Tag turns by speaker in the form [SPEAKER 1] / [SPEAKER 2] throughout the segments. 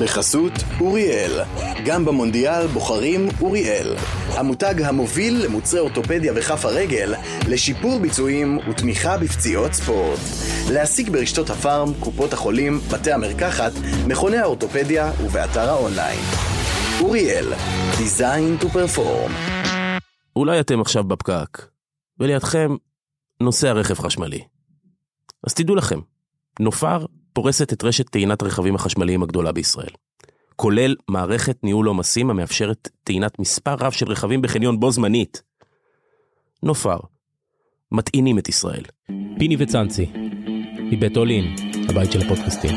[SPEAKER 1] בחסות אוריאל. גם במונדיאל בוחרים אוריאל. המותג המוביל למוצרי אורתופדיה וכף הרגל, לשיפור ביצועים ותמיכה בפציעות ספורט. להשיג ברשתות הפארם, קופות החולים, בתי המרקחת, מכוני האורתופדיה ובאתר האונליין. אוריאל, Design to Perform.
[SPEAKER 2] אולי אתם עכשיו בפקק, ולידכם נוסע רכב חשמלי. אז תדעו לכם, נופר פורסת את רשת טעינת הרכבים החשמליים הגדולה בישראל. כולל מערכת ניהול עומסים המאפשרת טעינת מספר רב של רכבים בחניון בו זמנית. נופר, מטעינים את ישראל.
[SPEAKER 3] פיני וצאנצי, מבית אולין, הבית של הפודקאסטים.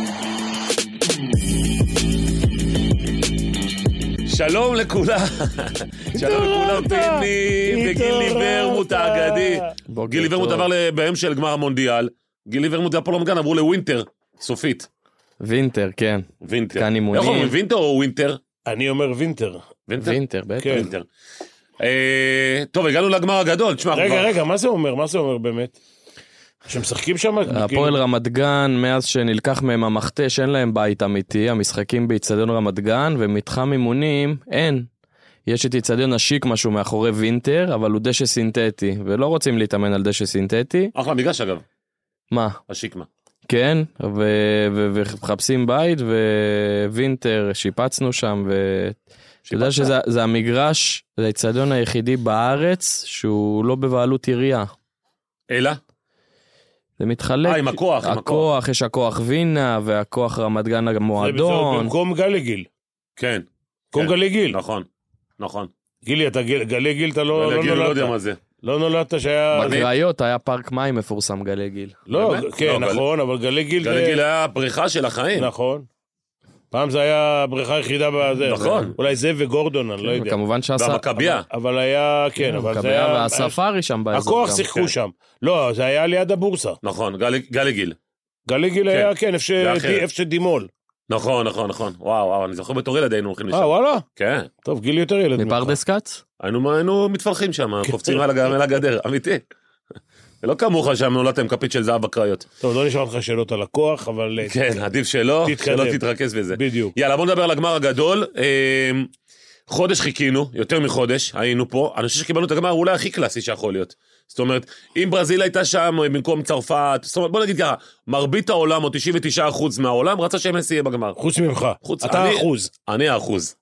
[SPEAKER 4] שלום לכולם, שלום לכולם, פיני וגילי ורמוט האגדי. גילי ורמוט עבר ל- באמצע גמר המונדיאל, גילי ורמוט והפולומגן עברו לווינטר, סופית.
[SPEAKER 5] וינטר, כן.
[SPEAKER 4] וינטר.
[SPEAKER 5] כאן אימונים.
[SPEAKER 4] איך אומרים וינטר או ווינטר?
[SPEAKER 6] אני אומר וינטר.
[SPEAKER 4] וינטר?
[SPEAKER 5] וינטר, בטח.
[SPEAKER 6] כן.
[SPEAKER 4] וינטר. אה, טוב, הגענו לגמר הגדול, תשמע, אנחנו
[SPEAKER 6] רגע,
[SPEAKER 4] כבר-
[SPEAKER 6] רגע, מה זה אומר? מה זה אומר באמת? שמשחקים שם? כאילו-
[SPEAKER 5] הפועל רמת גן, מאז שנלקח מהם המכתש, אין להם בית אמיתי, המשחקים באיצטדיון רמת גן, ומתחם אימונים, אין. יש את איצטדיון השיק משהו מאחורי וינטר, אבל הוא דשא סינתטי, ולא רוצים להתאמן על דשא סינתטי.
[SPEAKER 4] אחלה מגרש אגב,
[SPEAKER 5] מה?
[SPEAKER 4] השיקמה.
[SPEAKER 5] כן, ו- ו- ומחפשים בית, ווינטר, שיפצנו שם, ואתה יודע שזה זה המגרש, זה האיצטדיון היחידי בארץ שהוא לא בבעלות עירייה.
[SPEAKER 4] אלא?
[SPEAKER 5] זה מתחלק.
[SPEAKER 4] אה, עם הכוח, עם הכוח.
[SPEAKER 5] הכוח, יש הכוח וינה, והכוח רמת גן
[SPEAKER 6] זה בסדר,
[SPEAKER 5] המועדון.
[SPEAKER 6] במקום גלי גיל.
[SPEAKER 4] כן,
[SPEAKER 6] במקום
[SPEAKER 4] כן.
[SPEAKER 6] גלי גיל.
[SPEAKER 4] נכון, נכון.
[SPEAKER 6] גילי, אתה גל- גלי גיל, אתה לא לא
[SPEAKER 4] גילי לא יודע
[SPEAKER 6] נולדת.
[SPEAKER 4] מה זה.
[SPEAKER 6] לא נולדת שהיה...
[SPEAKER 4] מה זה?
[SPEAKER 5] בקריות היה פארק מים מפורסם גלי גיל.
[SPEAKER 6] לא,
[SPEAKER 4] באמת?
[SPEAKER 6] כן,
[SPEAKER 4] לא,
[SPEAKER 6] נכון, אבל גלי גיל... זה-
[SPEAKER 4] גלי גיל היה הבריכה של החיים.
[SPEAKER 6] נכון. פעם זה היה הבריכה היחידה בזה.
[SPEAKER 4] נכון.
[SPEAKER 6] אולי זה וגורדון, אני לא יודע.
[SPEAKER 5] וכמובן שעשה...
[SPEAKER 4] והמכבייה.
[SPEAKER 6] אבל היה, כן, אבל זה
[SPEAKER 5] המכבייה
[SPEAKER 6] היה...
[SPEAKER 5] והספארי שם באזור.
[SPEAKER 6] הכוח
[SPEAKER 5] גם,
[SPEAKER 6] שיחקו
[SPEAKER 5] כן.
[SPEAKER 6] שם. לא, זה היה ליד הבורסה.
[SPEAKER 4] נכון, גלי- גלי גיל.
[SPEAKER 6] גלי גיל היה, כן, איפה
[SPEAKER 4] זה
[SPEAKER 6] ש-
[SPEAKER 4] אחרת.
[SPEAKER 6] איפה שדימול.
[SPEAKER 4] נכון, נכון, נכון. וואו, וואו, אני זוכר בתור ילד היינו הולכים
[SPEAKER 6] אה,
[SPEAKER 4] לשם.
[SPEAKER 6] וואלה?
[SPEAKER 4] כן.
[SPEAKER 6] טוב, גילי יותר ילד ממך.
[SPEAKER 5] מפרדס כץ?
[SPEAKER 4] היינו היינו מתפלחים שם,
[SPEAKER 6] כן.
[SPEAKER 4] קופצים על הג- על הגדר, אמיתי. לא כמוך שם נולדתם כפית של זהב בקריות.
[SPEAKER 6] טוב, לא נשאל אותך שאלות על הכוח, אבל... אה,
[SPEAKER 4] כן, עדיף שלא,
[SPEAKER 6] תתקדם.
[SPEAKER 4] שלא תתרכז בזה.
[SPEAKER 6] בדיוק.
[SPEAKER 4] יאללה, בוא נדבר על הגמר הגדול. אה, חודש חיכינו, יותר מחודש, היינו פה. אני חושב שקיבלנו את הגמר אולי הכי קלאסי שיכול להיות. זאת אומרת, אם ברזיל הייתה שם במקום צרפת, זאת אומרת, בוא נגיד ככה, מרבית העולם, או 99% מהעולם, רצה שמסי יהיה בגמר.
[SPEAKER 6] חוץ ממך.
[SPEAKER 4] חוץ-
[SPEAKER 6] אתה
[SPEAKER 4] אני-
[SPEAKER 6] אחוז.
[SPEAKER 4] אני האחוז.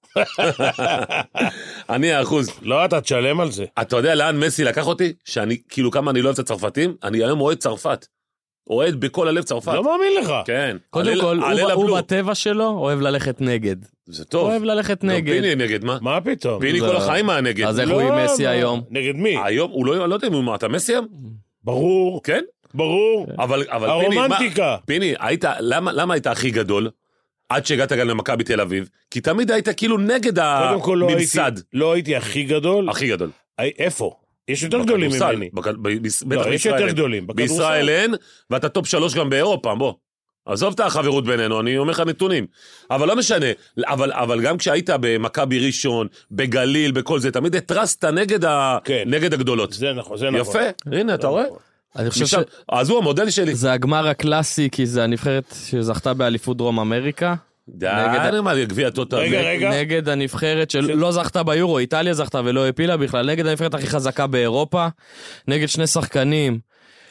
[SPEAKER 4] אני האחוז.
[SPEAKER 6] לא, אתה תשלם על זה.
[SPEAKER 4] אתה יודע לאן מסי לקח אותי? שאני, כאילו כמה אני לא אוהב את הצרפתים? אני היום אוהד צרפת. אוהד בכל הלב צרפת.
[SPEAKER 6] לא מאמין לך.
[SPEAKER 4] כן.
[SPEAKER 5] קודם
[SPEAKER 4] הלל-
[SPEAKER 5] כל,
[SPEAKER 4] הלל
[SPEAKER 5] הוא- הוא
[SPEAKER 4] הבלו.
[SPEAKER 5] בטבע שלו אוהב ללכת נגד.
[SPEAKER 4] זה
[SPEAKER 5] הוא
[SPEAKER 4] טוב.
[SPEAKER 5] אוהב ללכת
[SPEAKER 4] גם
[SPEAKER 5] נגד. לא,
[SPEAKER 4] פיני נגד, מה?
[SPEAKER 6] מה פתאום?
[SPEAKER 4] פיני
[SPEAKER 5] זה-
[SPEAKER 4] כל החיים היה נגד.
[SPEAKER 5] אז איך
[SPEAKER 6] לא,
[SPEAKER 5] הוא עם מסי
[SPEAKER 6] מה-
[SPEAKER 5] היום?
[SPEAKER 6] נגד מי?
[SPEAKER 4] היום, הוא לא, אני לא יודע אם הוא, מה, אתה מסי היום?
[SPEAKER 6] ברור,
[SPEAKER 4] כן?
[SPEAKER 6] ברור.
[SPEAKER 4] אבל, אבל פיני, מה-
[SPEAKER 6] הרומנטיקה.
[SPEAKER 4] פיני, היית, למה, למה היית הכי גדול? עד שהגעת גם למכבי תל אביב? כי תמיד היית כאילו נגד
[SPEAKER 6] קודם כל לא
[SPEAKER 4] הממסד.
[SPEAKER 6] הייתי- לא הייתי הכי גדול.
[SPEAKER 4] הכי גדול.
[SPEAKER 6] הי- איפה? יש יותר גדולים
[SPEAKER 4] בכדורסל,
[SPEAKER 6] ממני.
[SPEAKER 4] בכ- ב- ב- בטח
[SPEAKER 6] לא, יש
[SPEAKER 4] בישראל
[SPEAKER 6] יותר
[SPEAKER 4] אין.
[SPEAKER 6] גדולים. בכדורסל.
[SPEAKER 4] בישראל אין, ואתה טופ שלוש גם באירופה, בוא. עזוב את החברות בינינו, אני אומר לך נתונים. אבל לא משנה, אבל, אבל גם כשהיית במכבי ראשון, בגליל, בכל זה, תמיד התרסת נגד, ה...
[SPEAKER 6] כן.
[SPEAKER 4] נגד הגדולות.
[SPEAKER 6] זה נכון, זה נכון.
[SPEAKER 4] יפה, הנה, אתה רואה?
[SPEAKER 5] אני חושב
[SPEAKER 4] משם... אז הוא המודל שלי.
[SPEAKER 5] שזה הגמר הקלאסי, כי זה הנבחרת שזכתה באליפות דרום אמריקה.
[SPEAKER 4] די,
[SPEAKER 5] נגד-
[SPEAKER 4] מה, גביע טוטו.
[SPEAKER 6] רגע,
[SPEAKER 4] זה-
[SPEAKER 6] רגע.
[SPEAKER 5] נגד הנבחרת שלא זכתה ביורו, איטליה זכתה ולא העפילה בכלל, נגד הנבחרת הכי חזקה באירופה, נגד שני שחקנים,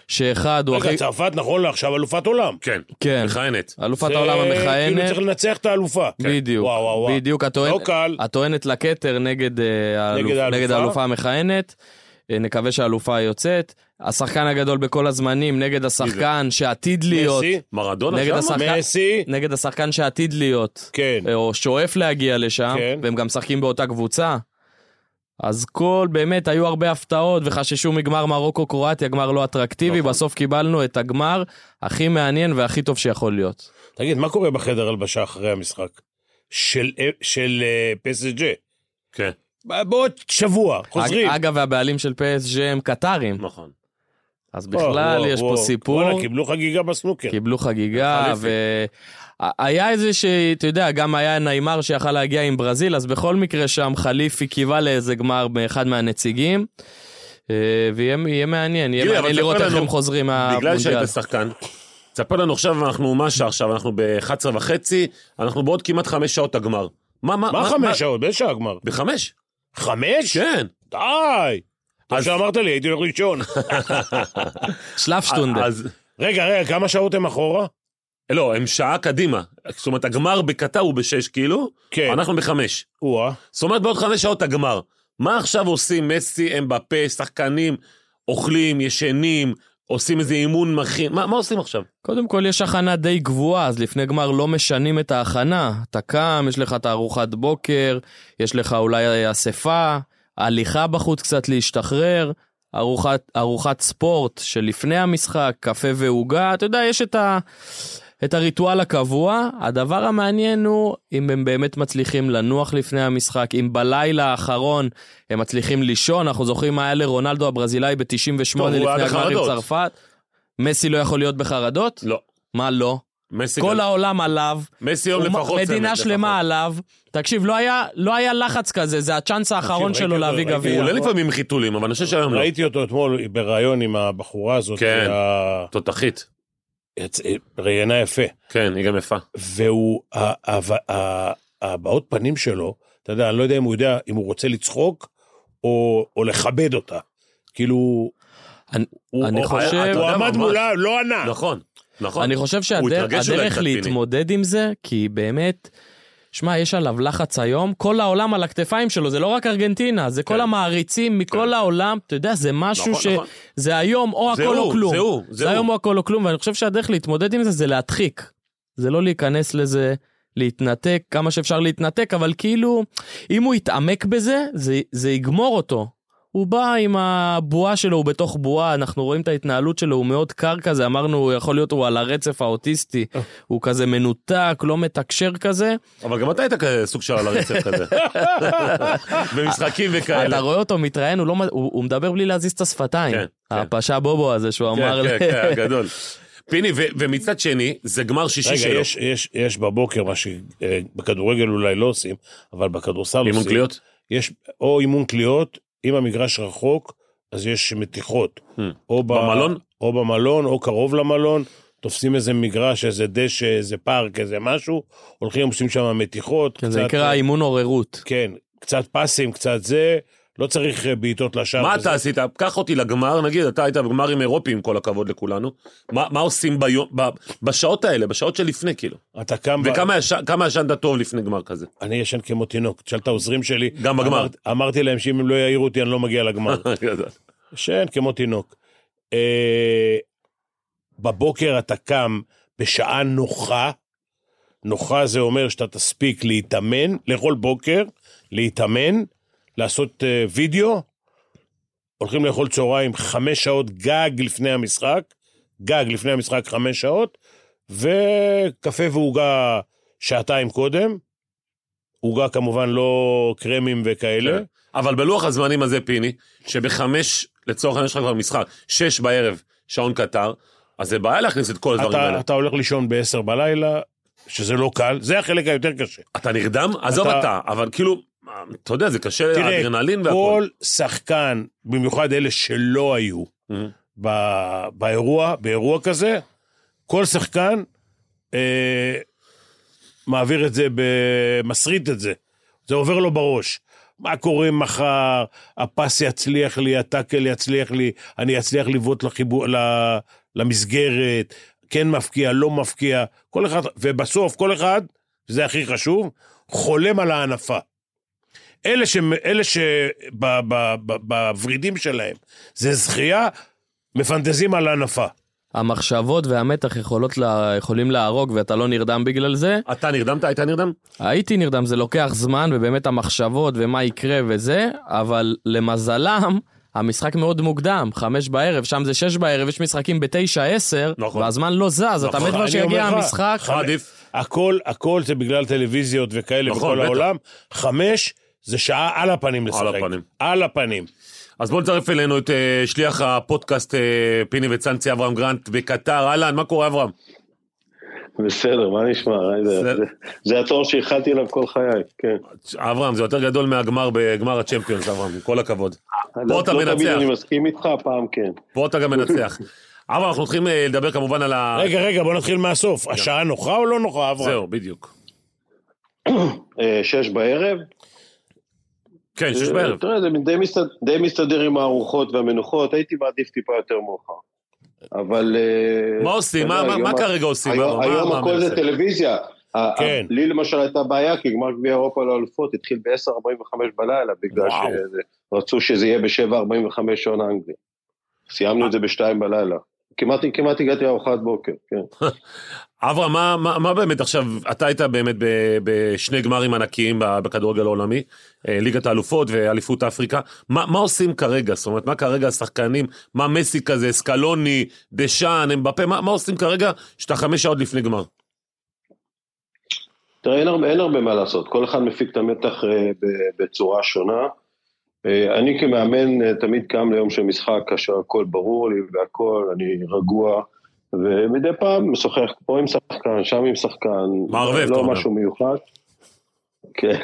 [SPEAKER 5] שאחד הוא הכי...
[SPEAKER 6] רגע, צרפת נכון לעכשיו אלופת עולם.
[SPEAKER 4] כן,
[SPEAKER 5] כן,
[SPEAKER 4] מכהנת.
[SPEAKER 5] אלופת
[SPEAKER 6] זה-
[SPEAKER 5] העולם
[SPEAKER 6] כאילו
[SPEAKER 5] המכהנת,
[SPEAKER 6] צריך לנצח את האלופה.
[SPEAKER 4] כן.
[SPEAKER 5] בדיוק,
[SPEAKER 6] וואו, וואו, וואו.
[SPEAKER 5] בדיוק, הטוענת-
[SPEAKER 6] לא קל.
[SPEAKER 5] הטוענת לכתר נגד אה, האלופ-
[SPEAKER 6] נגד האלופה.
[SPEAKER 5] נגד האלופה המכהנת, אה, נקווה שהאלופה יוצאת, השחקן הגדול בכל הזמנים נגד השחקן שעתיד להיות,
[SPEAKER 6] מסי?
[SPEAKER 4] מרדונה
[SPEAKER 5] נגד
[SPEAKER 4] שם?
[SPEAKER 5] השחק- שחקן-
[SPEAKER 6] מסי?
[SPEAKER 5] נגד השחקן שעתיד להיות, אה,
[SPEAKER 6] כן.
[SPEAKER 5] או שואף להגיע לשם,
[SPEAKER 6] כן.
[SPEAKER 5] והם גם משחקים באותה קבוצה. אז כל, באמת, היו הרבה הפתעות וחששו מגמר מרוקו-קרואטיה, גמר לא אטרקטיבי,
[SPEAKER 6] נכון.
[SPEAKER 5] בסוף קיבלנו את הגמר הכי מעניין והכי טוב שיכול להיות.
[SPEAKER 6] תגיד, מה קורה בחדר הלבשה אחרי המשחק? של, של אה, פסג'ה.
[SPEAKER 4] כן,
[SPEAKER 6] בעוד
[SPEAKER 5] אה,
[SPEAKER 6] שבוע, חוזרים.
[SPEAKER 5] אג- אגב, והבעלים של PSG הם קטרים,
[SPEAKER 4] נכון.
[SPEAKER 5] אז
[SPEAKER 6] וואו,
[SPEAKER 5] אה, בכלל
[SPEAKER 6] וואו,
[SPEAKER 5] יש פה
[SPEAKER 6] וואו.
[SPEAKER 5] סיפור.
[SPEAKER 6] וואלה, קיבלו חגיגה בסנוקר.
[SPEAKER 5] קיבלו חגיגה,
[SPEAKER 4] חליפי.
[SPEAKER 5] והיה איזה ש... אתה יודע, גם היה ניימר שיכל להגיע עם ברזיל, אז בכל מקרה שם חליפי קיווה לאיזה גמר באחד מהנציגים. אה, ויהיה יהיה מעניין, יהיה
[SPEAKER 4] גילי, אבל
[SPEAKER 5] מעניין לראות
[SPEAKER 4] ספר
[SPEAKER 5] איך
[SPEAKER 4] לנו,
[SPEAKER 5] הם חוזרים
[SPEAKER 4] בגלל
[SPEAKER 5] מהמונדיאל.
[SPEAKER 4] שהיית שחקן, תספר לנו עכשיו, אנחנו, מה השעה עכשיו? אנחנו ב-11 וחצי, אנחנו בעוד כמעט חמש שעות הגמר. מה, מה,
[SPEAKER 6] מה חמש שעות? באיזה שעה הגמר?
[SPEAKER 4] בחמש,
[SPEAKER 6] חמש?
[SPEAKER 4] כן.
[SPEAKER 6] די! כמו
[SPEAKER 4] אז-
[SPEAKER 6] שאמרת לי, הייתי הולך לישון.
[SPEAKER 5] שלף שטונדה.
[SPEAKER 4] אז,
[SPEAKER 6] רגע, רגע, כמה שעות הם אחורה?
[SPEAKER 4] לא, הם שעה קדימה. זאת אומרת, הגמר בקטר הוא בשש קילו,
[SPEAKER 6] כן.
[SPEAKER 4] אנחנו בחמש.
[SPEAKER 6] או-אה.
[SPEAKER 4] זאת אומרת, בעוד חמש שעות הגמר. מה עכשיו עושים מסי, אמבפה, שחקנים, אוכלים, ישנים, עושים איזה אימון מכין? מה, מה עושים עכשיו?
[SPEAKER 5] קודם כל, יש הכנה די גבוהה, אז לפני גמר לא משנים את ההכנה. אתה קם, יש לך את הארוחת בוקר, יש לך אולי אספה, הליכה בחוץ קצת להשתחרר, ארוחת, ארוחת ספורט שלפני המשחק, קפה ועוגה, אתה יודע, יש את, ה, את הריטואל הקבוע. הדבר המעניין הוא אם הם באמת מצליחים לנוח לפני המשחק, אם בלילה האחרון הם מצליחים לישון, אנחנו זוכרים מה היה לרונלדו הברזילאי ב-98
[SPEAKER 4] טוב, הוא היה
[SPEAKER 5] לפני הגמר עם
[SPEAKER 4] בחרדות.
[SPEAKER 5] צרפת. מסי לא יכול להיות בחרדות?
[SPEAKER 4] לא.
[SPEAKER 5] מה לא?
[SPEAKER 4] מסי,
[SPEAKER 5] כל
[SPEAKER 4] גם-
[SPEAKER 5] העולם עליו,
[SPEAKER 4] מסי יום
[SPEAKER 5] הוא-
[SPEAKER 4] לפחות.
[SPEAKER 5] מדינה
[SPEAKER 4] צמד,
[SPEAKER 5] שלמה
[SPEAKER 4] לפחות.
[SPEAKER 5] עליו. תקשיב, לא היה- לא היה לחץ כזה, זה הצ'אנס האחרון
[SPEAKER 6] ראיתי
[SPEAKER 5] שלו
[SPEAKER 6] אותו,
[SPEAKER 5] להביא
[SPEAKER 6] ראיתי,
[SPEAKER 4] הוא
[SPEAKER 5] גביע.
[SPEAKER 4] עולה לפעמים עם חיתולים, אבל אני חושב שהיום לא.
[SPEAKER 6] ראיתי אותו אתמול בריאיון עם הבחורה הזאת.
[SPEAKER 4] כן.
[SPEAKER 6] ה-
[SPEAKER 4] תותחית.
[SPEAKER 6] יצ- אה, ראיינה יפה.
[SPEAKER 4] כן, היא גם יפה.
[SPEAKER 6] והוא, ה- ה- ה- הבעות פנים שלו, אתה יודע, אני לא יודע אם הוא יודע אם הוא רוצה לצחוק או, או לכבד אותה. כאילו,
[SPEAKER 5] אני-
[SPEAKER 6] הוא,
[SPEAKER 5] אני
[SPEAKER 6] הוא-
[SPEAKER 5] חושב-
[SPEAKER 6] הוא
[SPEAKER 4] אתה יודע,
[SPEAKER 6] עמד
[SPEAKER 4] ממש.
[SPEAKER 6] מולה, לא ענה.
[SPEAKER 4] נכון, נכון.
[SPEAKER 5] אני חושב
[SPEAKER 4] הוא התרגש אולי
[SPEAKER 5] שהדרך
[SPEAKER 4] קצת, פיני.
[SPEAKER 5] להתמודד עם זה, כי באמת, שמע, יש עליו לחץ היום, כל העולם על הכתפיים שלו, זה לא רק ארגנטינה, זה כל המעריצים מכל העולם, אתה יודע, זה משהו
[SPEAKER 4] כן. נכון,
[SPEAKER 5] ש...
[SPEAKER 4] נכון.
[SPEAKER 5] זה היום או
[SPEAKER 4] זה
[SPEAKER 5] הכל או
[SPEAKER 4] הוא,
[SPEAKER 5] כלום.
[SPEAKER 4] זה הוא, זה
[SPEAKER 5] זה היום
[SPEAKER 4] הוא.
[SPEAKER 5] או לא הכל או כלום, ואני חושב שהדרך להתמודד עם זה זה להדחיק. זה לא להיכנס לזה, להתנתק כמה שאפשר להתנתק, אבל כאילו, אם הוא יתעמק בזה, זה, זה יגמור אותו. הוא בא עם הבועה שלו, הוא בתוך בועה, אנחנו רואים את ההתנהלות שלו, הוא מאוד קר כזה, אמרנו, הוא יכול להיות הוא על הרצף האוטיסטי,
[SPEAKER 4] אה.
[SPEAKER 5] הוא כזה מנותק, לא מתקשר כזה.
[SPEAKER 4] אבל גם אתה היית כזה סוג של על הרצף כזה. במשחקים
[SPEAKER 5] אתה
[SPEAKER 4] וכאלה.
[SPEAKER 5] רואה אותו מתראיין, הוא, לא, מ- הוא, הוא מדבר בלי להזיז את השפתיים.
[SPEAKER 4] כן, כן.
[SPEAKER 5] הפשע בובו הזה שהוא
[SPEAKER 4] כן,
[SPEAKER 5] אמר...
[SPEAKER 4] כן, כן, הגדול. פיני, ו- ומצד שני, זה גמר שישי
[SPEAKER 6] רגע,
[SPEAKER 4] שלו.
[SPEAKER 6] יש, יש, יש בבוקר מה שבכדורגל אולי לא עושים, אבל בכדורסל עושים.
[SPEAKER 4] אימון קליעות?
[SPEAKER 6] יש או אימון קליעות, אם המגרש רחוק, אז יש מתיחות.
[SPEAKER 4] Hmm.
[SPEAKER 6] או ב-
[SPEAKER 4] במלון?
[SPEAKER 6] או במלון, או קרוב למלון, תופסים איזה מגרש, איזה דשא, איזה פארק, איזה משהו, הולכים, עושים שם מתיחות.
[SPEAKER 5] כן, זה
[SPEAKER 6] קצת- אה,
[SPEAKER 4] אה,
[SPEAKER 5] נקרא אימון עוררות.
[SPEAKER 6] כן, קצת פסים, קצת זה, לא צריך אה, בעיטות לשער.
[SPEAKER 4] מה
[SPEAKER 6] וזה.
[SPEAKER 4] אתה עשית? קח אותי לגמר, נגיד, אתה היית בגמר עם אירופי, עם כל הכבוד לכולנו. מה מה עושים ביום- ב- בשעות האלה, בשעות שלפני, כאילו?
[SPEAKER 6] אתה קם... ב-
[SPEAKER 4] וכמה ישן- כמה ישנת טוב לפני גמר כזה?
[SPEAKER 6] אני ישן כמו תינוק, תשאל את העוזרים שלי.
[SPEAKER 4] גם בגמר.
[SPEAKER 6] אמרת- אמרתי להם שאם הם לא יעירו אותי, אני לא מגיע לגמר.
[SPEAKER 4] גדול.
[SPEAKER 6] ישן כן, כמו תינוק. אה, בבוקר אתה קם בשעה נוחה, נוחה זה אומר שאתה תספיק להתאמן, לכל בוקר, להתאמן, לעשות אה, וידאו, הולכים לאכול צהריים חמש שעות גג לפני המשחק, גג לפני המשחק חמש שעות, וקפה ועוגה שעתיים קודם, עוגה כמובן לא קרמים וכאלה.
[SPEAKER 4] כן. אבל בלוח הזמנים הזה, פיני, שבחמש, לצורך העניין יש לך כבר משחק, שש בערב, שעון קטר, אז זה בעיה להכניס את כל הדברים
[SPEAKER 6] אתה,
[SPEAKER 4] האלה.
[SPEAKER 6] אתה הולך לישון ב-10 בלילה, שזה לא קל, זה החלק היותר קשה.
[SPEAKER 4] אתה נרדם? עזוב
[SPEAKER 6] אתה-
[SPEAKER 4] אתה, אבל כאילו, אתה יודע, זה קשה,
[SPEAKER 6] תראה,
[SPEAKER 4] אדרנלין והכל.
[SPEAKER 6] כל שחקן, במיוחד אלה שלא היו
[SPEAKER 4] מהמם.
[SPEAKER 6] ב- באירוע, באירוע כזה, כל שחקן אה, מעביר את זה, ב- מסריט את זה. זה עובר לו בראש. מה קורה מחר, הפס יצליח לי, הטאקל יצליח לי, אני אצליח לבעוט לחיבור- ל- למסגרת, כן מפקיע, לא מפקיע, כל אחד, ובסוף כל אחד, זה הכי חשוב, חולם על הענפה. אלה, ש, אלה שבוורידים שלהם זה זכייה, מפנטזים על הנפה.
[SPEAKER 5] המחשבות והמתח יכולות לה, יכולים להרוג ואתה לא נרדם בגלל זה.
[SPEAKER 4] אתה נרדמת? היית נרדם?
[SPEAKER 5] הייתי נרדם, זה לוקח זמן ובאמת המחשבות ומה יקרה וזה, אבל למזלם, המשחק מאוד מוקדם, חמש בערב, שם זה שש בערב, יש משחקים בתשע, עשר,
[SPEAKER 4] נכון.
[SPEAKER 5] והזמן לא זז, אתה מת כבר
[SPEAKER 6] נכון. אני
[SPEAKER 5] שיגיע
[SPEAKER 6] אומר לך,
[SPEAKER 5] המשחק.
[SPEAKER 6] חמש-
[SPEAKER 4] עדיף.
[SPEAKER 6] הכל, הכל זה בגלל טלוויזיות וכאלה
[SPEAKER 4] נכון,
[SPEAKER 6] בכל
[SPEAKER 4] בטח.
[SPEAKER 6] העולם. חמש, זה שעה על הפנים לשחק.
[SPEAKER 4] הפנים.
[SPEAKER 6] על הפנים.
[SPEAKER 4] אז בואו נצרף אלינו את אה, שליח הפודקאסט אה, פיני וצאנצי אברהם גרנט בקטר. אהלן, מה קורה אברהם?
[SPEAKER 7] בסדר, מה נשמע? זה,
[SPEAKER 4] בסדר.
[SPEAKER 7] זה, זה התואר שייחלתי אליו כל חיי, כן.
[SPEAKER 4] אברהם, זה יותר גדול מהגמר בגמר הצ'מפיונס, אברהם, עם כל הכבוד. אתה
[SPEAKER 7] לא- לא תמיד
[SPEAKER 4] מנצח.
[SPEAKER 7] אני מסכים איתך, הפעם כן.
[SPEAKER 4] פה אתה גם מנצח. אבל אנחנו הולכים אה, כן. לדבר כמובן על ה...
[SPEAKER 6] רגע, רגע, בוא נתחיל מהסוף. השעה נוחה או לא נוחה, אברהם?
[SPEAKER 4] זהו, בדיוק.
[SPEAKER 7] אה, שש בערב?
[SPEAKER 4] כן,
[SPEAKER 7] אה,
[SPEAKER 4] שש בערב.
[SPEAKER 7] תראה, זה די, מסתד... די מסתדר עם הארוחות והמנוחות, הייתי מעדיף טיפה יותר מאוחר. אבל... אה,
[SPEAKER 4] מה עושים?
[SPEAKER 7] אתה יודע,
[SPEAKER 4] מה- מה
[SPEAKER 7] היום
[SPEAKER 4] מה
[SPEAKER 7] ה-
[SPEAKER 4] כרגע עושים? מה-
[SPEAKER 7] היום,
[SPEAKER 4] מה-
[SPEAKER 7] היום
[SPEAKER 4] מה
[SPEAKER 7] הכל זה
[SPEAKER 4] המאמן
[SPEAKER 7] טלוויזיה. ה-
[SPEAKER 6] כן.
[SPEAKER 7] ה- לי למשל הייתה בעיה, כי גמר גביע אירופה לאלופות התחיל ב-10.45 בלילה, בגלל
[SPEAKER 4] וואו.
[SPEAKER 7] שרצו שזה יהיה ב-7.45 שעון האנגלי. סיימנו את זה ב-2 בלילה. כמעט, כמעט הגעתי לארוחת בוקר, כן.
[SPEAKER 4] עושה? אברהם, מה- מה- מה באמת עכשיו, אתה היית באמת ב- בשני גמרים ענקיים ב- בכדורגל העולמי, אה, ליגת האלופות ואליפות אפריקה, מה מה עושים כרגע? זאת אומרת, מה כרגע השחקנים, מה מסי כזה, סקלוני, דשאן, אמבפה, מה מה עושים כרגע שאתה חמש שעות לפני גמר?
[SPEAKER 7] תראה, אין הרבה, אין הרבה מה לעשות, כל אחד מפיק את המתח אה, ב- בצורה שונה. אה, אני כמאמן אה, תמיד קם ליום של משחק כאשר הכל ברור לי והכל, אני רגוע, ומדי פעם משוחח פה עם שחקן, שם עם שחקן,
[SPEAKER 4] מערבב, אתה
[SPEAKER 7] לא
[SPEAKER 4] אומר.
[SPEAKER 7] משהו מיוחד. כן.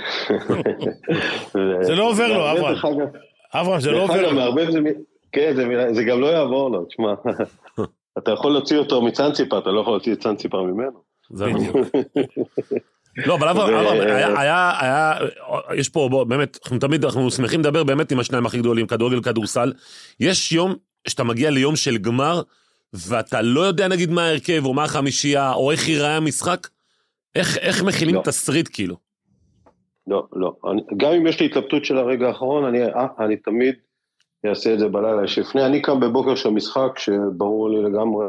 [SPEAKER 6] זה לא עובר לו,
[SPEAKER 7] מערבב,
[SPEAKER 6] אברהם.
[SPEAKER 7] דרך אגב-
[SPEAKER 6] אברהם, זה לא
[SPEAKER 7] דרך
[SPEAKER 6] עובר.
[SPEAKER 7] אגב, מערבב זה מ- כן, זה מילה- זה גם לא יעבור לו, תשמע. אתה יכול להוציא אותו מצאנציפר, אתה לא יכול להוציא את צאנציפר ממנו.
[SPEAKER 4] זה בדיוק. לא, אבל אברהם,
[SPEAKER 7] ו-
[SPEAKER 4] אברהם, היה, היה, היה, יש פה, בוא, באמת, אנחנו תמיד, אנחנו שמחים לדבר באמת עם השניים הכי גדולים, כדורגל וכדורסל. יש יום שאתה מגיע ליום של גמר, ואתה לא יודע נגיד מה ההרכב, או מה החמישייה, או איך ייראה המשחק, איך, איך מכינים
[SPEAKER 7] לא.
[SPEAKER 4] תסריט כאילו?
[SPEAKER 7] לא, לא. אני, גם אם יש לי התלבטות של הרגע האחרון, אני, אה, אני תמיד אעשה את זה בלילה שלפני. אני קם בבוקר של משחק שברור לי לגמרי,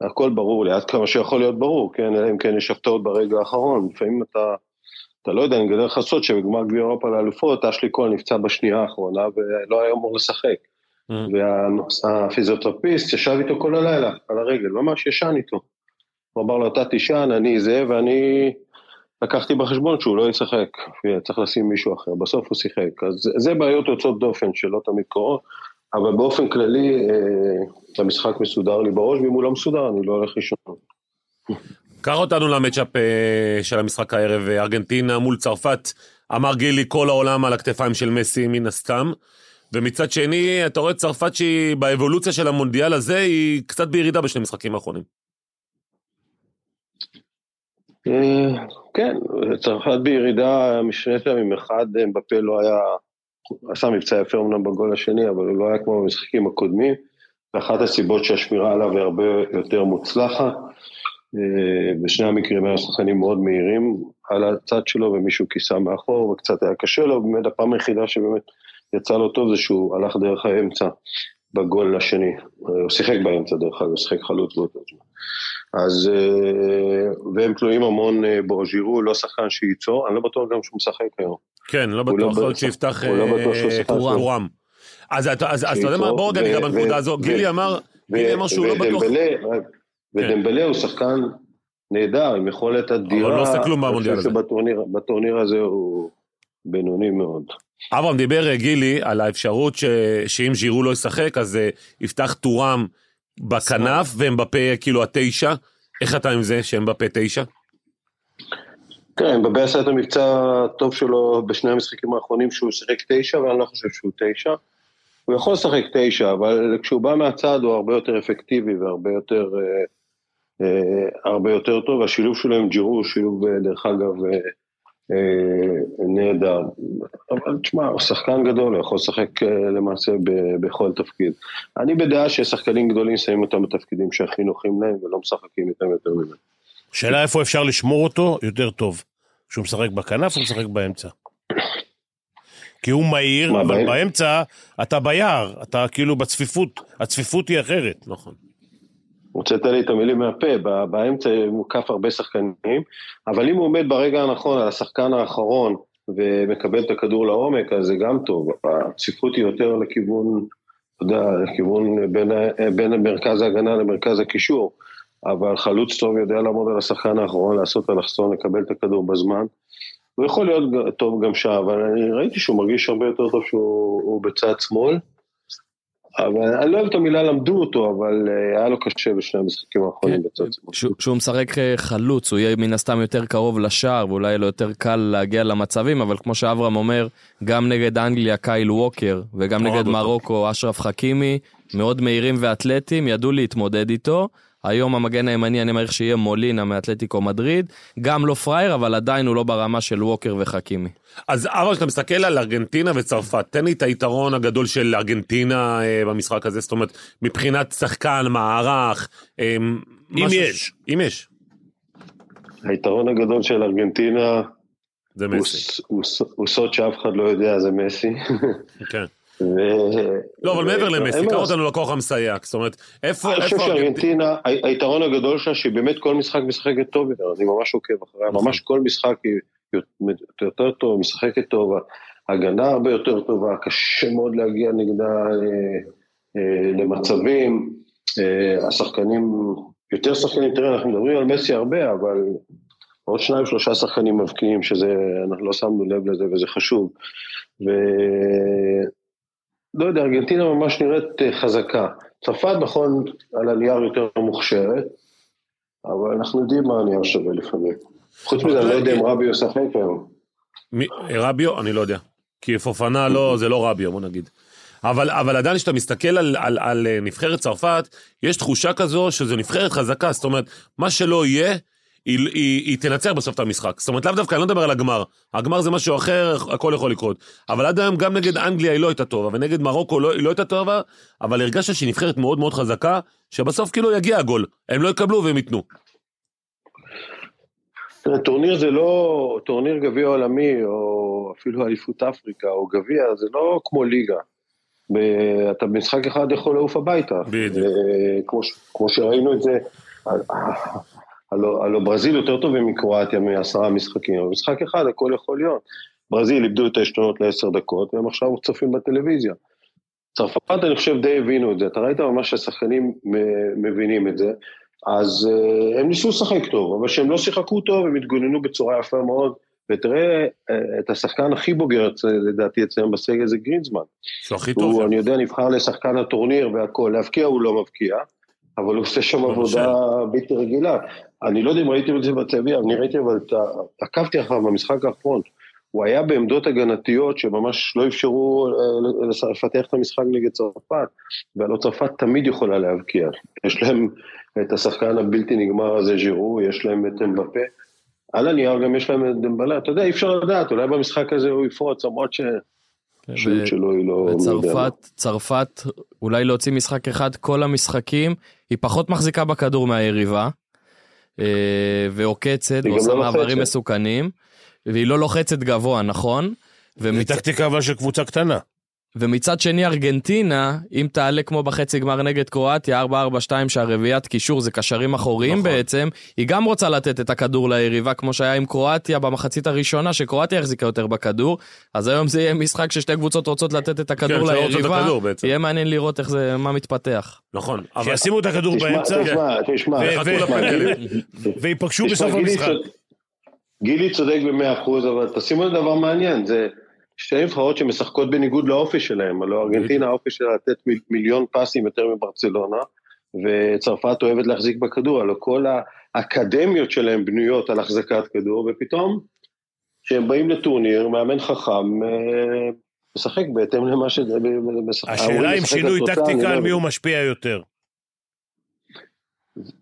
[SPEAKER 7] הכל ברור לי, עד כמה שיכול להיות ברור, כן, אלא אם כן יש הפתעות ברגע האחרון. לפעמים אתה, אתה לא יודע, אני אגלה לך סוד שבגמר גביע אירופה לאלופות, אשלי כהן נפצע בשנייה האחרונה ולא היה אמור לשחק.
[SPEAKER 4] Mm.
[SPEAKER 7] והפיזיותרפיסט ישב איתו כל הלילה, על הרגל, ממש ישן איתו. הוא אמר לו, אתה תישן, אני זה, ואני לקחתי בחשבון שהוא לא ישחק, צריך לשים מישהו אחר, בסוף הוא שיחק. אז זה- זה בעיות יוצאות דופן שלא תמיד קורות, אבל באופן כללי אה, המשחק מסודר לי בראש, ואם הוא לא מסודר אני לא הולך לישון.
[SPEAKER 4] קח אותנו למצ'אפ אה, של המשחק הערב, אה, ארגנטינה מול צרפת. אמר גילי, כל העולם על הכתפיים של מסי מן הסתם. ומצד שני, אתה רואה את צרפת שהיא באבולוציה של המונדיאל הזה, היא קצת בירידה בשני המשחקים האחרונים.
[SPEAKER 7] אה, כן, צרפת בירידה משני טעמים, אחד אה, בפה לא היה, עשה מבצע יפה אמנם בגול השני, אבל הוא לא היה כמו במשחקים הקודמים, ואחת הסיבות שהשמירה עליו היא הרבה יותר מוצלחת. אה, בשני המקרים היו שחקנים מאוד מהירים על הצד שלו ומישהו כיסה מאחור וקצת היה קשה לו, באמת הפעם היחידה שבאמת יצא לו טוב זה שהוא הלך דרך האמצע בגול השני, אה, הוא שיחק באמצע דרך אגב, הוא שיחק חלוץ באותו זמן. אז, אה, והם תלויים המון אה, בו, ז'ירו לא שחקן שייצור, אני לא בטוח גם שהוא משחק היום.
[SPEAKER 4] כן, לא
[SPEAKER 7] לא
[SPEAKER 4] בטוח, יכול להיות
[SPEAKER 7] בטוח-
[SPEAKER 4] שיפתח
[SPEAKER 7] הוא לא בטוח שהוא
[SPEAKER 4] אה,
[SPEAKER 7] שיחק.
[SPEAKER 4] טורם. אז אתה אז- אז אתה יודע מה,
[SPEAKER 7] שיפתח,
[SPEAKER 4] בוא רגע ניגע
[SPEAKER 7] ו-
[SPEAKER 4] בנקודה
[SPEAKER 7] ו-
[SPEAKER 4] הזו.
[SPEAKER 7] ו-
[SPEAKER 4] גילי אמר, גילי אמר שהוא לא בטוח,
[SPEAKER 7] ודמבלה- ודמבלה הוא שחקן נהדר, עם יכולת אדירה.
[SPEAKER 4] לא עושה כלום במונדיאל
[SPEAKER 7] אני חושב שבטורניר- בטורניר הזה הוא בינוני מאוד.
[SPEAKER 4] אברהם דיבר אה, גילי על האפשרות ש- שאם ז'ירו לא ישחק, אז אה, יפתח טורם בכנף, והם בפה כאילו התשע. איך אתה עם זה שהם בפה תשע?
[SPEAKER 7] כן, מבבי עשה את המבצע הטוב שלו בשני המשחקים האחרונים שהוא שיחק תשע, ואני לא חושב שהוא תשע. הוא יכול לשחק תשע, אבל כשהוא בא מהצד הוא הרבה יותר אפקטיבי והרבה יותר, אה, אה, הרבה יותר טוב. השילוב שלו עם ג'ירו הוא שילוב, אה, דרך אגב, אה, אה, נהדר. אבל תשמע, הוא שחקן גדול, הוא יכול לשחק אה, למעשה ב- בכל תפקיד. אני בדעה ששחקנים גדולים שמים אותם בתפקידים שהכי נוחים להם ולא משחקים איתם יותר מדי.
[SPEAKER 6] שאלה איפה אפשר לשמור אותו יותר טוב. כשהוא משחק בכנף או משחק באמצע? כי הוא מהיר,
[SPEAKER 7] מה,
[SPEAKER 6] אבל
[SPEAKER 7] באמצע?
[SPEAKER 6] באמצע אתה ביער, אתה כאילו בצפיפות, הצפיפות היא אחרת.
[SPEAKER 4] נכון.
[SPEAKER 7] הוצאת לי את המילים מהפה, ב- באמצע מוקף הרבה שחקנים, אבל אם הוא עומד ברגע הנכון על השחקן האחרון ומקבל את הכדור לעומק, אז זה גם טוב. הצפיפות היא יותר לכיוון, אתה יודע, לכיוון בין, ה- בין מרכז ההגנה למרכז הקישור, אבל חלוץ טוב יודע לעמוד על השחקן האחרון, לעשות אלכסון, לקבל את הכדור בזמן. הוא יכול להיות ג- טוב גם שם, אבל אני ראיתי שהוא מרגיש הרבה יותר טוב שהוא הוא בצד שמאל. אבל אני לא אוהב את המילה למדו אותו, אבל אה, היה לו קשה בשני המשחקים האחרונים
[SPEAKER 5] כן,
[SPEAKER 7] בצד שמאל.
[SPEAKER 5] שהוא- שהוא משחק אה, חלוץ, הוא יהיה מן הסתם יותר קרוב לשער, ואולי יהיה לו יותר קל להגיע למצבים, אבל כמו שאברהם אומר, גם נגד אנגליה קייל ווקר, וגם
[SPEAKER 4] אוהב
[SPEAKER 5] נגד
[SPEAKER 4] אותו.
[SPEAKER 5] מרוקו אשרף חכימי, מאוד מהירים ואתלטיים, ידעו להתמודד איתו. היום המגן הימני, אני מעריך שיהיה מולינה מאתלטיקו מדריד. גם לא פראייר, אבל עדיין הוא לא ברמה של ווקר וחכימי.
[SPEAKER 4] אז אבא, כשאתה מסתכל על ארגנטינה וצרפת, תן לי את היתרון הגדול של ארגנטינה אה, במשחק הזה, זאת אומרת, מבחינת שחקן, מערך. אה, משהו-
[SPEAKER 6] יש.
[SPEAKER 4] אם יש.
[SPEAKER 7] היתרון הגדול של ארגנטינה
[SPEAKER 4] זה
[SPEAKER 7] הוא
[SPEAKER 4] מסי.
[SPEAKER 7] ס- הוא ס- הוא סוד שאף אחד לא יודע, זה מסי.
[SPEAKER 4] כן.
[SPEAKER 7] ו-
[SPEAKER 4] לא, אבל מעבר
[SPEAKER 7] ו-
[SPEAKER 4] למסי,
[SPEAKER 7] אין מה
[SPEAKER 4] קרא
[SPEAKER 7] לעשות.
[SPEAKER 4] אותנו לכוח המסייע. זאת אומרת, איפה...
[SPEAKER 7] אני חושב
[SPEAKER 4] איפה ארגנטינה?
[SPEAKER 7] שארגנטינה, ה- היתרון הגדול שלה שהיא באמת כל משחק משחקת טוב יותר, אני ממש עוקב אחריה,
[SPEAKER 4] נכון.
[SPEAKER 7] ממש כל משחק היא יות- יותר טוב, משחקת טוב, הגנה הרבה יותר טובה, קשה מאוד להגיע נגדה אה, אה, למצבים, אה, השחקנים, יותר שחקנים, תראה, אנחנו מדברים על מסי הרבה, אבל עוד שניים שלושה שחקנים מבקיעים, שזה, אנחנו לא שמנו לב לזה וזה חשוב. ו... לא יודע, ארגנטינה ממש נראית אה, חזקה. צרפת, נכון, על הנייר יותר מוכשרת, אבל אנחנו יודעים מה הנייר שווה לפעמים. חוץ מזה, אני לא יודע אם רבי יוסף היום.
[SPEAKER 4] מי- רביו? אני לא יודע. כי פופנה לא, זה לא רביו, בוא נגיד. אבל, אבל עדיין כשאתה מסתכל על, על, על אה, נבחרת צרפת, יש תחושה כזו שזו נבחרת חזקה, זאת אומרת, מה שלא יהיה, היא, היא, היא תנצח בסוף את המשחק. זאת אומרת, לאו דווקא, אני לא מדבר על הגמר. הגמר זה משהו אחר, הכל יכול לקרות. אבל עד היום גם נגד אנגליה היא לא הייתה טובה, ונגד מרוקו לא, היא לא הייתה טובה, אבל הרגשת שהיא נבחרת מאוד מאוד חזקה, שבסוף כאילו יגיע הגול. הם לא יקבלו והם ייתנו.
[SPEAKER 7] תראה, טורניר זה לא, טורניר גביע עולמי, או אפילו אליפות אפריקה, או גביע, זה לא כמו ליגה. ב- אתה במשחק אחד יכול לעוף הביתה.
[SPEAKER 4] בדיוק.
[SPEAKER 7] אה, כמו, ש- כמו שראינו את זה, ה- הלו, הלו ברזיל יותר טובים מקרואטיה מעשרה משחקים, אבל משחק אחד הכל יכול להיות. ברזיל איבדו את העשתונות לעשר דקות, והם עכשיו צופים בטלוויזיה. צרפת, אני חושב, די הבינו את זה. אתה ראית ממש שהשחקנים מ- מבינים את זה. אז אה, הם ניסו לשחק טוב, אבל כשהם לא שיחקו טוב, הם התגוננו בצורה יפה מאוד. ותראה אה, את השחקן הכי בוגר, אה, לדעתי, אצלם בסגל זה גרינזמן.
[SPEAKER 4] שהוא הכי טוב.
[SPEAKER 7] הוא, אני יודע, נבחר לשחקן הטורניר והכול, להבקיע הוא לא מבקיע, אבל הוא עושה
[SPEAKER 5] לא
[SPEAKER 7] שם עבודה בלתי רגילה. אני לא יודע אם ראיתם את זה בטלוויזיה, אני ראיתי, אבל את ה- עקבתי אחריו במשחק האחרון. הוא היה בעמדות הגנתיות שממש לא אפשרו אה, לס- לפתח את המשחק נגד צרפת, והלא צרפת תמיד יכולה להבקיע. יש להם את השחקן הבלתי נגמר הזה, ז'ירו, יש להם את אמבפה. על הנייר גם יש להם את דמבלה, אתה יודע, אי אפשר לדעת, אולי במשחק הזה הוא יפרוץ, למרות שהשאלות
[SPEAKER 5] ו-
[SPEAKER 7] שלו היא לא... לא יודע מה.
[SPEAKER 5] וצרפת, צרפת, אולי להוציא משחק אחד כל המשחקים, היא פחות מחזיקה בכדור מהיריבה, אה, ועוקצת,
[SPEAKER 7] היא גם
[SPEAKER 5] ועושה
[SPEAKER 7] לא
[SPEAKER 5] מעברים
[SPEAKER 7] לוחצת.
[SPEAKER 5] מסוכנים, והיא לא לוחצת גבוה, נכון? ומצ...
[SPEAKER 6] טקטיקה אבל של קבוצה קטנה.
[SPEAKER 5] ומצד שני ארגנטינה, אם תעלה כמו בחצי גמר נגד קרואטיה, 4-4-2 שהרביעיית קישור זה קשרים אחוריים
[SPEAKER 4] נכון.
[SPEAKER 5] נכון. בעצם, היא גם רוצה לתת את הכדור ליריבה, כמו שהיה עם קרואטיה במחצית הראשונה, שקרואטיה החזיקה יותר בכדור, אז היום זה יהיה משחק ששתי קבוצות רוצות לתת את הכדור
[SPEAKER 4] כן, שתי רוצות את
[SPEAKER 5] ליריבה,
[SPEAKER 4] הכדור בעצם.
[SPEAKER 5] יהיה מעניין לראות איך זה, מה מתפתח.
[SPEAKER 4] נכון. אבל-
[SPEAKER 6] שישימו את הכדור
[SPEAKER 7] תשמע,
[SPEAKER 6] באמצע, כן.
[SPEAKER 7] תשמע, תשמע,
[SPEAKER 6] ו-
[SPEAKER 7] תשמע,
[SPEAKER 4] ו-
[SPEAKER 7] גילי-
[SPEAKER 6] וייפגשו
[SPEAKER 7] תשמע,
[SPEAKER 6] בסוף
[SPEAKER 7] גילי
[SPEAKER 6] המשחק.
[SPEAKER 7] צודק- גילי צודק במאה אחוז, אבל תשימו לב דבר מעניין, זה שתי נבחרות שמשחקות בניגוד לאופי שלהם, הלוא ארגנטינה האופי שלה לתת מיל- מיליון פסים יותר מברצלונה, וצרפת אוהבת להחזיק בכדור, הלוא כל האקדמיות שלהם בנויות על החזקת כדור, ופתאום כשהם באים לטורניר, מאמן חכם, אה, משחק בהתאם למה ש... משחק-
[SPEAKER 6] השאלה
[SPEAKER 7] אמורים
[SPEAKER 6] אם
[SPEAKER 7] לשחק
[SPEAKER 6] שינוי
[SPEAKER 7] לתוצאה, אני
[SPEAKER 6] טקטיקה
[SPEAKER 7] לא
[SPEAKER 6] על
[SPEAKER 7] מבין.
[SPEAKER 6] מי הוא משפיע יותר.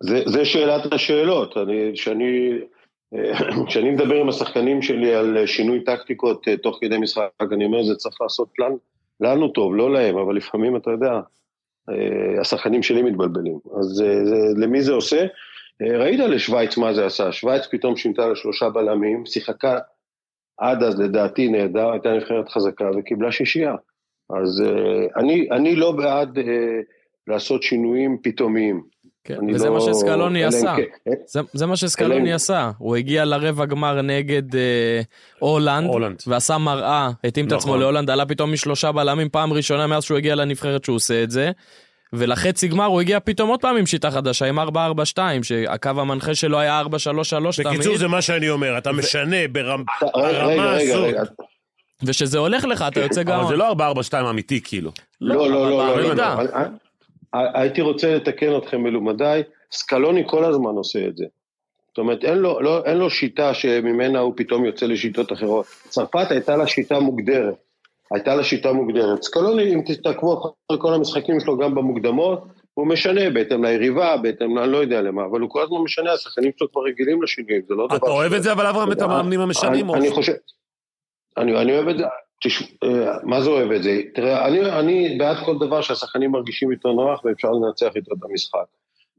[SPEAKER 7] זה, זה שאלת השאלות. אני, שאני, אה, כשאני מדבר עם השחקנים שלי על אה, שינוי טקטיקות אה, תוך כדי משחק, אני אומר, זה צריך לעשות לנו, לנו טוב, לא להם, אבל לפעמים, אתה יודע, אה, השחקנים שלי מתבלבלים. אז אה, זה, למי זה עושה? אה, ראית לשוויץ מה זה עשה. שוויץ פתאום שינתה לשלושה בלמים, שיחקה עד אז לדעתי נהדר, הייתה נבחרת חזקה וקיבלה שישייה. אז אה, אני, אני לא בעד אה, לעשות שינויים פתאומיים.
[SPEAKER 5] כן,
[SPEAKER 7] אני
[SPEAKER 5] וזה
[SPEAKER 7] לא-
[SPEAKER 5] מה שסקלוני
[SPEAKER 7] אלא אם
[SPEAKER 5] עשה.
[SPEAKER 7] כן-
[SPEAKER 5] זה, זה מה
[SPEAKER 7] אלא
[SPEAKER 5] שסקלוני
[SPEAKER 7] אם-
[SPEAKER 5] עשה, הוא הגיע לרבע גמר נגד אה, הולנד,
[SPEAKER 4] הולנד.
[SPEAKER 5] ועשה מראה, התאים את עצמו
[SPEAKER 4] נכון.
[SPEAKER 5] להולנד, עלה פתאום משלושה בלמים פעם ראשונה מאז שהוא הגיע לנבחרת שהוא עושה את זה, ולחצי גמר הוא הגיע פתאום עוד פעם עם שיטה חדשה, עם 4-4-2, שהקו המנחה שלו היה 4-3-3 תמיד.
[SPEAKER 6] בקיצור, זה מה שאני אומר, אתה משנה ברמ-
[SPEAKER 7] אתה- רגע,
[SPEAKER 6] ברמה
[SPEAKER 7] רגע, רגע,
[SPEAKER 6] הזאת.
[SPEAKER 7] רגע.
[SPEAKER 5] וכשזה הולך לך אתה יוצא
[SPEAKER 4] אבל
[SPEAKER 5] גאון.
[SPEAKER 4] זה לא 4-4-2 אמיתי, כאילו.
[SPEAKER 7] לא, לא, לא,
[SPEAKER 5] אבל
[SPEAKER 7] לא, לא,
[SPEAKER 5] בעמידה.
[SPEAKER 7] לא. אני- אני- הייתי רוצה לתקן אתכם מלומדיי, סקלוני כל הזמן עושה את זה. זאת אומרת, אין לו, לא, אין לו שיטה שממנה הוא פתאום יוצא לשיטות אחרות. צרפת הייתה לה שיטה מוגדרת. הייתה לה שיטה מוגדרת. סקלוני, אם תעקבו אחרי כל המשחקים שלו גם במוקדמות, הוא משנה בהתאם ליריבה, בהתאם, אני לא יודע למה, אבל הוא כל הזמן משנה, השחקנים שלו כבר רגילים לשינויים, זה לא דבר...
[SPEAKER 4] אתה אוהב את זה, אבל אברהם, את
[SPEAKER 7] יודע,
[SPEAKER 4] המאמנים המשנים? או-
[SPEAKER 7] אני, אני חושב... אני, אני אוהב את זה, תש... אה, מה זה אוהב את זה? תראה, אני, אני בעד כל דבר שהשחקנים מרגישים איתו נוח ואפשר לנצח איתו את המשחק.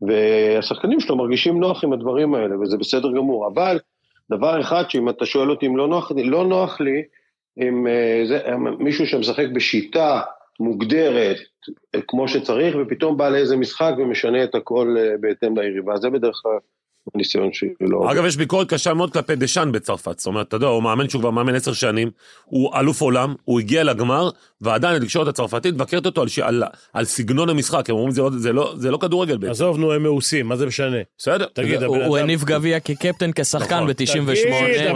[SPEAKER 7] והשחקנים שלו מרגישים נוח עם הדברים האלה, וזה בסדר גמור. אבל דבר אחד שאם אתה שואל אותי אם לא נוח לי, לא נוח לי עם אה, זה, עם מישהו שמשחק בשיטה מוגדרת אה, כמו שצריך, ופתאום בא לאיזה משחק ומשנה את הכל אה, בהתאם ליריבה. זה בדרך כלל הניסיון שלי. לא עובד.
[SPEAKER 4] אגב, יש ביקורת קשה מאוד כלפי דשאן בצרפת. זאת אומרת, אתה יודע, הוא מאמן שהוא כבר מאמן עשר שנים, הוא אלוף עולם, הוא הגיע לגמר, ועדיין התקשורת הצרפתית מבקרת אותו על, ש- על, על סגנון המשחק. הם אומרים, זה, לא- זה, לא, זה לא כדורגל בעצם.
[SPEAKER 6] עזוב, נו, הם מאוסים, מה זה משנה?
[SPEAKER 4] בסדר.
[SPEAKER 6] תגיד, הבן
[SPEAKER 5] הוא הוא
[SPEAKER 6] אדם...
[SPEAKER 5] הניף גביע כקפטן, כשחקן
[SPEAKER 4] נכון.
[SPEAKER 6] תגיד, הבן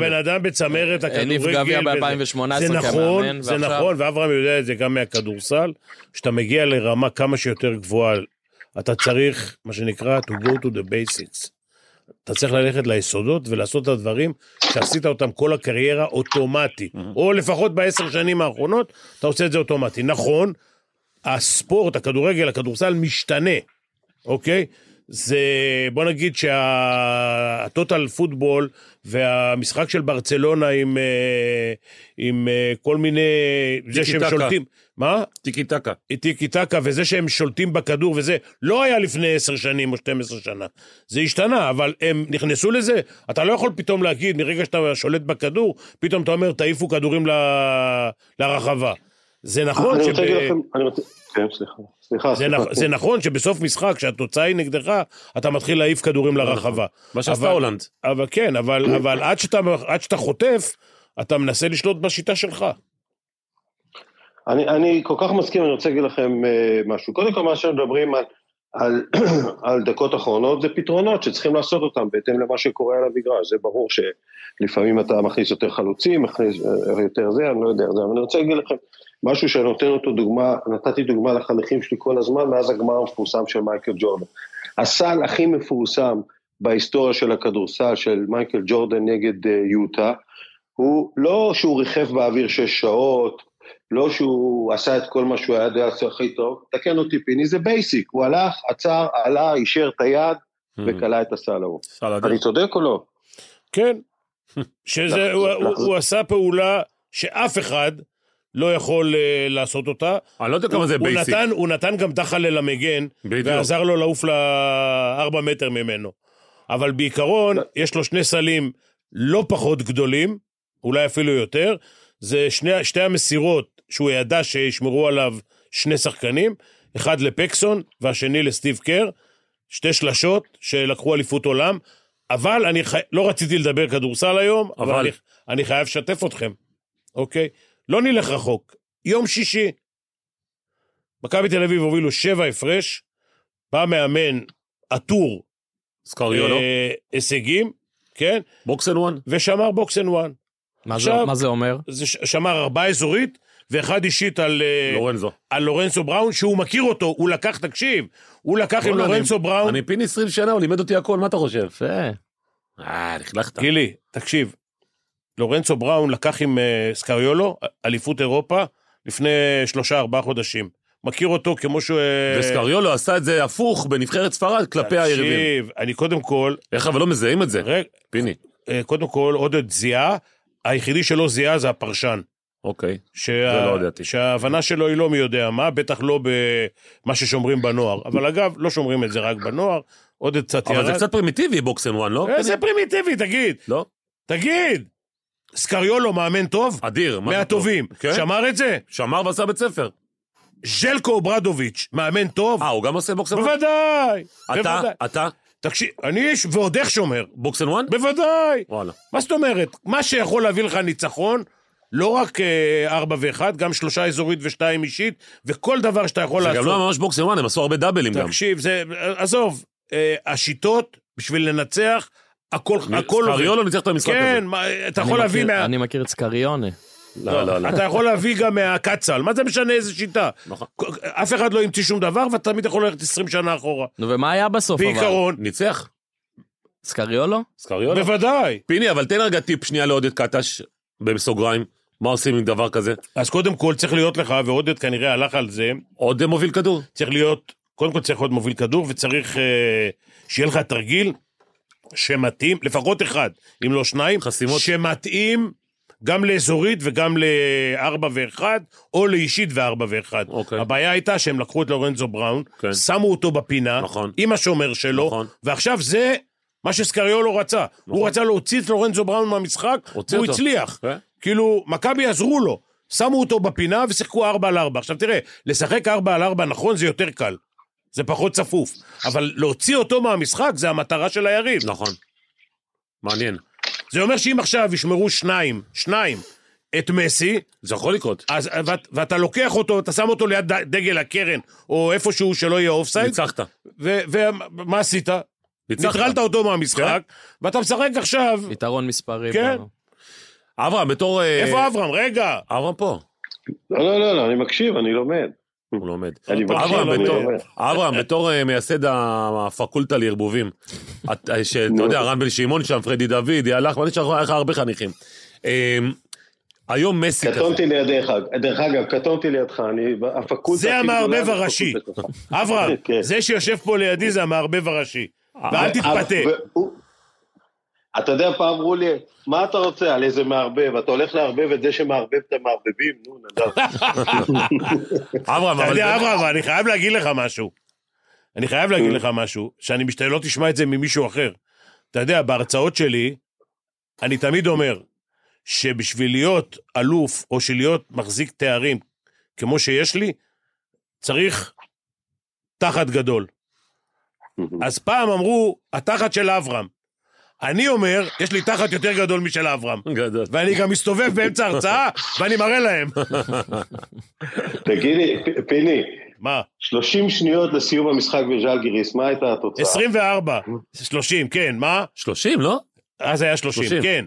[SPEAKER 5] ב-98.
[SPEAKER 6] אדם בצמרת הכדורגל...
[SPEAKER 5] הניף אה, גביע
[SPEAKER 6] וזה-
[SPEAKER 5] ב-2018
[SPEAKER 6] זה נכון,
[SPEAKER 5] כמאמן,
[SPEAKER 6] זה
[SPEAKER 5] ועכשיו-
[SPEAKER 6] נכון, ואברהם יודע את זה גם מהכדורסל, שאתה מגיע לרמה כמה שיותר גבוהה, אתה צריך, מה שנקרא, to go to the basics. אתה צריך ללכת ליסודות ולעשות את הדברים שעשית אותם כל הקריירה אוטומטי. או לפחות בעשר שנים האחרונות, אתה עושה את זה אוטומטי. נכון, הספורט, הכדורגל, הכדורסל משתנה, אוקיי? זה, בוא נגיד שהטוטל פוטבול והמשחק של ברצלונה עם, אה, עם אה, כל מיני, זה שהם
[SPEAKER 4] טיקי-טקה.
[SPEAKER 6] שולטים, מה?
[SPEAKER 4] טיקי טקה.
[SPEAKER 6] טיקי טקה וזה שהם שולטים בכדור וזה, לא היה לפני עשר שנים או 12 שנה. זה השתנה, אבל הם נכנסו לזה. אתה לא יכול פתאום להגיד, מרגע שאתה שולט בכדור, פתאום אתה אומר, תעיפו כדורים ל... לרחבה. זה נכון,
[SPEAKER 7] אני
[SPEAKER 6] שב...
[SPEAKER 7] רוצה להגיד לכם, אני רוצה... כן, סליחה. סליחה,
[SPEAKER 6] זה,
[SPEAKER 7] סליחה.
[SPEAKER 6] נכ... זה נכון שבסוף משחק, כשהתוצאה היא נגדך, אתה מתחיל להעיף כדורים לרחבה.
[SPEAKER 4] נכון. מה שעשתה
[SPEAKER 6] אבל-
[SPEAKER 4] הולנד.
[SPEAKER 6] אבל כן, אבל, אבל עד, שאתה, עד שאתה חוטף, אתה מנסה לשלוט בשיטה שלך.
[SPEAKER 4] Hmm,
[SPEAKER 7] אני, אני כל כך מסכים, אני רוצה להגיד לכם אה, משהו. קודם כל, מה שמדברים על, על, על דקות אחרונות זה פתרונות שצריכים לעשות אותם בהתאם למה שקורה על המגרש. זה ברור שלפעמים אתה מכניס יותר חלוצים, מכניס אה, יותר זה, אני לא יודע זה, אבל אני רוצה להגיד לכם משהו שאני נותן אותו דוגמה, נתתי דוגמה לחניכים שלי כל הזמן מאז הגמר המפורסם של מייקל ג'ורדן. הסל הכי מפורסם בהיסטוריה של הכדורסל של מייקל ג'ורדן נגד אה, יוטה, הוא לא שהוא ריחף באוויר שש שעות, לא שהוא עשה את כל מה שהוא היה יודע לעשות הכי טוב, תקן אותי פיני, זה בייסיק, הוא הלך, עצר, עלה, אישר את היד
[SPEAKER 6] Mm-hmm.
[SPEAKER 7] וכלא את הסל ההוא.
[SPEAKER 4] סל הדרך.
[SPEAKER 7] אני צודק או לא?
[SPEAKER 6] כן. שזה,
[SPEAKER 4] נכון.
[SPEAKER 7] לח-
[SPEAKER 6] הוא, הוא,
[SPEAKER 7] לחזור.
[SPEAKER 6] הוא עשה פעולה שאף אחד לא יכול uh, לעשות אותה.
[SPEAKER 4] אני לא יודע כמה זה
[SPEAKER 6] הוא
[SPEAKER 4] בייסיק.
[SPEAKER 6] נתן, הוא נתן גם דחלה למגן,
[SPEAKER 4] בדיוק.
[SPEAKER 6] ועזר לו לעוף לארבע מטר ממנו. אבל בעיקרון, יש לו שני סלים לא פחות גדולים, אולי אפילו יותר. זה שני, שתי המסירות שהוא ידע שישמרו עליו שני שחקנים, אחד לפקסון והשני לסטיב קר, שתי שלשות שלקחו אליפות עולם. אבל אני חי... לא רציתי לדבר כדורסל היום, אבל,
[SPEAKER 4] אבל.
[SPEAKER 6] אבל אני, אני חייב לשתף אתכם, אוקיי? לא נלך רחוק. יום שישי, מכבי תל אביב הובילו שבע הפרש, בא מאמן עטור
[SPEAKER 4] סקריולו.
[SPEAKER 6] אה, הישגים, כן?
[SPEAKER 4] בוקס אנד וואן.
[SPEAKER 6] ושמר בוקס אנד וואן.
[SPEAKER 5] מה זה-
[SPEAKER 6] עכשיו-
[SPEAKER 5] מה זה אומר?
[SPEAKER 6] זה ש- שמר ארבעה אזורית, ואחד אישית על, אה,
[SPEAKER 4] לורנזו.
[SPEAKER 6] על לורנסו בראון, שהוא מכיר אותו, הוא לקח, תקשיב, הוא לקח עם
[SPEAKER 4] בואנה, לא, אני-
[SPEAKER 6] לורנסו בראון.
[SPEAKER 4] אני פיני 20 שנה, הוא לימד אותי הכל, מה אתה חושב?
[SPEAKER 5] יפה.
[SPEAKER 4] אה, לכלכת.
[SPEAKER 6] גילי, תקשיב, לורנצו בראון לקח עם אה, סקריולו אליפות אירופה לפני שלושה, ארבעה חודשים. מכיר אותו כמו שהוא... אה,
[SPEAKER 4] וסקריולו עשה את זה הפוך בנבחרת ספרד כלפי היריבים.
[SPEAKER 6] תקשיב, אני קודם כל,
[SPEAKER 4] איך אבל לא מזהים את זה,
[SPEAKER 6] רג-
[SPEAKER 4] פיני?
[SPEAKER 6] אה, קודם כל עודד זיהה, היחידי שלא זיהה זה הפרשן.
[SPEAKER 4] אוקיי.
[SPEAKER 6] שה...
[SPEAKER 4] לא ידעתי.
[SPEAKER 6] שההבנה שלו היא לא מי יודע מה, בטח לא במה ששומרים בנוער. אבל אגב, לא שומרים את זה רק בנוער, עודד קצת
[SPEAKER 4] אבל
[SPEAKER 6] ירד.
[SPEAKER 4] זה קצת פרימיטיבי בוקס אנד וואן, לא?
[SPEAKER 6] איזה פרימיטיבי, תגיד,
[SPEAKER 4] לא?
[SPEAKER 6] תגיד. סקריולו מאמן טוב?
[SPEAKER 4] אדיר. מה זה
[SPEAKER 6] מהטובים.
[SPEAKER 4] אה, טוב? כן.
[SPEAKER 6] שמר את זה?
[SPEAKER 4] שמר ועשה בית ספר.
[SPEAKER 6] ז'לקו אוברדוביץ', מאמן טוב?
[SPEAKER 4] אה, הוא גם עושה בוקס אנד וואן?
[SPEAKER 6] בוודאי, בוודאי.
[SPEAKER 4] אתה, אתה,
[SPEAKER 6] תקשיב, אני ש- ועוד איך שומר,
[SPEAKER 4] בוקס אנד וואן?
[SPEAKER 6] בוודאי.
[SPEAKER 4] וואלה.
[SPEAKER 6] מה זאת אומרת? מה שיכול להביא לך ניצחון, לא רק אה, ארבע ואחד, גם שלושה אזורית ושתיים אישית, וכל דבר שאתה יכול
[SPEAKER 4] זה
[SPEAKER 6] לעשות.
[SPEAKER 4] גם לא היה ממש בוקס אנד וואן, הם עשו הרבה דאבלים גם.
[SPEAKER 6] תקשיב, זה, עזוב, אה, השיטות, בשביל לנצח, הכל, הכל
[SPEAKER 4] סקריולו ניצח את המשחק הזה. אה,
[SPEAKER 6] כן, מה, אתה
[SPEAKER 5] אני
[SPEAKER 6] יכול להביא
[SPEAKER 5] מכיר-
[SPEAKER 6] מה...
[SPEAKER 5] אני מכיר את סקריונה.
[SPEAKER 4] לא, לא, לא.
[SPEAKER 6] אתה יכול להביא גם מהקצ"ל, מה זה משנה איזה שיטה?
[SPEAKER 4] נכון.
[SPEAKER 6] אף אחד לא המציא שום דבר, ואתה תמיד יכול ללכת 20 שנה אחורה.
[SPEAKER 5] נו, ומה היה בסוף אבל?
[SPEAKER 6] בעיקרון,
[SPEAKER 4] ניצח,
[SPEAKER 5] סקריולו?
[SPEAKER 4] סקריולו.
[SPEAKER 6] בוודאי.
[SPEAKER 4] פיני, אבל תן רגע טיפ שנייה לעודד קטש, בסוגריים. מה עושים עם דבר כזה?
[SPEAKER 6] אז קודם כל צריך להיות לך, ועודד כנראה הלך על זה,
[SPEAKER 4] עוד אה, מוביל כדור.
[SPEAKER 6] צריך להיות, קודם כל צריך להיות מוביל כדור, וצריך אה, שיהיה לך תרגיל שמתאים, לפחות אחד, אם לא שניים,
[SPEAKER 4] חסימות.
[SPEAKER 6] שמתאים גם לאזורית וגם לארבע ואחד, או לאישית וארבע ואחד.
[SPEAKER 4] אוקיי.
[SPEAKER 6] הבעיה הייתה שהם לקחו את לורנזו בראון,
[SPEAKER 4] כן.
[SPEAKER 6] שמו אותו בפינה,
[SPEAKER 4] נכון.
[SPEAKER 6] עם השומר שלו,
[SPEAKER 4] נכון.
[SPEAKER 6] ועכשיו זה... מה שסקריולו רצה, הוא רצה להוציא את לורנזו בראון מהמשחק,
[SPEAKER 4] הוציא
[SPEAKER 6] והוא
[SPEAKER 4] אותו.
[SPEAKER 6] הצליח.
[SPEAKER 4] כן.
[SPEAKER 6] כאילו, מכבי עזרו לו, שמו אותו בפינה ושיחקו 4 על 4. עכשיו תראה, לשחק 4 על 4 נכון זה יותר קל, זה פחות צפוף, אבל להוציא אותו מהמשחק זה המטרה של היריב.
[SPEAKER 4] נכון. מעניין.
[SPEAKER 6] זה אומר שאם עכשיו ישמרו שניים, שניים, את מסי,
[SPEAKER 4] זה יכול לקרות.
[SPEAKER 6] אז, ואת, ואתה לוקח אותו, ואתה שם אותו ליד ד- דגל הקרן, או איפשהו שלא יהיה אופסייד,
[SPEAKER 4] ניצחת.
[SPEAKER 6] ומה עשית?
[SPEAKER 4] ניצחת.
[SPEAKER 6] נטרלת אותו מהמשחק, ואתה משחק עכשיו,
[SPEAKER 5] יתרון מספרי.
[SPEAKER 6] כן.
[SPEAKER 5] ב-
[SPEAKER 4] אברהם, בתור... אה,
[SPEAKER 6] איפה אברהם? רגע.
[SPEAKER 4] אברהם פה.
[SPEAKER 7] לא, לא, לא, לא, אני מקשיב, אני לומד.
[SPEAKER 4] הוא לא עומד.
[SPEAKER 7] אני מקשיב,
[SPEAKER 4] אברהם,
[SPEAKER 7] אני
[SPEAKER 4] בתור-
[SPEAKER 7] לומד.
[SPEAKER 4] אברהם, בתור אה, מייסד הפקולטה לערבובים, את- אה, שאתה
[SPEAKER 7] נו.
[SPEAKER 4] יודע, רן בן שמעון שם, פרדי דוד, הלך, ואני שכח לך הרבה חניכים. אה, היום
[SPEAKER 6] כן,
[SPEAKER 4] מסי כזה.
[SPEAKER 7] קטונתי לידיך, דרך אגב, קטונתי לידך, אני הפקולטה...
[SPEAKER 6] זה
[SPEAKER 7] הכי גדולה
[SPEAKER 6] המערבב
[SPEAKER 7] בפקולטה
[SPEAKER 6] הראשי.
[SPEAKER 7] שלך.
[SPEAKER 6] אברהם,
[SPEAKER 7] כן.
[SPEAKER 6] זה שיושב פה לידי זה המערבב הראשי.
[SPEAKER 4] אה.
[SPEAKER 6] ואל תתפתה.
[SPEAKER 7] והוא- אתה יודע, פעם אמרו לי, מה אתה רוצה על איזה מערבב? אתה הולך לערבב את זה שמערבב את המערבבים? נו, נדב.
[SPEAKER 4] אברהם,
[SPEAKER 6] אתה
[SPEAKER 4] אבל...
[SPEAKER 6] יודע, אברהם, אני חייב להגיד לך משהו. אני חייב להגיד לך משהו, שאני משתדל לא תשמע את זה ממישהו אחר. אתה יודע, בהרצאות שלי, אני תמיד אומר, שבשביל להיות אלוף, או שלהיות מחזיק תארים כמו שיש לי, צריך תחת גדול. אז פעם אמרו, התחת של אברהם. אני אומר, יש לי תחת יותר גדול משל אברהם.
[SPEAKER 4] גדול.
[SPEAKER 6] ואני גם מסתובב באמצע ההרצאה, ואני מראה להם.
[SPEAKER 7] תגיד לי, פ- פיני,
[SPEAKER 6] מה?
[SPEAKER 7] 30 שניות לסיום המשחק בז'לגיריס, מה הייתה התוצאה?
[SPEAKER 6] 24, 30, כן, מה?
[SPEAKER 4] 30, לא?
[SPEAKER 6] אז היה 30,
[SPEAKER 4] 30.
[SPEAKER 6] כן.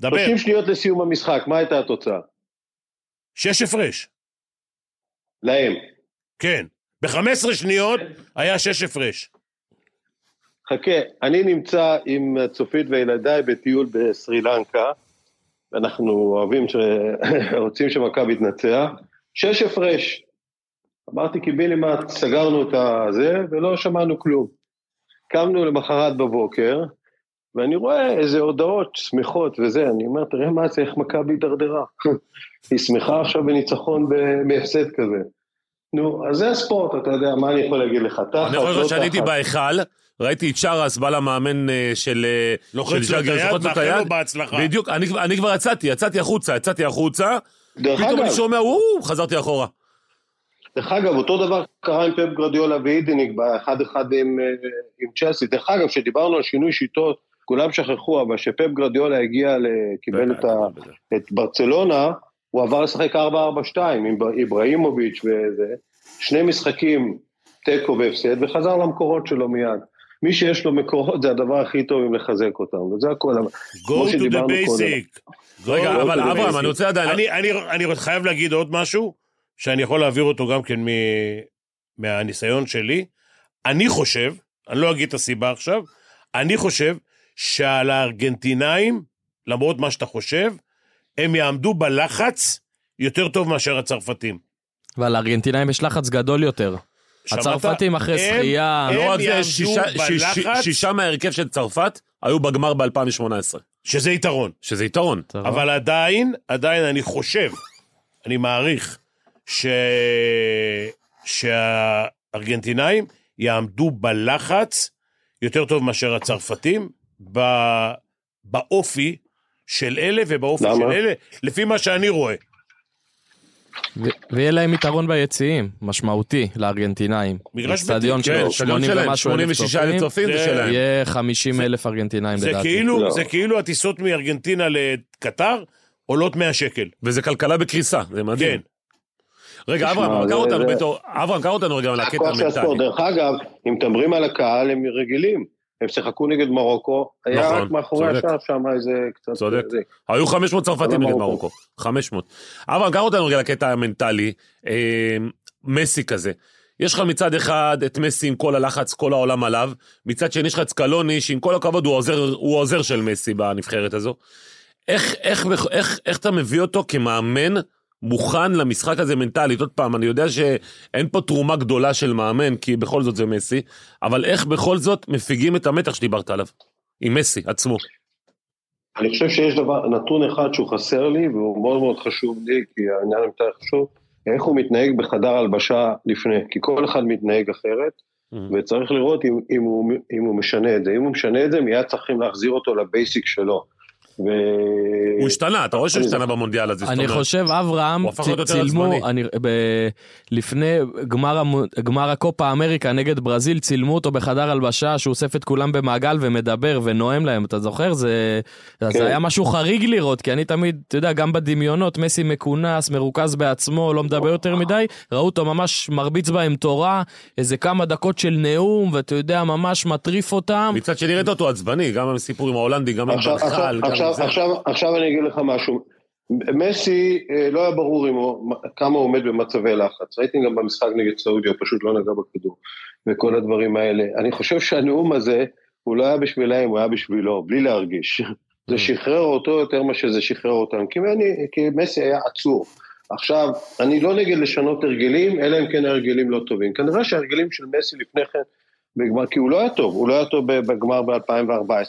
[SPEAKER 6] דבר,
[SPEAKER 7] 30 שניות לסיום המשחק, מה הייתה התוצאה?
[SPEAKER 6] שש הפרש,
[SPEAKER 7] להם.
[SPEAKER 6] כן. ב-15 שניות היה שש הפרש.
[SPEAKER 7] חכה, אני נמצא עם צופית וילדיי בטיול בסרי לנקה, אנחנו אוהבים, ש... רוצים שמכבי תנצח, שש הפרש. אמרתי קיבילימט, סגרנו את הזה ולא שמענו כלום. קמנו למחרת בבוקר, ואני רואה איזה הודעות שמחות וזה, אני אומר, תראה מה זה, איך מכבי הידרדרה. היא שמחה עכשיו בניצחון ב- בהפסד כזה. נו, אז זה הספורט, אתה יודע, מה אני יכול להגיד לך? תחת,
[SPEAKER 4] אני יכול
[SPEAKER 7] לא
[SPEAKER 4] לראות שאני הייתי
[SPEAKER 7] תחת.
[SPEAKER 4] בהיכל, ראיתי את שרס, בא למאמן אה, של... אה,
[SPEAKER 6] לוחץ
[SPEAKER 4] של
[SPEAKER 6] לו את
[SPEAKER 4] ז'אגר,
[SPEAKER 6] היד,
[SPEAKER 4] לוחץ לו את
[SPEAKER 6] מאחל לו
[SPEAKER 4] היד.
[SPEAKER 6] בהצלחה.
[SPEAKER 4] בדיוק, אני אני כבר יצאתי, יצאתי החוצה, יצאתי החוצה,
[SPEAKER 7] דרך
[SPEAKER 4] פתאום
[SPEAKER 7] אגב,
[SPEAKER 4] אני שומע, וואו, חזרתי אחורה.
[SPEAKER 7] דרך אגב, אותו דבר קרה עם פפ גרדיולה ואידיניק באחד-אחד עם, אה, עם צ'לסי. דרך אגב, כשדיברנו על שינוי שיטות, כולם שכחו, אבל כשפפ גרדיולה הגיע, ל... קיבל את, ה... את ברצלונה, הוא עבר לשחק 4-4-2 עם ב- איבראימוביץ' וזה. שני משחקים, תיקו והפסד, וחזר למקורות שלו מיד. מי שיש לו מקורות זה הדבר הכי טוב אם לחזק אותם, וזה הכל. אבל כמו
[SPEAKER 6] Go to the
[SPEAKER 7] שדיברנו קודם.
[SPEAKER 6] basic. Go
[SPEAKER 4] רגע,
[SPEAKER 6] to
[SPEAKER 4] אבל
[SPEAKER 6] the
[SPEAKER 4] אברהם,
[SPEAKER 6] basic.
[SPEAKER 4] אני רוצה עדיין...
[SPEAKER 6] אני, אני, אני עוד חייב להגיד עוד משהו, שאני יכול להעביר אותו גם כן מ, מהניסיון שלי. אני חושב, אני לא אגיד את הסיבה עכשיו, אני חושב שעל הארגנטינאים, למרות מה שאתה חושב, הם יעמדו בלחץ יותר טוב מאשר הצרפתים.
[SPEAKER 5] ועל הארגנטינאים יש לחץ גדול יותר.
[SPEAKER 6] שמעת?
[SPEAKER 5] הצרפתים אחרי
[SPEAKER 6] הם-
[SPEAKER 5] שחייה,
[SPEAKER 6] הם
[SPEAKER 4] לא רק זה,
[SPEAKER 6] יעמדו
[SPEAKER 4] שישה- שיש-
[SPEAKER 6] בלחץ.
[SPEAKER 4] שישה מההרכב של צרפת היו בגמר ב-2018,
[SPEAKER 6] שזה יתרון.
[SPEAKER 4] שזה יתרון.
[SPEAKER 6] אבל עדיין, עדיין אני חושב, אני מעריך, ש... שהארגנטינאים יעמדו בלחץ יותר טוב מאשר הצרפתים, ב... באופי של אלה ובאופי
[SPEAKER 7] למה?
[SPEAKER 6] של אלה, לפי מה שאני רואה.
[SPEAKER 5] ו- ויהיה להם יתרון ביציעים, משמעותי לארגנטינאים.
[SPEAKER 6] מגרש ביתי,
[SPEAKER 5] אצטדיון
[SPEAKER 6] כן,
[SPEAKER 5] של
[SPEAKER 4] אצטדיון
[SPEAKER 5] 80
[SPEAKER 4] שלהם,
[SPEAKER 5] ומשהו אלף
[SPEAKER 4] 86 אלף
[SPEAKER 5] צופים,
[SPEAKER 4] צופים זה
[SPEAKER 6] זה-
[SPEAKER 4] שלהם.
[SPEAKER 5] יהיה 50 אלף ארגנטינאים
[SPEAKER 6] זה
[SPEAKER 5] לדעתי.
[SPEAKER 6] כאילו,
[SPEAKER 7] לא.
[SPEAKER 6] זה כאילו הטיסות מארגנטינה לקטר עולות 100 שקל.
[SPEAKER 4] וזה כלכלה בקריסה, זה
[SPEAKER 6] כן.
[SPEAKER 4] מדהים. רגע,
[SPEAKER 7] תשמע,
[SPEAKER 4] אברהם, קר
[SPEAKER 7] זה-
[SPEAKER 4] אותנו
[SPEAKER 7] זה-
[SPEAKER 4] בתור... אברהם, קר אותנו רגע על הקטע
[SPEAKER 7] הכוח של הספורט.
[SPEAKER 4] המנטלי.
[SPEAKER 7] דרך אגב, אם מדברים על הקהל, הם רגילים. הם שיחקו נגד מרוקו, היה
[SPEAKER 4] נכון,
[SPEAKER 7] רק מאחורי
[SPEAKER 4] צודק.
[SPEAKER 7] השער שם איזה קצת... אה,
[SPEAKER 4] צודק.
[SPEAKER 7] זה.
[SPEAKER 4] היו 500 צרפתים
[SPEAKER 7] לא
[SPEAKER 4] נגד
[SPEAKER 7] מרוקו.
[SPEAKER 4] מרוקו. 500. אברהם, קר אותנו רגע לקטע המנטלי, אה, מסי כזה. יש לך מצד אחד את מסי עם כל הלחץ, כל העולם עליו, מצד שני יש לך את סקלוני, שעם כל הכבוד הוא העוזר, הוא העוזר של מסי בנבחרת הזו. איך, איך, איך, איך, איך אתה מביא אותו כמאמן מוכן למשחק הזה מנטלית? עוד פעם, אני יודע שאין פה תרומה גדולה של מאמן, כי בכל זאת זה מסי, אבל איך בכל זאת מפיגים את המתח שדיברת עליו? עם מסי עצמו.
[SPEAKER 7] אני חושב שיש דבר, נתון אחד שהוא חסר לי, והוא מאוד מאוד חשוב לי, כי העניין המתאר חשוב, איך הוא מתנהג בחדר הלבשה לפני, כי כל אחד מתנהג אחרת,
[SPEAKER 4] Mm-hmm.
[SPEAKER 7] וצריך לראות אם, אם, הוא, אם הוא משנה את זה. אם הוא משנה את זה, מיד צריכים להחזיר אותו לבייסיק שלו. ו... כן.
[SPEAKER 4] הוא השתנה, אתה רואה שהוא השתנה במונדיאל הזה, זאת
[SPEAKER 5] אני
[SPEAKER 4] אומרת.
[SPEAKER 5] חושב, אברהם,
[SPEAKER 4] הוא הפך
[SPEAKER 5] צ-
[SPEAKER 4] להיות יותר עצבני.
[SPEAKER 5] צילמו, אני- ב- לפני גמר המו- גמר הקופה אמריקה נגד ברזיל, צילמו אותו בחדר הלבשה, שהוא אוסף את כולם במעגל ומדבר ונואם להם, אתה זוכר? זה
[SPEAKER 7] כן.
[SPEAKER 5] זה היה משהו חריג לראות, כי אני תמיד, אתה יודע, גם בדמיונות, מסי מכונס, מרוכז בעצמו, לא מדבר יותר מדי, ראו אותו ממש מרביץ בהם תורה, איזה כמה דקות של נאום, ואתה יודע, ממש מטריף אותם.
[SPEAKER 4] מצד שני ראית אותו עצבני, גם עם הסיפור עם ההולנדי, גם עם
[SPEAKER 7] עכשיו,
[SPEAKER 4] בנחל,
[SPEAKER 7] עכשיו,
[SPEAKER 4] גם עם
[SPEAKER 7] עכשיו,
[SPEAKER 4] זה.
[SPEAKER 7] עכשיו, עכשיו אני אגיד לך משהו. מסי, אה, לא היה ברור אם הוא, כמה הוא עומד במצבי לחץ. ראיתי גם במשחק נגד סעודיה, הוא פשוט לא נגע בכדור, וכל הדברים האלה. אני חושב שהנאום הזה, הוא לא היה בשבילהם, הוא היה בשבילו, בלי להרגיש. זה שחרר אותו יותר מה שזה שחרר אותם, כי, אני, כי מסי היה עצור. עכשיו, אני לא נגד לשנות הרגלים, אלא אם כן ההרגלים לא טובים. כנראה שההרגלים של מסי לפני כן בגמר, כי הוא לא היה טוב, הוא לא היה טוב בגמר ב-2014,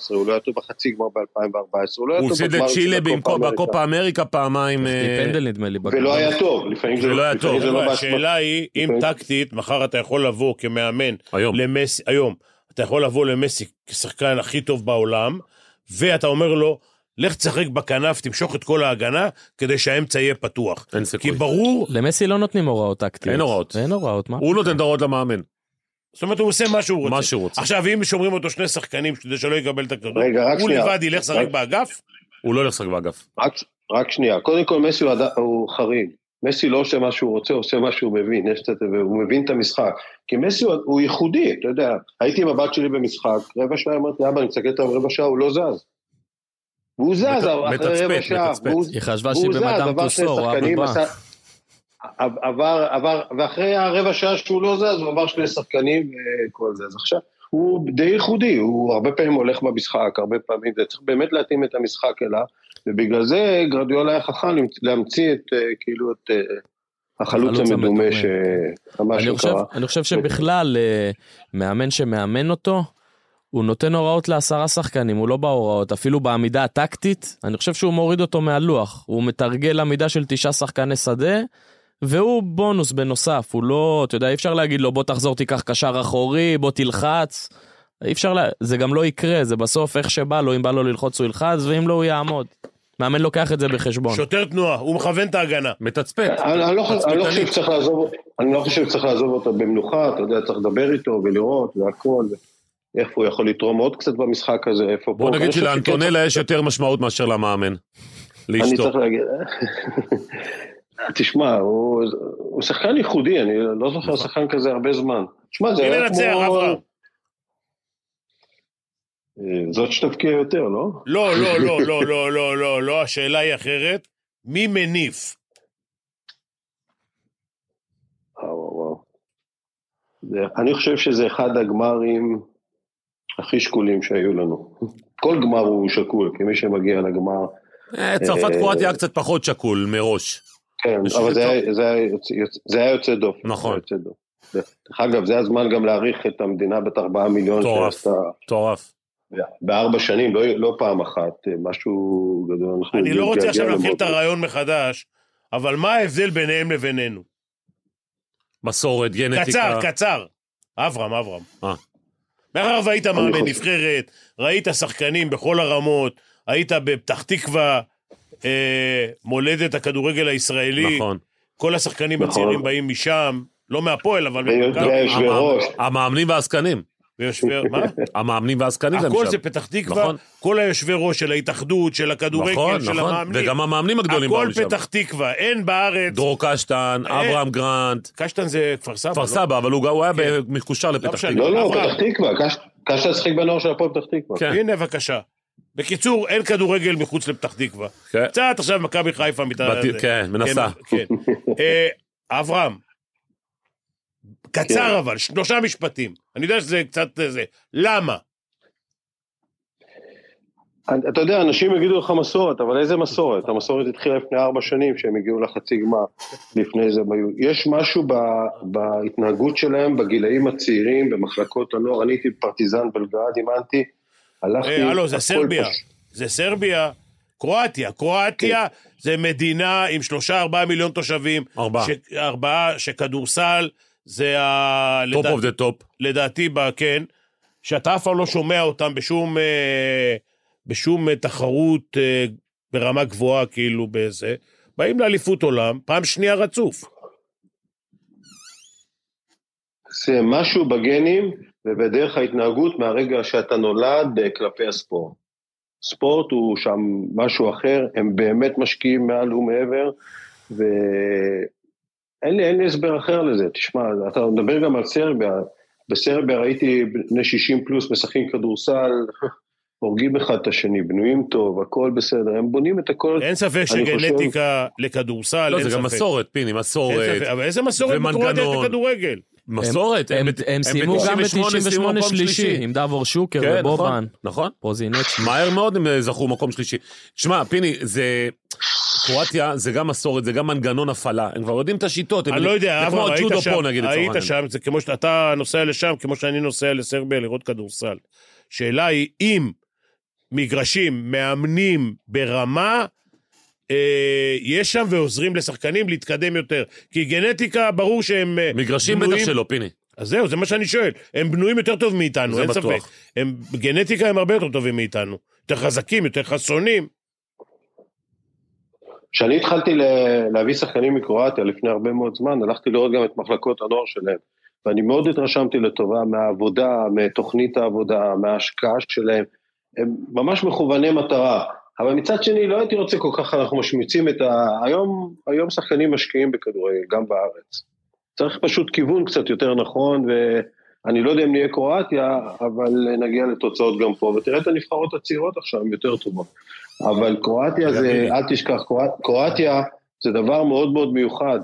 [SPEAKER 7] הוא לא היה טוב בחצי גמר ב-2014, הוא לא היה
[SPEAKER 4] הוא
[SPEAKER 7] טוב
[SPEAKER 4] הפסיד
[SPEAKER 7] בגמר של
[SPEAKER 4] לצ'ילה
[SPEAKER 7] הקופה
[SPEAKER 4] במקום-
[SPEAKER 7] אמריקה.
[SPEAKER 4] בקופה אמריקה פעמיים. אה,
[SPEAKER 5] פנדל נדמה לי. בגמר.
[SPEAKER 7] ולא היה טוב, לפעמים זה
[SPEAKER 4] ולא היה
[SPEAKER 7] לפעמים
[SPEAKER 4] טוב.
[SPEAKER 7] זה לא
[SPEAKER 6] חבר'ה,
[SPEAKER 7] באשמת-
[SPEAKER 6] השאלה היא, אם
[SPEAKER 7] אוקיי.
[SPEAKER 6] טקטית, מחר אתה יכול לבוא כמאמן
[SPEAKER 4] כן, היום.
[SPEAKER 6] למסי, היום, אתה יכול לבוא למסי כשחקן הכי טוב בעולם, ואתה אומר לו, לך תשחק בכנף, תמשוך את כל ההגנה, כדי שהאמצע יהיה פתוח.
[SPEAKER 4] אין
[SPEAKER 6] כי
[SPEAKER 4] סיכוי.
[SPEAKER 6] ברור,
[SPEAKER 5] למסי לא נותנים הוראות טקטיות.
[SPEAKER 4] אין הוראות.
[SPEAKER 5] אין הוראות, מה?
[SPEAKER 4] הוא נותן את ההוראות למאמן,
[SPEAKER 6] זאת אומרת, הוא עושה מה שהוא רוצה.
[SPEAKER 4] מה שהוא רוצה.
[SPEAKER 6] עכשיו, אם שומרים אותו שני שחקנים כדי שלא יקבל את הכדור,
[SPEAKER 7] רגע, רק
[SPEAKER 6] הוא
[SPEAKER 7] שנייה.
[SPEAKER 6] לבד ילך לשחק
[SPEAKER 7] רק-
[SPEAKER 6] באגף?
[SPEAKER 4] הוא לא ילך לשחק באגף.
[SPEAKER 7] רק, רק שנייה, קודם כל מסי הוא, עד... הוא חריג. מסי לא עושה מה שהוא רוצה, הוא עושה מה שהוא מבין, יש את... זה, והוא מבין את המשחק. כי מסי הוא, הוא ייחודי, אתה יודע. הייתי עם הבת שלי במשחק, רבע שעה אמרתי, אבא, אני מסתכל עליו רבע שעה, הוא לא זז. והוא זז
[SPEAKER 4] מת-
[SPEAKER 7] אחרי רבע
[SPEAKER 4] מתצפת,
[SPEAKER 7] שעה.
[SPEAKER 4] מתצפת.
[SPEAKER 7] והוא-
[SPEAKER 5] היא חשבה
[SPEAKER 7] והוא
[SPEAKER 5] שהיא
[SPEAKER 7] זז,
[SPEAKER 5] במדאם
[SPEAKER 7] עבר שני
[SPEAKER 5] טוסו, רואה
[SPEAKER 7] שחקנים,
[SPEAKER 5] בבא.
[SPEAKER 7] עשה- עבר, עבר, ואחרי הרבע שעה שהוא לא זז, הוא עבר שני שחקנים וכל זה. אז עכשיו, הוא די ייחודי, הוא הרבה פעמים הולך במשחק, הרבה פעמים, זה צריך באמת להתאים את המשחק אליו, ובגלל זה גרדיאל היה חכם למצ- להמציא את, אה, כאילו, את אה, החלוץ
[SPEAKER 5] החלוץ
[SPEAKER 7] המדומה
[SPEAKER 5] המדומה.
[SPEAKER 7] שמה
[SPEAKER 5] אני חושב,
[SPEAKER 7] שקרה.
[SPEAKER 5] אני חושב שבכלל, אה, מאמן שמאמן אותו, הוא נותן הוראות לעשרה שחקנים, הוא לא בהוראות, אפילו בעמידה הטקטית, אני חושב שהוא מוריד אותו מהלוח. הוא מתרגל עמידה של תשעה שחקני שדה, והוא בונוס בנוסף, הוא לא, אתה יודע, אי אפשר להגיד לו בוא תחזור תיקח קשר אחורי, בוא תלחץ. אי אפשר, לה... זה גם לא יקרה, זה בסוף איך שבא לו, אם בא לו ללחוץ הוא ילחץ, ואם לא הוא יעמוד. מאמן לוקח את זה בחשבון.
[SPEAKER 6] שוטר תנועה, הוא מכוון את ההגנה.
[SPEAKER 4] מתצפת.
[SPEAKER 7] אני אני לא חושב- אני לא חושב
[SPEAKER 4] תצפיתנית.
[SPEAKER 7] שצריך לעזוב, אני לא חושב שצריך לעזוב אותו במנוחה, אתה יודע, צריך לדבר איתו ולראות והכל, איפה הוא יכול לתרום עוד קצת במשחק הזה, איפה פה.
[SPEAKER 4] בוא
[SPEAKER 7] אני
[SPEAKER 4] נגיד
[SPEAKER 7] חושב שכן צריך-
[SPEAKER 4] שלאנטונלה יש יותר משמעות מאשר למאמן.
[SPEAKER 7] אני
[SPEAKER 4] לאשתו.
[SPEAKER 7] צריך להגיד... תשמע, הוא, הוא שחקן ייחודי, אני לא
[SPEAKER 4] נכון.
[SPEAKER 7] זוכר שחקן כזה הרבה זמן. תשמע, זה
[SPEAKER 6] מי
[SPEAKER 7] היה
[SPEAKER 6] מנצח,
[SPEAKER 7] כמו...
[SPEAKER 6] אברהם?
[SPEAKER 7] אה, זאת שתבקיע יותר, לא?
[SPEAKER 6] לא, לא, לא, לא, לא, לא, לא, לא, השאלה היא אחרת. מי מניף?
[SPEAKER 7] וואו, וואו, וואו. זה, אני חושב שזה אחד הגמרים הכי שקולים שהיו לנו. כל גמר הוא שקול, כי מי שמגיע לגמר...
[SPEAKER 4] אה, צרפת
[SPEAKER 7] אה,
[SPEAKER 4] קרואטיה היה קצת פחות שקול מראש.
[SPEAKER 7] כן,
[SPEAKER 4] יש
[SPEAKER 7] אבל
[SPEAKER 4] לזה
[SPEAKER 7] זה היה- זה היה יוצא- יוצא- זה היה יוצא דופן.
[SPEAKER 4] נכון.
[SPEAKER 7] זה היה יוצא דופן. דרך אגב, זה הזמן גם להעריך את המדינה בת ארבעה מיליון
[SPEAKER 4] מטורף.
[SPEAKER 7] שעשתה...
[SPEAKER 4] מטורף.
[SPEAKER 7] בארבע שנים, לא, לא פעם אחת, משהו גדול. אנחנו
[SPEAKER 6] אני לא רוצה
[SPEAKER 7] נתגעגע
[SPEAKER 6] עכשיו להתחיל
[SPEAKER 7] למוד.
[SPEAKER 6] את הרעיון מחדש, אבל מה ההבדל ביניהם לבינינו?
[SPEAKER 4] מסורת, גנטיקה.
[SPEAKER 6] קצר, קצר. אברהם, אברהם.
[SPEAKER 4] אה.
[SPEAKER 6] מאחר והיית מאמן
[SPEAKER 7] חושב.
[SPEAKER 6] נבחרת, ראית שחקנים בכל הרמות, היית בפתח תקווה, אה, מולדת הכדורגל הישראלי,
[SPEAKER 4] נכון.
[SPEAKER 6] כל השחקנים
[SPEAKER 7] נכון.
[SPEAKER 6] הצעירים באים משם, לא מהפועל, אבל
[SPEAKER 7] ויותר
[SPEAKER 6] ממכבי,
[SPEAKER 7] יושבי ראש.
[SPEAKER 4] המאמנים והעסקנים.
[SPEAKER 6] ויושבי... מה?
[SPEAKER 4] המאמנים והעסקנים זה
[SPEAKER 6] הכל
[SPEAKER 4] משם.
[SPEAKER 6] זה פתח תקווה,
[SPEAKER 4] נכון.
[SPEAKER 6] כל היושבי ראש של ההתאחדות, של הכדורגל,
[SPEAKER 4] נכון,
[SPEAKER 6] של
[SPEAKER 4] נכון.
[SPEAKER 6] המאמנים.
[SPEAKER 4] וגם המאמנים הגדולים באו
[SPEAKER 6] הכל
[SPEAKER 4] משם.
[SPEAKER 6] פתח תקווה, אין בארץ.
[SPEAKER 4] דרור קשטן, אברהם גרנט,
[SPEAKER 6] קשטן זה כפר סבא,
[SPEAKER 4] כפר
[SPEAKER 6] לא?
[SPEAKER 4] סבא, אבל הוא הוא היה
[SPEAKER 6] כן.
[SPEAKER 4] מקושר לפתח
[SPEAKER 6] משנה.
[SPEAKER 4] תקווה.
[SPEAKER 7] לא, לא,
[SPEAKER 6] אברהם.
[SPEAKER 7] פתח תקווה, קש- קשה לשחק בנוער של הפועל פתח תקווה.
[SPEAKER 4] כן.
[SPEAKER 6] הנה, בבקשה. בקיצור, אין כדורגל מחוץ לפתח תקווה.
[SPEAKER 4] כן.
[SPEAKER 6] קצת עכשיו מכבי חיפה מתעלה.
[SPEAKER 4] בת- כן, מנסה.
[SPEAKER 6] לא כן. אה, אברהם, קצר אבל, שלושה משפטים. אני יודע שזה קצת אה, זה. למה?
[SPEAKER 7] אתה יודע, אנשים יגידו לך מסורת, אבל איזה מסורת? המסורת התחילה לפני ארבע שנים, שהם הגיעו לחצי גמר לפני זה. ב- יש משהו ב, בהתנהגות שלהם, בגילאים הצעירים, במחלקות הנוער. אני הייתי פרטיזן בלגרד, אימנתי, הלכתי...
[SPEAKER 6] אה, הלו, זה
[SPEAKER 7] הכל
[SPEAKER 6] סרביה.
[SPEAKER 7] פש-
[SPEAKER 6] זה סרביה. קרואטיה. קרואטיה זה מדינה עם שלושה, ארבעה מיליון תושבים.
[SPEAKER 4] כן. ארבעה.
[SPEAKER 6] ש- ארבעה, שכדורסל זה ה...
[SPEAKER 4] טופ
[SPEAKER 6] לדע-
[SPEAKER 4] אוף דה טופ.
[SPEAKER 6] לדעתי, ב- כן. שאתה אף פעם לא שומע אותם בשום, אה, בשום אה, תחרות אה, ברמה גבוהה, כאילו, בזה. באים לאליפות עולם, פעם שנייה רצוף.
[SPEAKER 7] זה משהו בגנים ובדרך ההתנהגות מהרגע שאתה נולד אה, כלפי הספורט. ספורט הוא שם משהו אחר, הם באמת משקיעים מעל ומעבר, ואין לי, אין לי הסבר אחר לזה. תשמע, אתה מדבר גם על סרביה, בסרביה ראיתי בני 60 פלוס משחקים כדורסל, הורגים אחד את השני, בנויים טוב, הכל בסדר, הם בונים את הכל.
[SPEAKER 6] אין ספק
[SPEAKER 7] אני חושב-
[SPEAKER 6] שגנטיקה לכדורסל,
[SPEAKER 4] לא,
[SPEAKER 6] אין
[SPEAKER 4] זה גם
[SPEAKER 6] ספק.
[SPEAKER 4] מסורת, פיני,
[SPEAKER 6] אין
[SPEAKER 4] מסורת.
[SPEAKER 6] ספק, אבל איזה מסורת בקרואטיה יש
[SPEAKER 4] ומנגנון.
[SPEAKER 6] בכדורגל?
[SPEAKER 4] מסורת.
[SPEAKER 5] הם-
[SPEAKER 4] ב-
[SPEAKER 5] הם סיימו גם
[SPEAKER 4] ב-98 סיימו
[SPEAKER 5] ב-98
[SPEAKER 4] מקום
[SPEAKER 5] שלישי, עם דבור שוקר
[SPEAKER 4] כן, נכון,
[SPEAKER 5] ובובן,
[SPEAKER 4] נכון.
[SPEAKER 5] פרוזינץ'.
[SPEAKER 4] מהר מאוד הם אה, זכו מקום שלישי. תשמע, פיני, זה... קרואטיה זה גם מסורת, זה גם מנגנון הפעלה. הם כבר יודעים את השיטות. הם-
[SPEAKER 6] אני לא יודע,
[SPEAKER 4] זה כמו
[SPEAKER 6] אברהם, היית
[SPEAKER 4] הג'ודו
[SPEAKER 6] שם,
[SPEAKER 4] פה, נגיד, לצורך
[SPEAKER 6] היית
[SPEAKER 4] העניין.
[SPEAKER 6] שם, זה כמו שאתה נוסע לשם, כמו שאני נוסע לסרביה לראות כדורסל. שאלה היא, אם מגרשים מאמנים ברמה, אה, יש שם ועוזרים לשחקנים להתקדם יותר. כי גנטיקה, ברור שהם... אה,
[SPEAKER 4] מגרשים בטח
[SPEAKER 6] בנויים-
[SPEAKER 4] שלא, פיני.
[SPEAKER 6] אז זהו, זה מה שאני שואל. הם בנויים יותר טוב מאיתנו,
[SPEAKER 4] זה
[SPEAKER 6] אין
[SPEAKER 4] בטוח.
[SPEAKER 6] ספק. הם, בגנטיקה הם הרבה יותר טובים מאיתנו. יותר חזקים, יותר חסונים.
[SPEAKER 7] כשאני התחלתי ל- להביא שחקנים מקרואטיה לפני הרבה מאוד זמן, הלכתי לראות גם את מחלקות הנוער שלהם. ואני מאוד התרשמתי לטובה מהעבודה, מתוכנית העבודה, מההשקעה שלהם. הם ממש מכווני מטרה. אבל מצד שני, לא הייתי רוצה כל כך, אנחנו משמיצים את ה... היום, היום שחקנים משקיעים בכדורגל, גם בארץ. צריך פשוט כיוון קצת יותר נכון, ואני לא יודע אם נהיה קרואטיה, אבל נגיע לתוצאות גם פה. ותראה את הנבחרות הצעירות עכשיו, הן יותר טובות. אבל קרואטיה זה, אל תשכח, קרוא- קרואטיה זה דבר מאוד מאוד מיוחד.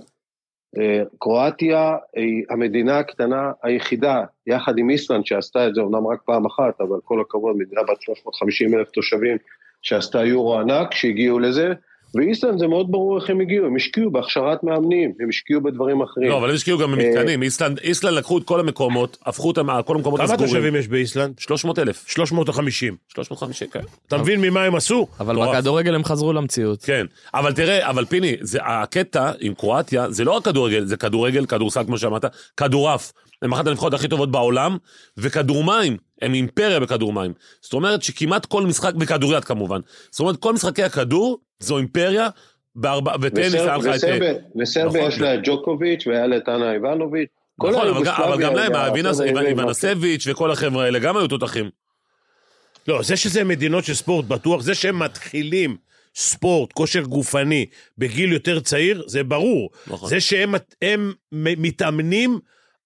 [SPEAKER 7] אה, קרואטיה היא המדינה הקטנה היחידה, יחד עם איסלנד, שעשתה את זה אומנם רק פעם אחת, אבל כל הכבוד, מדינה בת 350 אלף תושבים, שעשתה יורו ענק, שהגיעו לזה, ואיסלנד זה מאוד ברור איך הם הגיעו, הם השקיעו בהכשרת מאמנים, הם השקיעו בדברים אחרים.
[SPEAKER 4] לא, אבל הם השקיעו גם במתקנים. איסלנד איסלנד לקחו את כל המקומות, הפכו אותם, כל המקומות
[SPEAKER 6] אה. כמה
[SPEAKER 4] הסגורים.
[SPEAKER 6] תושבים יש באיסלנד?
[SPEAKER 4] 300 אלף.
[SPEAKER 6] 350.
[SPEAKER 4] 350, כן.
[SPEAKER 6] אתה מבין ממה הם עשו?
[SPEAKER 5] אבל
[SPEAKER 6] מטורף.
[SPEAKER 5] בכדורגל הם חזרו למציאות.
[SPEAKER 4] כן, אבל תראה, אבל פיני, זה, הקטע עם קרואטיה זה לא רק כדורגל, זה כדורגל, כדורסל, כמו שאמרת, כדורעף. הם אחת הנבחרות הכי טובות בעולם, וכדור מים, הם אימפריה בכדור מים. זאת אומרת שכמעט כל משחק, וכדוריד כמובן, זאת אומרת כל משחקי הכדור זו אימפריה, בארבע, וטניס היה לך את...
[SPEAKER 7] וסרביה- וסרביה
[SPEAKER 4] נכון.
[SPEAKER 7] יש לה את ג'וקוביץ' והיה לה את אנה איבנוביץ'. כל
[SPEAKER 4] נכון, אבל, גם- אבל
[SPEAKER 7] היוגוסלביה
[SPEAKER 4] גם להם,
[SPEAKER 7] היה-
[SPEAKER 4] האבינס-
[SPEAKER 7] כל היוגוסלביה.
[SPEAKER 4] איבנסביץ' וכל החבר'ה האלה גם היו תותחים.
[SPEAKER 6] לא, זה שזה מדינות של ספורט בטוח, זה שהם מתחילים ספורט, כושר גופני, בגיל יותר צעיר, זה ברור.
[SPEAKER 4] נכון.
[SPEAKER 6] זה שהם הם מ- מתאמנים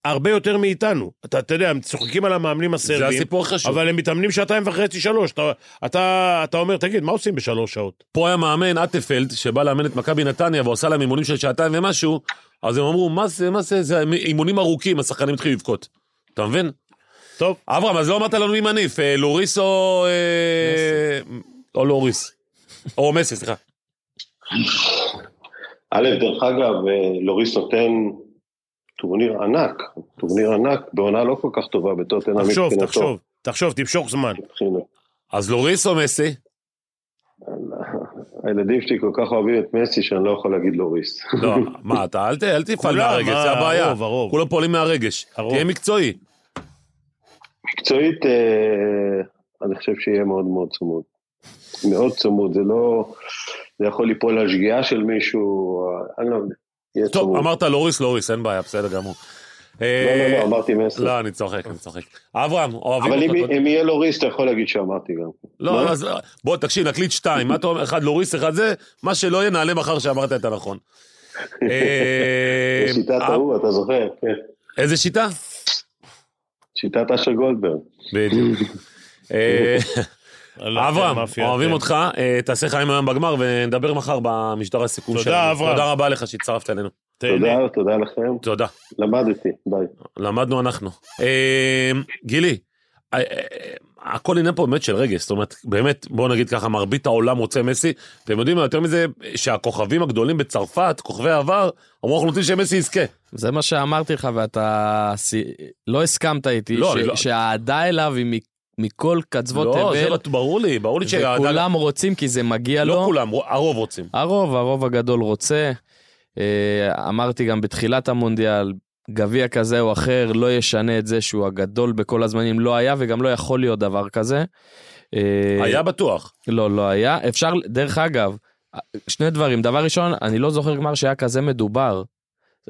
[SPEAKER 6] הרבה יותר מאיתנו. אתה, אתה יודע, הם צוחקים על המאמנים
[SPEAKER 4] זה
[SPEAKER 6] הסרבים,
[SPEAKER 4] הסיפור הכי חשוב.
[SPEAKER 6] אבל הם מתאמנים שעתיים וחצי, שלוש. אתה, אתה, אתה אומר, תגיד, מה עושים בשלוש שעות?
[SPEAKER 4] פה היה מאמן, אטפלד, שבא לאמן את מכבי נתניה ועושה להם אימונים של שעתיים ומשהו, אז הם אמרו, מה זה, מה זה, זה אימונים ארוכים, השחקנים התחילו לבכות. אתה מבין?
[SPEAKER 6] טוב,
[SPEAKER 4] אברהם, אז לא אמרת לנו מי מניף, אה, לוריס או... אה, או לוריס. או מסי, סליחה.
[SPEAKER 7] א', דרך אגב, אה, לוריס נותן טורניר ענק, טורניר ענק, בעונה לא כל כך טובה בטוטנאם
[SPEAKER 6] תחשוב, תחשוב, תחשוב, תמשוך זמן.
[SPEAKER 7] מבחינת-
[SPEAKER 4] אז לוריס או מסי?
[SPEAKER 7] הילדים שלי כל כך אוהבים את מסי שאני לא יכול להגיד לוריס.
[SPEAKER 4] לא, מה, אתה אל ת- אל תפעל
[SPEAKER 6] כולם,
[SPEAKER 4] מהרגש,
[SPEAKER 6] מה,
[SPEAKER 4] זה
[SPEAKER 7] אה,
[SPEAKER 4] הבעיה.
[SPEAKER 6] הרוב, הרוב.
[SPEAKER 4] כולם פועלים מהרגש.
[SPEAKER 6] הרוב.
[SPEAKER 4] תהיה מקצועי.
[SPEAKER 7] מקצועית, אה, אני חושב שיהיה מאוד מאוד צמוד. מאוד צמוד, זה לא... זה יכול ליפול על שגיאה של מישהו, אה, אני לא יודע. יהיה
[SPEAKER 4] טוב,
[SPEAKER 7] צמוד.
[SPEAKER 4] אמרת לוריס, לוריס, אין בעיה, בסדר גמור.
[SPEAKER 7] לא, לא,
[SPEAKER 4] אה,
[SPEAKER 7] לא, אמרתי מסי.
[SPEAKER 4] לא, אני צוחק, אני צוחק. אברהם, אוהבים
[SPEAKER 7] אבל
[SPEAKER 4] אותך.
[SPEAKER 7] אם-
[SPEAKER 4] אתה-
[SPEAKER 7] אם יהיה לוריס, אתה יכול להגיד שאמרתי גם.
[SPEAKER 4] לא, אז בוא תקשיב, נקליט שתיים, מה אתה אומר? אחד לוריס, אחד זה, מה שלא יהיה, נעלה מחר שאמרת את הנכון. אה,
[SPEAKER 7] שיטת
[SPEAKER 4] אה,
[SPEAKER 7] ההוא, אתה זוכר? כן.
[SPEAKER 4] איזה שיטה?
[SPEAKER 7] שיטת אשר גולדברג.
[SPEAKER 4] בדיוק. אה,
[SPEAKER 6] הלכתם,
[SPEAKER 4] אברהם,
[SPEAKER 6] מאפיה,
[SPEAKER 4] אוהבים
[SPEAKER 6] כן.
[SPEAKER 4] אותך, אה, תעשה חיים היום בגמר ונדבר מחר במשדר הסיכום
[SPEAKER 6] תודה,
[SPEAKER 4] שלנו.
[SPEAKER 6] אברהם.
[SPEAKER 4] תודה רבה לך שהצטרפת אלינו.
[SPEAKER 6] תהנה.
[SPEAKER 7] תודה, תודה לכם.
[SPEAKER 4] תודה.
[SPEAKER 7] למדתי, ביי.
[SPEAKER 4] אמ, למדנו אנחנו. אה, גילי, אה, אה, הכל עניין פה באמת של רגש, זאת אומרת, באמת, בואו נגיד ככה, מרבית העולם רוצה מסי, אתם יודעים מה, יותר מזה, שהכוכבים הגדולים בצרפת, כוכבי העבר, אמרו אנחנו רוצים שמסי יזכה.
[SPEAKER 5] זה מה שאמרתי לך ואתה סי- לא הסכמת איתי,
[SPEAKER 4] לא,
[SPEAKER 5] ש-
[SPEAKER 4] אני לא-
[SPEAKER 5] שהאהדה אליו היא מ- מכל קצוות
[SPEAKER 4] לא, זה
[SPEAKER 5] תבל,
[SPEAKER 4] בט- ברור לי, ברור לי שהאדם-
[SPEAKER 5] וכולם רוצים כי זה מגיע
[SPEAKER 4] לא
[SPEAKER 5] לו.
[SPEAKER 4] כולם, הרוב רוצים.
[SPEAKER 5] הרוב, הרוב הגדול רוצה. אה, אמרתי גם בתחילת המונדיאל, גביע כזה או אחר לא ישנה את זה שהוא הגדול בכל הזמנים, לא היה וגם לא יכול להיות דבר כזה. אה,
[SPEAKER 4] היה בטוח.
[SPEAKER 5] לא, לא היה. אפשר, דרך אגב, שני דברים. דבר ראשון, אני לא זוכר גמר שהיה כזה מדובר.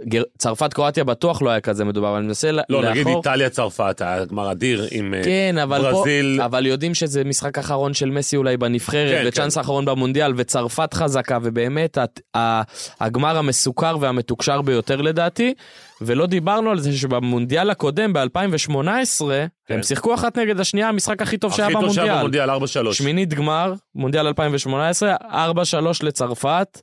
[SPEAKER 5] גר... צרפת קרואטיה בטוח לא היה כזה מדובר, אבל אני מנסה לא,
[SPEAKER 4] לא,
[SPEAKER 5] לאחור.
[SPEAKER 4] נגיד איטליה צרפת, היה גמר אדיר עם אה,
[SPEAKER 5] כן, אבל
[SPEAKER 4] ברזיל.
[SPEAKER 5] פה, אבל יודעים שזה משחק אחרון של מסי אולי בנבחרת,
[SPEAKER 4] כן,
[SPEAKER 5] וצ'אנס אחרון במונדיאל, וצרפת חזקה, ובאמת הת- ה- הגמר המסוכר והמתוקשר ביותר לדעתי, ולא דיברנו על זה שבמונדיאל הקודם, ב-2018,
[SPEAKER 4] כן.
[SPEAKER 5] הם שיחקו אחת נגד השנייה, המשחק הכי טוב שהיה
[SPEAKER 4] הכי טוב שהיה
[SPEAKER 5] במונדיאל. כן,
[SPEAKER 4] במונדיאל 4-3.
[SPEAKER 5] שמינית גמר, מונדיאל 2018, 4-3 לצרפת,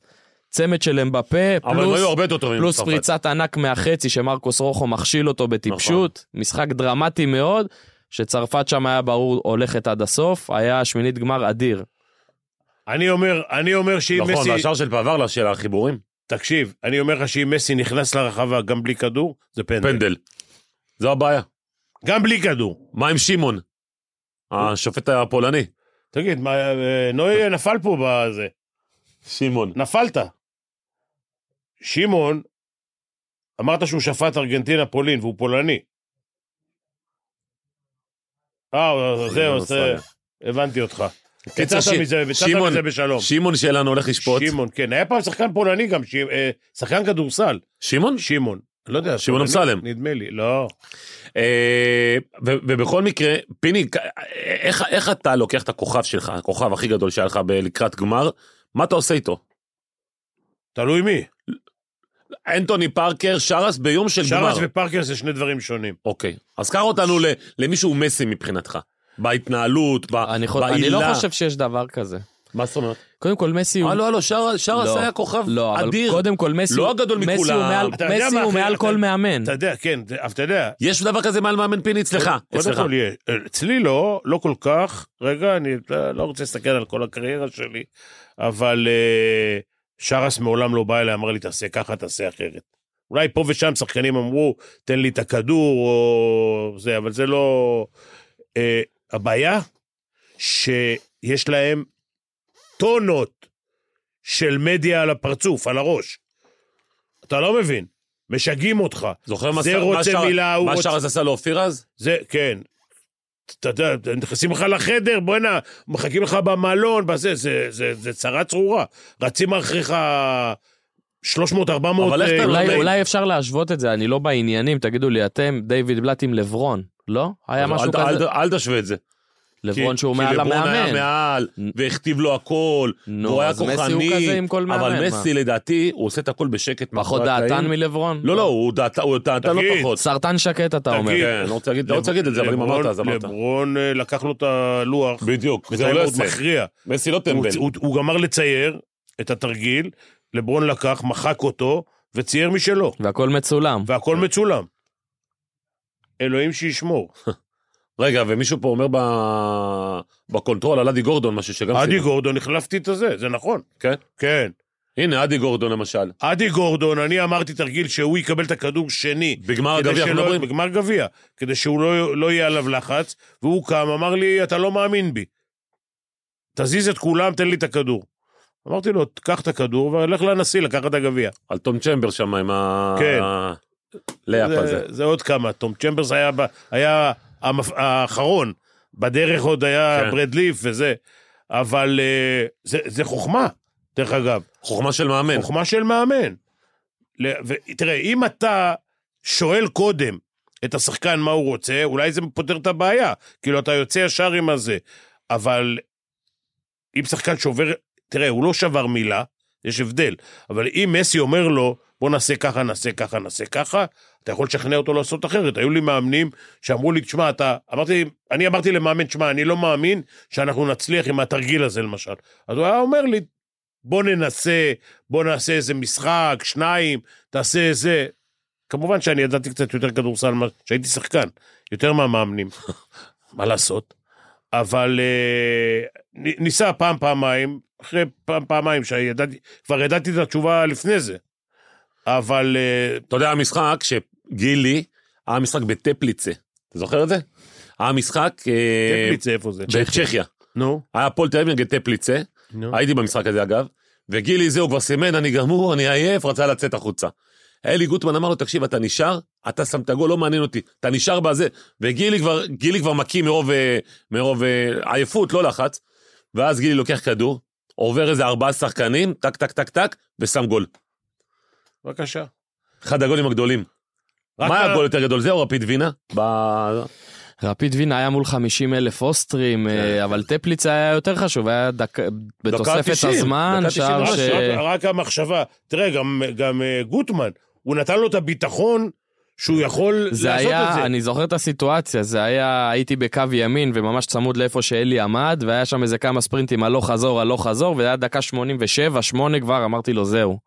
[SPEAKER 5] צמד של אמבפה,
[SPEAKER 4] אבל הם לא היו
[SPEAKER 5] פלוס,
[SPEAKER 4] הרבה יותר טובים
[SPEAKER 5] פלוס
[SPEAKER 4] מצרפת.
[SPEAKER 5] פריצת ענק מהחצי שמרקוס רוחו מכשיל אותו בטיפשות,
[SPEAKER 4] נכון.
[SPEAKER 5] משחק דרמטי מאוד, שצרפת שם היה ברור הולכת עד הסוף, היה שמינית גמר אדיר.
[SPEAKER 6] אני אומר, אני אומר שאם
[SPEAKER 4] נכון,
[SPEAKER 6] מסי...
[SPEAKER 4] והשאר של פאבר לה- של החיבורים.
[SPEAKER 6] תקשיב, אני אומר לך שאם מסי נכנס לרחבה גם בלי כדור, זה פנדל.
[SPEAKER 4] פנדל. זו הבעיה.
[SPEAKER 6] גם בלי כדור.
[SPEAKER 4] מה עם שמעון? השופט הפולני.
[SPEAKER 6] תגיד, מה, אה, נוי נפל פה בזה.
[SPEAKER 4] שמעון.
[SPEAKER 6] נפלת. שמעון, אמרת שהוא שפט ארגנטינה פולין, והוא פולני. אה, זהו, זה- הבנתי אותך.
[SPEAKER 4] לא קיצר,
[SPEAKER 6] יצאת
[SPEAKER 4] ש-
[SPEAKER 6] מזה, יצאת
[SPEAKER 4] שמעון-
[SPEAKER 6] מזה בשלום.
[SPEAKER 4] שמעון שלנו הולך לשפוט.
[SPEAKER 6] שמעון, כן, היה פעם שחקן פולני גם, ש- אה, שחקן כדורסל,
[SPEAKER 4] שמעון?
[SPEAKER 6] שמעון. אני לא יודע.
[SPEAKER 4] שמעון
[SPEAKER 6] פולני?
[SPEAKER 4] אמסלם.
[SPEAKER 6] נדמה לי, לא.
[SPEAKER 4] אה, ו- ובכל מקרה, פיני, כ- איך- איך אתה לוקח את הכוכב שלך, הכוכב הכי גדול שהיה לך ב- לקראת גמר, מה אתה עושה איתו?
[SPEAKER 6] תלוי מי.
[SPEAKER 4] אנטוני פארקר, שרס ביום של גמר.
[SPEAKER 6] שרס ופרקר זה שני דברים שונים.
[SPEAKER 4] אוקיי. אז קח אותנו ל- למי שהוא מסי מבחינתך. בהתנהלות, ב-
[SPEAKER 5] אני, חו...
[SPEAKER 4] בעילה.
[SPEAKER 5] אני לא חושב שיש דבר כזה.
[SPEAKER 4] מה זאת אומרת?
[SPEAKER 5] קודם כל מסי הוא...
[SPEAKER 4] הלו, הלו, שרס שרס
[SPEAKER 5] לא,
[SPEAKER 4] היה כוכב
[SPEAKER 5] לא, אבל
[SPEAKER 4] אדיר.
[SPEAKER 5] קודם כל מסי,
[SPEAKER 4] לא הגדול
[SPEAKER 5] מסי
[SPEAKER 4] מכולם.
[SPEAKER 5] הוא מעל,
[SPEAKER 6] אתה יודע
[SPEAKER 5] מסי
[SPEAKER 6] מה,
[SPEAKER 5] הוא
[SPEAKER 6] אחי,
[SPEAKER 5] מעל
[SPEAKER 6] אתה-
[SPEAKER 5] כל מאמן.
[SPEAKER 6] אתה יודע, כן, זה- אבל אתה יודע,
[SPEAKER 4] יש דבר כזה מעל מאמן פיני אצלך.
[SPEAKER 6] קודם
[SPEAKER 4] אצלך.
[SPEAKER 6] כל, יש. אצלי לא, לא כל כך. רגע, אני לא רוצה להסתכל על כל הקריירה שלי, אבל אה, שרס מעולם לא בא אליי, אמר לי, תעשה ככה, תעשה אחרת. אולי פה ושם שחקנים אמרו, תן לי את הכדור, או זה, אבל זה לא... אה, הבעיה, שיש להם טונות של מדיה על הפרצוף, על הראש. אתה לא מבין, משגעים אותך.
[SPEAKER 4] זוכר מה
[SPEAKER 6] זה
[SPEAKER 4] שר- מה
[SPEAKER 6] רוצה
[SPEAKER 4] שר-
[SPEAKER 6] מילה, הוא
[SPEAKER 4] מה
[SPEAKER 6] רוצה-
[SPEAKER 4] שרס עשה לאופיר אז?
[SPEAKER 6] זה, כן. אתה יודע, נכנסים לך לחדר, בוא'נה, מחכים לך במלון, בזה, זה, זה, זה צרה צרורה. רצים אחריך 300, 400...
[SPEAKER 4] אבל איך אתה- לא-
[SPEAKER 5] אולי,
[SPEAKER 4] אולי-
[SPEAKER 5] אולי אפשר להשוות את זה, אני לא בעניינים, תגידו לי, אתם דיוויד בלאט עם לברון, לא? היה
[SPEAKER 4] אבל
[SPEAKER 5] משהו
[SPEAKER 4] אל- אל-
[SPEAKER 5] כזה?
[SPEAKER 4] אל תשווה את זה.
[SPEAKER 5] לברון
[SPEAKER 4] כי-
[SPEAKER 5] שהוא
[SPEAKER 4] כי
[SPEAKER 5] מעל
[SPEAKER 4] לברון כן, היה
[SPEAKER 5] המאמן.
[SPEAKER 4] מעל, והכתיב לו הכל,
[SPEAKER 5] נו,
[SPEAKER 4] והוא היה
[SPEAKER 5] אז מסי הוא כזה
[SPEAKER 4] כוחני,
[SPEAKER 5] עם כל מאמן,
[SPEAKER 4] אבל
[SPEAKER 5] מה?
[SPEAKER 4] מסי לדעתי, הוא עושה את הכל בשקט.
[SPEAKER 5] פחות
[SPEAKER 4] מאחורי
[SPEAKER 5] דעתן
[SPEAKER 4] הקלעים.
[SPEAKER 5] מלברון?
[SPEAKER 4] לא, לא, הוא דעת- הוא דעתן לא
[SPEAKER 6] תגיד,
[SPEAKER 4] פחות.
[SPEAKER 5] סרטן שקט אתה אומר.
[SPEAKER 6] תגיד,
[SPEAKER 4] כן, לא רוצה להגיד- לא רוצה להגיד את זה, אבל אם
[SPEAKER 6] לברון-
[SPEAKER 4] אמרת, אז אמרת.
[SPEAKER 6] לברון אה, לקח לו את הלוח,
[SPEAKER 4] בדיוק, זה
[SPEAKER 6] בינתיים
[SPEAKER 4] לא
[SPEAKER 6] הוא עוד
[SPEAKER 4] יעשה.
[SPEAKER 6] מכריע.
[SPEAKER 4] מסי לא
[SPEAKER 6] הוא,
[SPEAKER 4] טמבל.
[SPEAKER 6] הוא, הוא גמר לצייר את התרגיל, לברון לקח, מחק אותו, וצייר משלו,
[SPEAKER 5] והכל מצולם.
[SPEAKER 6] והכל
[SPEAKER 4] כן.
[SPEAKER 6] מצולם. אלוהים שישמור.
[SPEAKER 4] רגע, ומישהו פה אומר ב- בקונטרול על אדי גורדון משהו שגם...
[SPEAKER 6] אדי
[SPEAKER 4] סיפר.
[SPEAKER 6] גורדון, החלפתי את הזה, זה נכון.
[SPEAKER 4] כן?
[SPEAKER 6] כן.
[SPEAKER 4] הנה, אדי גורדון למשל.
[SPEAKER 6] אדי גורדון, אני אמרתי תרגיל שהוא יקבל את הכדור שני.
[SPEAKER 4] בגמר
[SPEAKER 6] כדי
[SPEAKER 4] הגביע, אנחנו
[SPEAKER 6] שלא-
[SPEAKER 4] מדברים?
[SPEAKER 6] בגמר גביע, כדי שהוא לא, לא יהיה עליו לחץ, והוא קם, אמר לי, אתה לא מאמין בי. תזיז את כולם, תן לי את הכדור. אמרתי לו, קח את הכדור ולך לנשיא לקחת את הגביע.
[SPEAKER 4] על תום צ'מבר שם עם ה...
[SPEAKER 6] כן.
[SPEAKER 4] לאפ הזה.
[SPEAKER 6] זה, זה עוד כמה, תום צ'מברס היה, ב- היה המפ... האחרון, בדרך עוד היה
[SPEAKER 4] כן.
[SPEAKER 6] ברד ליף וזה, אבל אה, זה, זה חוכמה, דרך אגב.
[SPEAKER 4] חוכמה של מאמן.
[SPEAKER 6] חוכמה של מאמן. ל- ו- תראה, אם אתה שואל קודם את השחקן מה הוא רוצה, אולי זה פותר את הבעיה. כאילו, אתה יוצא ישר עם הזה. אבל אם שחקן שובר, תראה, הוא לא שבר מילה, יש הבדל. אבל אם מסי אומר לו, בוא נעשה ככה, נעשה ככה, נעשה ככה, אתה יכול לשכנע אותו לעשות אחרת. היו לי מאמנים שאמרו לי, תשמע, אתה... אמרתי, אני אמרתי למאמן, תשמע, אני לא מאמין שאנחנו נצליח עם התרגיל הזה, למשל. אז הוא היה אומר לי, בוא ננסה, בוא נעשה איזה משחק, שניים, תעשה איזה... כמובן שאני ידעתי קצת יותר כדורסל, מה- שהייתי שחקן, יותר מהמאמנים, מה לעשות? אבל אה, נ- ניסה פעם, פעמיים, אחרי פעם, פעמיים, שידעתי, כבר ידעתי את התשובה לפני זה. אבל אה,
[SPEAKER 4] אתה יודע, המשחק שגילי, היה משחק בטפליצה. אתה זוכר את זה? היה משחק אה,
[SPEAKER 6] טפליץ איפה זה?
[SPEAKER 4] בצ'כיה.
[SPEAKER 6] נו,
[SPEAKER 4] היה הפועל תל אביב נגד טפליצה.
[SPEAKER 6] נו.
[SPEAKER 4] הייתי במשחק הזה אגב, וגילי זהו כבר סימן, אני גמור, אני עייף, רצה לצאת החוצה. אלי גוטמן אמר לו, תקשיב, אתה נשאר, אתה שם את הגול, לא מעניין אותי, אתה נשאר בזה. וגילי כבר, גילי כבר מקיא מרוב, אה, מרוב אה, עייפות, לא לחץ. ואז גילי לוקח כדור, עובר איזה ארבעה שחקנים, טק, טק, טק, טק, ושם גול.
[SPEAKER 6] בבקשה.
[SPEAKER 4] אחד הגולים הגדולים.
[SPEAKER 6] רק
[SPEAKER 4] מה
[SPEAKER 6] ה-
[SPEAKER 4] היה גול יותר גדול? זהו, רפיד וינה? ב...
[SPEAKER 5] רפיד וינה היה מול 50 אלף אוסטרים,
[SPEAKER 4] כן.
[SPEAKER 5] אה, אבל טפליץ היה יותר חשוב, היה דק... בתוספת
[SPEAKER 4] 90,
[SPEAKER 5] הזמן,
[SPEAKER 4] דקה
[SPEAKER 5] שער
[SPEAKER 6] רק,
[SPEAKER 5] ש...
[SPEAKER 6] רק, רק המחשבה, תראה, גם, גם אה, גוטמן, הוא נתן לו את הביטחון שהוא יכול
[SPEAKER 5] זה
[SPEAKER 6] לעשות את
[SPEAKER 5] היה,
[SPEAKER 6] זה.
[SPEAKER 5] אני זוכר את הסיטואציה, זה היה, הייתי בקו ימין וממש צמוד לאיפה שאלי עמד, והיה שם איזה כמה ספרינטים הלוך חזור, הלוך חזור, וזה היה דקה 87, 8 כבר, אמרתי לו זהו.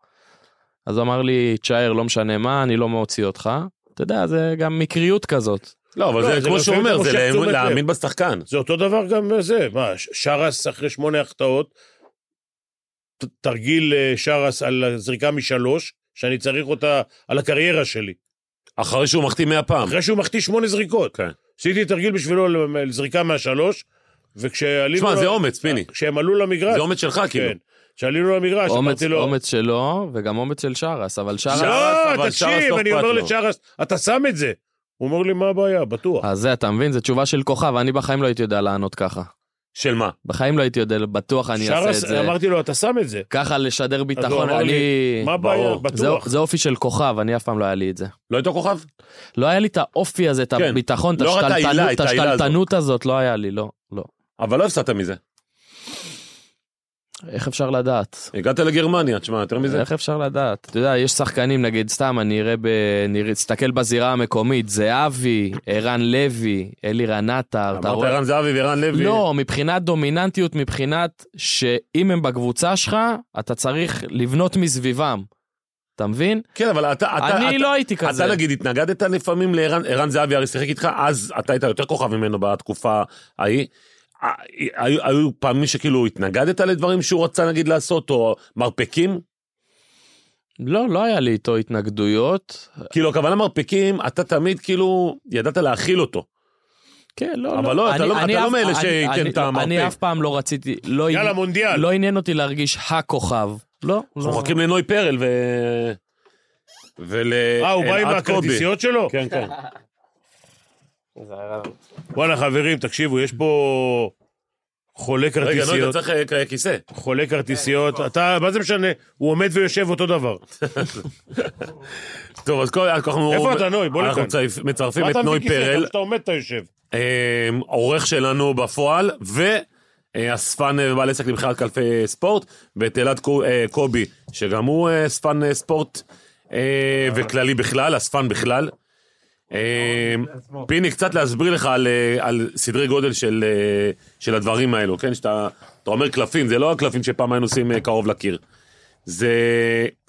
[SPEAKER 5] אז הוא אמר לי, תשאר, לא משנה מה, אני לא מוציא אותך. אתה יודע, זה גם מקריות כזאת.
[SPEAKER 4] לא, אבל
[SPEAKER 6] לא,
[SPEAKER 4] זה
[SPEAKER 6] זה
[SPEAKER 4] כמו
[SPEAKER 6] לפעמים
[SPEAKER 4] שהוא אומר,
[SPEAKER 6] אתה
[SPEAKER 4] זה
[SPEAKER 6] מושך תשומת
[SPEAKER 4] לה-
[SPEAKER 6] לב.
[SPEAKER 4] להאמין בשחקן.
[SPEAKER 6] זה אותו דבר גם זה, מה, ש- שרס אחרי שמונה החטאות, ת- תרגיל אה, שרס על הזריקה משלוש, שאני צריך אותה על הקריירה שלי.
[SPEAKER 4] אחרי שהוא מחטיא 100 פעם.
[SPEAKER 6] אחרי שהוא מחטיא שמונה זריקות.
[SPEAKER 4] כן.
[SPEAKER 6] עשיתי תרגיל בשבילו ל- לזריקה מהשלוש, וכשעלינו...
[SPEAKER 4] תשמע,
[SPEAKER 6] ל-
[SPEAKER 4] זה אומץ, פיני.
[SPEAKER 6] כשהם עלו למגרש.
[SPEAKER 4] זה אומץ שלך, כאילו.
[SPEAKER 6] כן. כשעלינו למגרש,
[SPEAKER 5] אומץ,
[SPEAKER 6] אמרתי לו...
[SPEAKER 5] אומץ שלו, וגם אומץ של שרס, אבל שרס...
[SPEAKER 6] לא,
[SPEAKER 4] אבל שרס
[SPEAKER 6] תקשיב,
[SPEAKER 4] לא
[SPEAKER 6] אני
[SPEAKER 4] אכפת
[SPEAKER 6] אומר
[SPEAKER 4] לו.
[SPEAKER 6] לשרס, אתה שם את זה. הוא אומר לי, מה הבעיה? בטוח.
[SPEAKER 4] אה,
[SPEAKER 5] אז זה, אתה מבין? זו תשובה של כוכב, אני בחיים לא הייתי יודע לענות ככה.
[SPEAKER 4] של מה?
[SPEAKER 5] בחיים לא הייתי יודע, בטוח אני אעשה את
[SPEAKER 6] שרס,
[SPEAKER 5] זה.
[SPEAKER 6] אמרתי לו, אתה שם את זה.
[SPEAKER 5] ככה לשדר
[SPEAKER 6] אז הוא
[SPEAKER 5] ביטחון,
[SPEAKER 6] אמר לי,
[SPEAKER 5] אני...
[SPEAKER 6] מה הבעיה?
[SPEAKER 4] ברור.
[SPEAKER 5] זה-
[SPEAKER 6] בטוח.
[SPEAKER 5] זה אופי של כוכב, אני אף פעם לא היה לי את זה.
[SPEAKER 4] לא הייתה כוכב?
[SPEAKER 5] לא היה לי את האופי הזה, את
[SPEAKER 4] כן.
[SPEAKER 5] הביטחון, את
[SPEAKER 4] לא רק את העילה,
[SPEAKER 5] השתלטנות-
[SPEAKER 4] את
[SPEAKER 5] את
[SPEAKER 4] העילה
[SPEAKER 5] השתלטנות הזאת, לא היה לי, לא, לא.
[SPEAKER 4] אבל לא הפסדת מזה.
[SPEAKER 5] איך אפשר לדעת?
[SPEAKER 4] הגעת לגרמניה, תשמע, יותר מזה.
[SPEAKER 5] איך אפשר לדעת? אתה יודע, יש שחקנים, נגיד, סתם, אני אראה ב... אני אסתכל בזירה המקומית, זהבי, ערן לוי, אלי רנטר, אתה
[SPEAKER 4] אמרת
[SPEAKER 5] רואה?
[SPEAKER 4] ערן זהבי וערן לוי.
[SPEAKER 5] לא, מבחינת דומיננטיות, מבחינת שאם הם בקבוצה שלך, אתה צריך לבנות מסביבם. אתה מבין?
[SPEAKER 4] כן, אבל אתה... אתה-
[SPEAKER 5] אני
[SPEAKER 4] אתה-
[SPEAKER 5] לא הייתי כזה.
[SPEAKER 4] אתה נגיד התנגדת לפעמים לערן ערן זהבי, הרי שיחק איתך, אז אתה היית יותר כוכב ממנו בתקופה ההיא. אה, היו, היו פעמים שכאילו התנגדת לדברים שהוא רצה נגיד לעשות, או מרפקים?
[SPEAKER 5] לא, לא היה לי איתו התנגדויות.
[SPEAKER 4] כאילו, הכוונה מרפקים, אתה תמיד כאילו ידעת להכיל אותו.
[SPEAKER 5] כן, לא,
[SPEAKER 4] אבל לא, אתה
[SPEAKER 5] אני-
[SPEAKER 4] לא-
[SPEAKER 5] אני
[SPEAKER 4] אתה לא
[SPEAKER 5] אף-
[SPEAKER 4] מאלה
[SPEAKER 5] אני-
[SPEAKER 4] שייתן
[SPEAKER 5] אני-
[SPEAKER 4] את המרפק.
[SPEAKER 5] אני אף פעם לא רציתי, לא
[SPEAKER 6] יאללה,
[SPEAKER 5] עני-
[SPEAKER 6] מונדיאל.
[SPEAKER 5] לא עניין אותי להרגיש הכוכב. לא,
[SPEAKER 4] אנחנו
[SPEAKER 5] לא.
[SPEAKER 4] מחכים לנוי פרל ו... ול...
[SPEAKER 6] אה, הוא בא עם
[SPEAKER 4] אלעד קובי.
[SPEAKER 6] הכרטיסיות שלו?
[SPEAKER 4] כן, כן.
[SPEAKER 6] וואלה, חברים, תקשיבו, יש פה חולה
[SPEAKER 4] רגע, נוי, אתה
[SPEAKER 6] כרטיסיות.
[SPEAKER 4] צריך אה, כיסא.
[SPEAKER 6] חולה כרטיסיות. אתה, מה זה משנה? הוא עומד ויושב אותו דבר.
[SPEAKER 4] טוב, אז כל... אנחנו...
[SPEAKER 6] איפה אתה, נוי? בוא
[SPEAKER 4] אנחנו
[SPEAKER 6] לכאן.
[SPEAKER 4] מצרפ- מצרפים
[SPEAKER 6] מה
[SPEAKER 4] את
[SPEAKER 6] אתה
[SPEAKER 4] נוי
[SPEAKER 6] מביא כיסא? גם
[SPEAKER 4] פרל,
[SPEAKER 6] כשאתה עומד אתה יושב.
[SPEAKER 4] אה, עורך שלנו בפועל, אה, ואספן ובעל עסק למכירת קלפי ספורט, ואת אלעד קו- אה, קובי, שגם הוא אה, אספן אה, ספורט, אה, וכללי בכלל, אספן בכלל. אה, פיני, קצת להסביר לך על, אה, על סדרי גודל של, אה, של הדברים האלו, כן? שאתה אתה אומר קלפים, זה לא הקלפים שפעם היינו עושים אה, קרוב לקיר. זה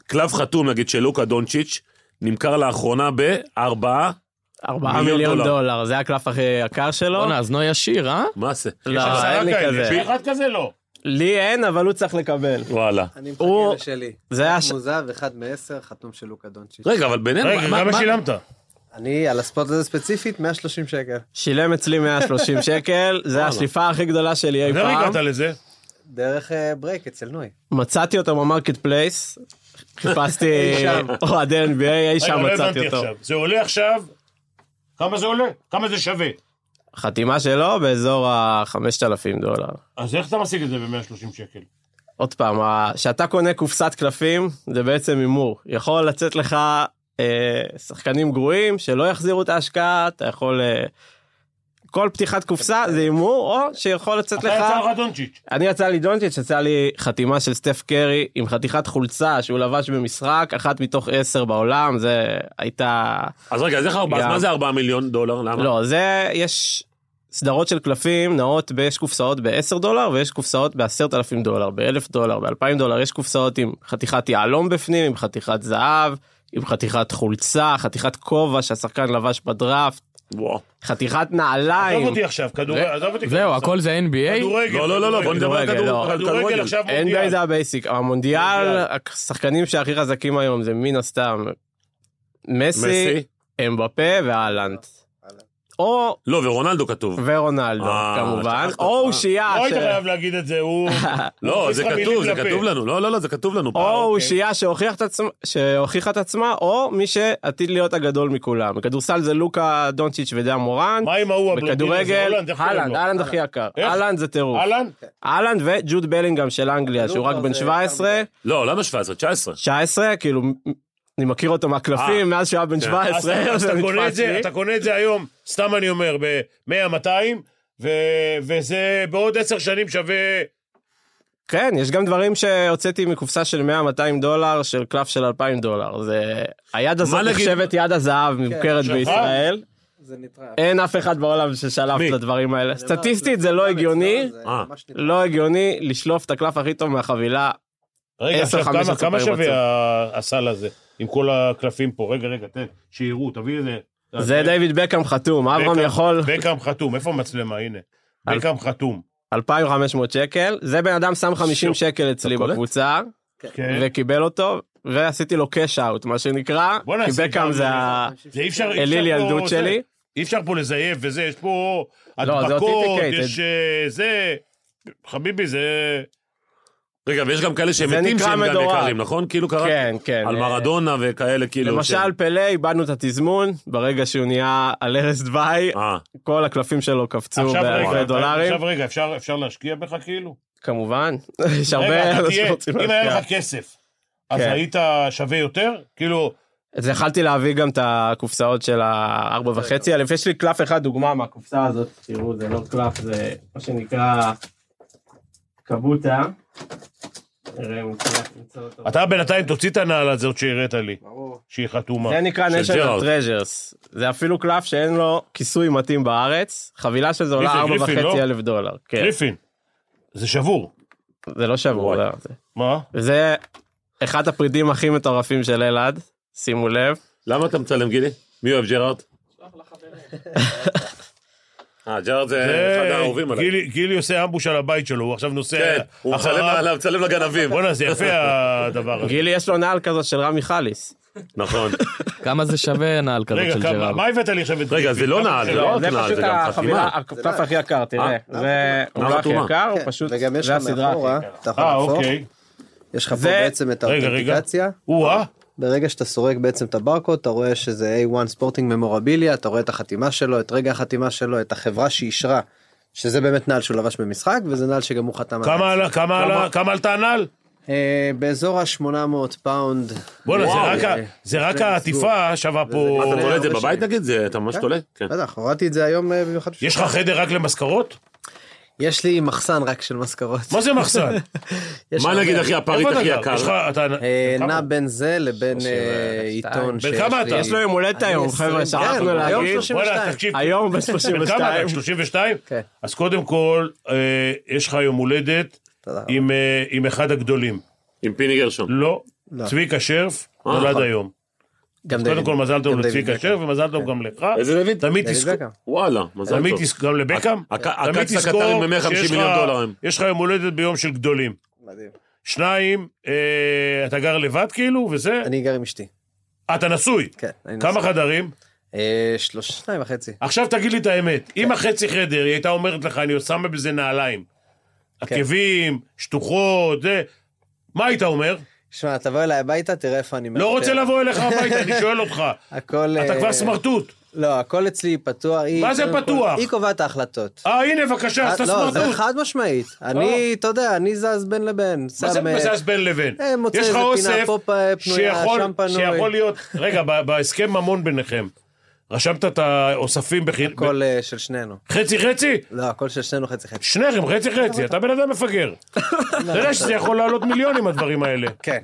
[SPEAKER 4] קלף חתום, נגיד, של לוקה דונצ'יץ', נמכר לאחרונה בארבעה,
[SPEAKER 8] 4
[SPEAKER 4] מיליון
[SPEAKER 8] מיליון
[SPEAKER 4] דולר.
[SPEAKER 8] דולר, זה הקלף הכי יקר שלו.
[SPEAKER 5] בואנה, אז נוי עשיר, אה?
[SPEAKER 4] מה זה?
[SPEAKER 8] לא,
[SPEAKER 6] יש עשרה
[SPEAKER 8] אין לי
[SPEAKER 6] כאלה,
[SPEAKER 8] כזה.
[SPEAKER 6] יש אחד כזה לא.
[SPEAKER 8] לי אין, אבל הוא צריך לקבל.
[SPEAKER 4] וואלה.
[SPEAKER 9] אני מחכה
[SPEAKER 8] הוא-
[SPEAKER 9] לשלי.
[SPEAKER 8] זה היה ש-
[SPEAKER 9] אחד מוזב, אחד מעשר, חתום של לוקה דונצ'יץ'.
[SPEAKER 4] רגע, אבל בינינו...
[SPEAKER 6] רגע,
[SPEAKER 4] מה-
[SPEAKER 6] כמה
[SPEAKER 4] מה-
[SPEAKER 6] שילמת?
[SPEAKER 9] אני, על הספורט הזה ספציפית, 130 שקל.
[SPEAKER 8] שילם אצלי 130 שקל, זה השליפה הכי גדולה שלי אי
[SPEAKER 6] איך
[SPEAKER 8] פעם.
[SPEAKER 6] הגעת לזה?
[SPEAKER 9] דרך אה, ברייק אצל נוי.
[SPEAKER 8] מצאתי אותו במרקט פלייס, חיפשתי
[SPEAKER 9] אי שם.
[SPEAKER 8] אוהדי NBA, אי
[SPEAKER 6] רגע,
[SPEAKER 8] שם
[SPEAKER 6] לא
[SPEAKER 8] מצאתי
[SPEAKER 6] הבנתי
[SPEAKER 8] אותו.
[SPEAKER 6] עכשיו. זה עולה עכשיו? כמה זה עולה? כמה זה שווה?
[SPEAKER 8] חתימה שלו באזור ה-5,000 דולר.
[SPEAKER 6] אז איך אתה משיג את זה ב-130 שקל?
[SPEAKER 8] עוד פעם, ה- כשאתה קונה קופסת קלפים, זה בעצם הימור. יכול לצאת לך אה, שחקנים גרועים שלא יחזירו את ההשקעה, אתה יכול... אה, כל פתיחת קופסה זה הימור, או שיכול לצאת
[SPEAKER 6] אתה
[SPEAKER 8] לך...
[SPEAKER 6] יצא לך דונצ'יץ'.
[SPEAKER 8] אני יצא לי דונצ'יץ', יצא לי חתימה של סטף קרי עם חתיכת חולצה שהוא לבש במשחק, אחת מתוך עשר בעולם, זה הייתה...
[SPEAKER 4] אז רגע, אז איך ארבע? אז
[SPEAKER 8] גם.
[SPEAKER 4] מה זה ארבעה מיליון דולר? למה?
[SPEAKER 8] לא, זה, יש סדרות של קלפים נעות, ב- יש קופסאות ב-10 דולר ויש קופסאות ב-10,000 דולר, ב-1,000 דולר, ב-2,000 דולר, יש קופסאות עם חתיכת יהלום בפנים, עם חתיכת זהב, עם חתיכת חולצה, חתיכת כובע שהשחקן לבש בדראפט,
[SPEAKER 4] וואו.
[SPEAKER 8] חתיכת
[SPEAKER 6] עזוב
[SPEAKER 8] נעליים.
[SPEAKER 6] אותי עכשיו, כדורגל, עזוב אותי.
[SPEAKER 5] זהו,
[SPEAKER 6] כדורסל.
[SPEAKER 5] הכל זה NBA?
[SPEAKER 6] כדורגל.
[SPEAKER 4] לא, לא, לא, לא, בוא נדבר על
[SPEAKER 8] כדורגל,
[SPEAKER 4] כדור-
[SPEAKER 8] לא.
[SPEAKER 4] על
[SPEAKER 6] כדורגל
[SPEAKER 4] כדורגל.
[SPEAKER 6] עכשיו
[SPEAKER 8] NBA
[SPEAKER 6] מונדיאל.
[SPEAKER 8] זה הבייסיק. המונדיאל, השחקנים שהכי חזקים היום זה מן הסתם מסי,
[SPEAKER 4] מסי.
[SPEAKER 8] אמבפה ואלנט. או
[SPEAKER 4] לא, ורונלדו כתוב.
[SPEAKER 8] ורונלדו
[SPEAKER 4] אה,
[SPEAKER 8] כמובן,
[SPEAKER 4] שכחת.
[SPEAKER 8] או אושייה,
[SPEAKER 6] לא
[SPEAKER 8] ש-
[SPEAKER 6] היית חייב להגיד את זה, הוא...
[SPEAKER 4] לא,
[SPEAKER 6] מכניס
[SPEAKER 4] זה
[SPEAKER 6] לך מילים
[SPEAKER 4] כתוב, זה
[SPEAKER 6] לפה.
[SPEAKER 4] כתוב לנו. לא, לא, לא, זה כתוב לנו.
[SPEAKER 6] אה,
[SPEAKER 8] או
[SPEAKER 4] פעם.
[SPEAKER 6] אוקיי.
[SPEAKER 8] אושייה שהוכיח את עצמה- שהוכיחה את עצמה, או מי שעתיד להיות הגדול מכולם. בכדורסל זה לוקה דונצ'יץ' ודיה מורן,
[SPEAKER 6] מה עם ההוא הבלונדיני?
[SPEAKER 8] בכדורגל,
[SPEAKER 6] הולנד, איך קוראים
[SPEAKER 8] אהלנד,
[SPEAKER 6] לו?
[SPEAKER 8] אהלנד הכי יקר,
[SPEAKER 6] אה, איך?
[SPEAKER 8] אהלנד זה טירוף,
[SPEAKER 6] אהלן?
[SPEAKER 8] אהלנד וג'וד בלינגהם של אנגליה,
[SPEAKER 9] לוקה
[SPEAKER 8] שהוא רק
[SPEAKER 9] זה
[SPEAKER 8] בן
[SPEAKER 9] יותר
[SPEAKER 8] 17,
[SPEAKER 9] מדי.
[SPEAKER 4] לא, למה 17? 19.
[SPEAKER 8] 19, כאילו, אני מכיר אותו
[SPEAKER 4] אה.
[SPEAKER 8] מהקלפים מאז שהוא היה בן
[SPEAKER 4] כן.
[SPEAKER 6] אז
[SPEAKER 8] 17,
[SPEAKER 6] אתה- אז
[SPEAKER 8] זה
[SPEAKER 6] אתה קונה את
[SPEAKER 8] נתפס
[SPEAKER 6] זה,
[SPEAKER 8] לי.
[SPEAKER 6] אתה קונה את זה היום, סתם אני אומר, ב-100-200, וזה בעוד עשר שנים שווה...
[SPEAKER 8] כן, יש גם דברים שהוצאתי מקופסה של 100-200 דולר, של קלף של 2,000 דולר, זה... היד הזאת
[SPEAKER 4] נגיד?
[SPEAKER 8] נחשבת יד הזהב מוכרת
[SPEAKER 6] שלך?
[SPEAKER 8] בישראל.
[SPEAKER 9] זה נטרף.
[SPEAKER 8] אין אף אחד בעולם ששלף
[SPEAKER 4] מי?
[SPEAKER 8] את הדברים האלה.
[SPEAKER 9] אני אומר,
[SPEAKER 8] סטטיסטית זה לא
[SPEAKER 9] גם
[SPEAKER 8] הגיוני,
[SPEAKER 9] אצלו זה
[SPEAKER 4] אה.
[SPEAKER 9] ממש נטרף.
[SPEAKER 8] לא הגיוני לשלוף את הקלף הכי טוב מהחבילה.
[SPEAKER 4] אוקיי.
[SPEAKER 6] רגע,
[SPEAKER 8] עשר,
[SPEAKER 6] עכשיו
[SPEAKER 8] חמש
[SPEAKER 6] כמה-
[SPEAKER 8] עשרה
[SPEAKER 6] כמה
[SPEAKER 8] פעמים
[SPEAKER 6] שווה
[SPEAKER 8] רצוף.
[SPEAKER 6] ה- הסל הזה, עם כל הקלפים פה? רגע, רגע, תן, שיראו, תביא איזה...
[SPEAKER 8] זה דיוויד בקאם חתום, אברהם
[SPEAKER 6] בקאם-
[SPEAKER 8] יכול
[SPEAKER 6] בקאם חתום, איפה המצלמה? הנה.
[SPEAKER 8] על-
[SPEAKER 6] בקאם חתום.
[SPEAKER 8] 2,500 שקל, זה בן אדם שם 50 שקל אצלי
[SPEAKER 4] אתה קולט?
[SPEAKER 8] בקבוצה,
[SPEAKER 6] כן.
[SPEAKER 8] וקיבל אותו, ועשיתי לו קאש אאוט, מה שנקרא,
[SPEAKER 6] בוא
[SPEAKER 8] כי
[SPEAKER 6] נעשה
[SPEAKER 8] בקאם
[SPEAKER 6] גם
[SPEAKER 8] זה ה-
[SPEAKER 6] זה אי אפשר... אי אפשר
[SPEAKER 8] אליל
[SPEAKER 6] פה
[SPEAKER 8] ילדות
[SPEAKER 6] זה.
[SPEAKER 8] שלי. לא,
[SPEAKER 6] אי אפשר פה לזייף וזה, יש פה
[SPEAKER 8] זה
[SPEAKER 6] הדבקות,
[SPEAKER 8] authenticated.
[SPEAKER 6] יש אה, זה... חביבי, זה...
[SPEAKER 4] רגע, ויש גם כאלה שהם
[SPEAKER 8] זה
[SPEAKER 4] מתים
[SPEAKER 8] נקרא
[SPEAKER 4] שהם גם
[SPEAKER 8] מדורג.
[SPEAKER 4] יקרים, נכון? כאילו קראתי.
[SPEAKER 8] כן, כן.
[SPEAKER 4] על
[SPEAKER 8] אה,
[SPEAKER 4] מרדונה וכאלה, כאילו.
[SPEAKER 8] למשל
[SPEAKER 4] שהם-
[SPEAKER 8] פלא, איבדנו את התזמון, ברגע שהוא נהיה על ערש דווי,
[SPEAKER 4] אה,
[SPEAKER 8] כל הקלפים שלו קפצו
[SPEAKER 6] עכשיו
[SPEAKER 8] באלפי
[SPEAKER 6] רגע,
[SPEAKER 8] דולרים,
[SPEAKER 6] עכשיו רגע, אפשר- אפשר להשקיע בך כאילו?
[SPEAKER 8] כמובן, יש הרבה
[SPEAKER 6] רגע, אתה
[SPEAKER 8] אנשים
[SPEAKER 6] תהיה,
[SPEAKER 8] שרוצים
[SPEAKER 6] אם היה
[SPEAKER 8] להשקיע.
[SPEAKER 6] לך כסף, אז
[SPEAKER 8] כן.
[SPEAKER 6] היית שווה יותר? כאילו,
[SPEAKER 8] אז יכלתי להביא גם את הקופסאות של הארבע וחצי אלף, יש לי קלף אחד דוגמה מהקופסה הזאת, תראו זה לא קלף זה מה שנקרא קבוטה. נראה אם נצליח למצוא אותו.
[SPEAKER 6] אתה בינתיים תוציא את הנעל הזאת שהראית לי,
[SPEAKER 9] ברור.
[SPEAKER 6] שהיא חתומה.
[SPEAKER 8] זה נקרא
[SPEAKER 4] של
[SPEAKER 8] national
[SPEAKER 4] ג'רארד.
[SPEAKER 8] treasures, זה אפילו קלף שאין לו כיסוי מתאים בארץ, חבילה של זה עולה
[SPEAKER 6] גריפין,
[SPEAKER 8] ארבע
[SPEAKER 6] גריפין,
[SPEAKER 8] וחצי
[SPEAKER 6] לא?
[SPEAKER 8] אלף דולר, כן,
[SPEAKER 6] גריפין, זה שבור.
[SPEAKER 8] זה לא שבור,
[SPEAKER 6] וואי.
[SPEAKER 8] לא, זה-
[SPEAKER 6] מה?
[SPEAKER 8] וזה אחד הפרידים הכי מטורפים של אלעד, שימו לב,
[SPEAKER 4] למה אתה מצלם, גילי? מי אוהב ג'רארד? אה, ג'רארד זה אחד האהובים עליי.
[SPEAKER 6] גילי- גילי עושה אמבוש על הבית שלו, הוא עכשיו נוסע
[SPEAKER 4] כן, הוא מצלם
[SPEAKER 6] אחריו.
[SPEAKER 4] עליו, מצלם לגנבים.
[SPEAKER 6] בואנה, זה יפה הדבר הזה.
[SPEAKER 8] גילי יש לו נעל כזאת של רמי חליס,
[SPEAKER 4] נכון.
[SPEAKER 5] כמה זה שווה נעל כזאת
[SPEAKER 6] רגע,
[SPEAKER 5] של
[SPEAKER 6] כמה-
[SPEAKER 5] ג'רארד?
[SPEAKER 6] מה הבאת לי עכשיו את
[SPEAKER 4] רגע,
[SPEAKER 6] גריפין?
[SPEAKER 4] זה לא
[SPEAKER 6] כמה
[SPEAKER 4] נעל,
[SPEAKER 6] זה
[SPEAKER 4] לא?
[SPEAKER 9] כן,
[SPEAKER 8] זה
[SPEAKER 4] נעל,
[SPEAKER 8] פשוט
[SPEAKER 4] זה גם חתימה.
[SPEAKER 8] החבילה, הקלף הכי יקר, תראה.
[SPEAKER 4] אה,
[SPEAKER 8] זה הוא לא הכי
[SPEAKER 4] חתומה.
[SPEAKER 8] יקר, הוא
[SPEAKER 9] כן,
[SPEAKER 8] פשוט,
[SPEAKER 9] וגם יש
[SPEAKER 8] זה
[SPEAKER 9] לך
[SPEAKER 8] הסדרה הכי
[SPEAKER 9] מאחורה,
[SPEAKER 8] יקרה.
[SPEAKER 9] אתה יכול
[SPEAKER 6] אה,
[SPEAKER 9] להפוך,
[SPEAKER 6] אוקיי.
[SPEAKER 9] יש לך פה
[SPEAKER 8] זה-
[SPEAKER 9] בעצם את
[SPEAKER 6] רגע, רגע.
[SPEAKER 9] האותנטיקציה,
[SPEAKER 6] או-אה,
[SPEAKER 9] ברגע שאתה סורק בעצם את הברקוד אתה רואה שזה A1 ספורטינג ממורביליה, אתה רואה את החתימה שלו, את רגע החתימה שלו, את החברה שאישרה, שזה באמת נעל שהוא לבש במשחק וזה נעל שגם הוא חתם עליה.
[SPEAKER 6] כמה עלה- כמה עלה- כמה עלתה הנעל?
[SPEAKER 9] אה, באזור ה-800 פאונד.
[SPEAKER 6] בואנה, זה
[SPEAKER 9] אה,
[SPEAKER 6] רק ה- זה רק
[SPEAKER 9] לפני
[SPEAKER 6] העטיפה שווה פה...
[SPEAKER 9] וזה
[SPEAKER 4] אתה תולה את זה
[SPEAKER 9] הרבה
[SPEAKER 4] בבית
[SPEAKER 6] לא
[SPEAKER 9] שנים.
[SPEAKER 4] נגיד? זה- אתה ממש
[SPEAKER 9] כן.
[SPEAKER 4] תולה? כן.
[SPEAKER 9] בטח, הורדתי את זה היום אה, במיוחד. בשביל-
[SPEAKER 6] יש לך חדר רק למזכרות?
[SPEAKER 9] יש לי מחסן רק של משכורות.
[SPEAKER 6] מה זה מחסן?
[SPEAKER 9] יש
[SPEAKER 4] מה
[SPEAKER 9] הרבה.
[SPEAKER 4] נגיד, אחי, הפריט
[SPEAKER 6] איפה אתה
[SPEAKER 4] הכי
[SPEAKER 6] גר?
[SPEAKER 4] יקר?
[SPEAKER 6] יש לך... אתה-
[SPEAKER 9] אה,
[SPEAKER 6] כמה?
[SPEAKER 9] נע בין זה לבין אה, עיתון שיש
[SPEAKER 6] בכמה
[SPEAKER 9] לי.
[SPEAKER 6] אתה?
[SPEAKER 8] יש לו יום הולדת
[SPEAKER 9] אני
[SPEAKER 8] היום,
[SPEAKER 9] עשרים,
[SPEAKER 8] חבר'ה, שכחנו
[SPEAKER 9] כן, היום
[SPEAKER 8] להגיד,
[SPEAKER 9] 32.
[SPEAKER 6] וואלה, תקשיב,
[SPEAKER 8] היום בן
[SPEAKER 6] בן כמה אתה?
[SPEAKER 8] 32,
[SPEAKER 6] 32?
[SPEAKER 9] כן.
[SPEAKER 6] אז קודם כל, אה, יש לך יום הולדת
[SPEAKER 9] תודה רבה.
[SPEAKER 6] עם, אה, עם אחד הגדולים.
[SPEAKER 4] עם פיני גרשון.
[SPEAKER 6] לא,
[SPEAKER 9] לא.
[SPEAKER 6] צביקה שרף
[SPEAKER 4] אה,
[SPEAKER 6] נולד
[SPEAKER 4] נכון.
[SPEAKER 6] היום.
[SPEAKER 9] גם
[SPEAKER 6] קודם
[SPEAKER 9] דיוויד.
[SPEAKER 6] כל מזל טוב
[SPEAKER 9] גם דיוויד
[SPEAKER 6] לצביקה
[SPEAKER 9] בקאם.
[SPEAKER 6] שרף ומזל טוב גם לך.
[SPEAKER 4] איזה דוד?
[SPEAKER 6] תמיד
[SPEAKER 9] דיוויד
[SPEAKER 6] תזכור,
[SPEAKER 9] בקאם.
[SPEAKER 4] וואלה, מזל
[SPEAKER 6] תמיד
[SPEAKER 4] טוב.
[SPEAKER 6] תזכור, גם לבקאם,
[SPEAKER 4] הק-
[SPEAKER 6] תמיד
[SPEAKER 4] הקץ הקטרי
[SPEAKER 6] תזכור
[SPEAKER 4] עם 150
[SPEAKER 6] שיש
[SPEAKER 4] מיליון
[SPEAKER 6] לך-
[SPEAKER 4] דולר. הם.
[SPEAKER 6] יש לך יום הולדת ביום של גדולים.
[SPEAKER 9] מדהים.
[SPEAKER 6] שניים, אה, אתה גר לבד כאילו, וזה,
[SPEAKER 9] אני גר עם אשתי.
[SPEAKER 6] אה, אתה נשוי.
[SPEAKER 9] כן. אני
[SPEAKER 6] כמה
[SPEAKER 9] נשוי.
[SPEAKER 6] חדרים?
[SPEAKER 9] אה, שלוש, שניים וחצי.
[SPEAKER 6] עכשיו תגיד לי את האמת,
[SPEAKER 9] כן.
[SPEAKER 6] אם החצי חדר היא הייתה אומרת לך, אני שמה בזה נעליים,
[SPEAKER 9] כן.
[SPEAKER 6] עקבים, שטוחות, זה, מה היית אומר?
[SPEAKER 9] שמע, תבוא אליי הביתה, תראה איפה אני
[SPEAKER 6] לא רוצה לבוא אליך הביתה, אני שואל אותך.
[SPEAKER 9] הכל...
[SPEAKER 6] אתה
[SPEAKER 9] כן. אה,
[SPEAKER 6] כבר סמרטוט.
[SPEAKER 9] לא, הכל אצלי פתוח. היא-
[SPEAKER 6] מה זה
[SPEAKER 9] קודם כל-
[SPEAKER 6] פתוח?
[SPEAKER 9] היא קובעת את ההחלטות.
[SPEAKER 6] אה, הנה, בבקשה, אז אתה
[SPEAKER 9] לא, זה
[SPEAKER 6] סמרטוט. אה.
[SPEAKER 9] חד משמעית. אני, אתה יודע, אני זז בין לבין.
[SPEAKER 6] מה זה
[SPEAKER 9] שם, אה,
[SPEAKER 6] מזז בין לבין?
[SPEAKER 9] אה, מוצא
[SPEAKER 6] יש לך
[SPEAKER 9] איזה
[SPEAKER 6] אוסף
[SPEAKER 9] פינה, פה פ- פנויה,
[SPEAKER 6] שיכול-
[SPEAKER 9] שם פנוי.
[SPEAKER 6] שיכול להיות... רגע, ב- בהסכם ממון ביניכם, רשמת את האוספים בחינ...
[SPEAKER 9] הכל אה, של שנינו.
[SPEAKER 6] חצי חצי?
[SPEAKER 9] לא, הכל של שנינו חצי חצי.
[SPEAKER 6] שניכם
[SPEAKER 9] כן.
[SPEAKER 6] חצי חצי, אתה בן אדם מפגר. אתה יודע שזה יכול לעלות מיליונים הדברים האלה.
[SPEAKER 9] כן.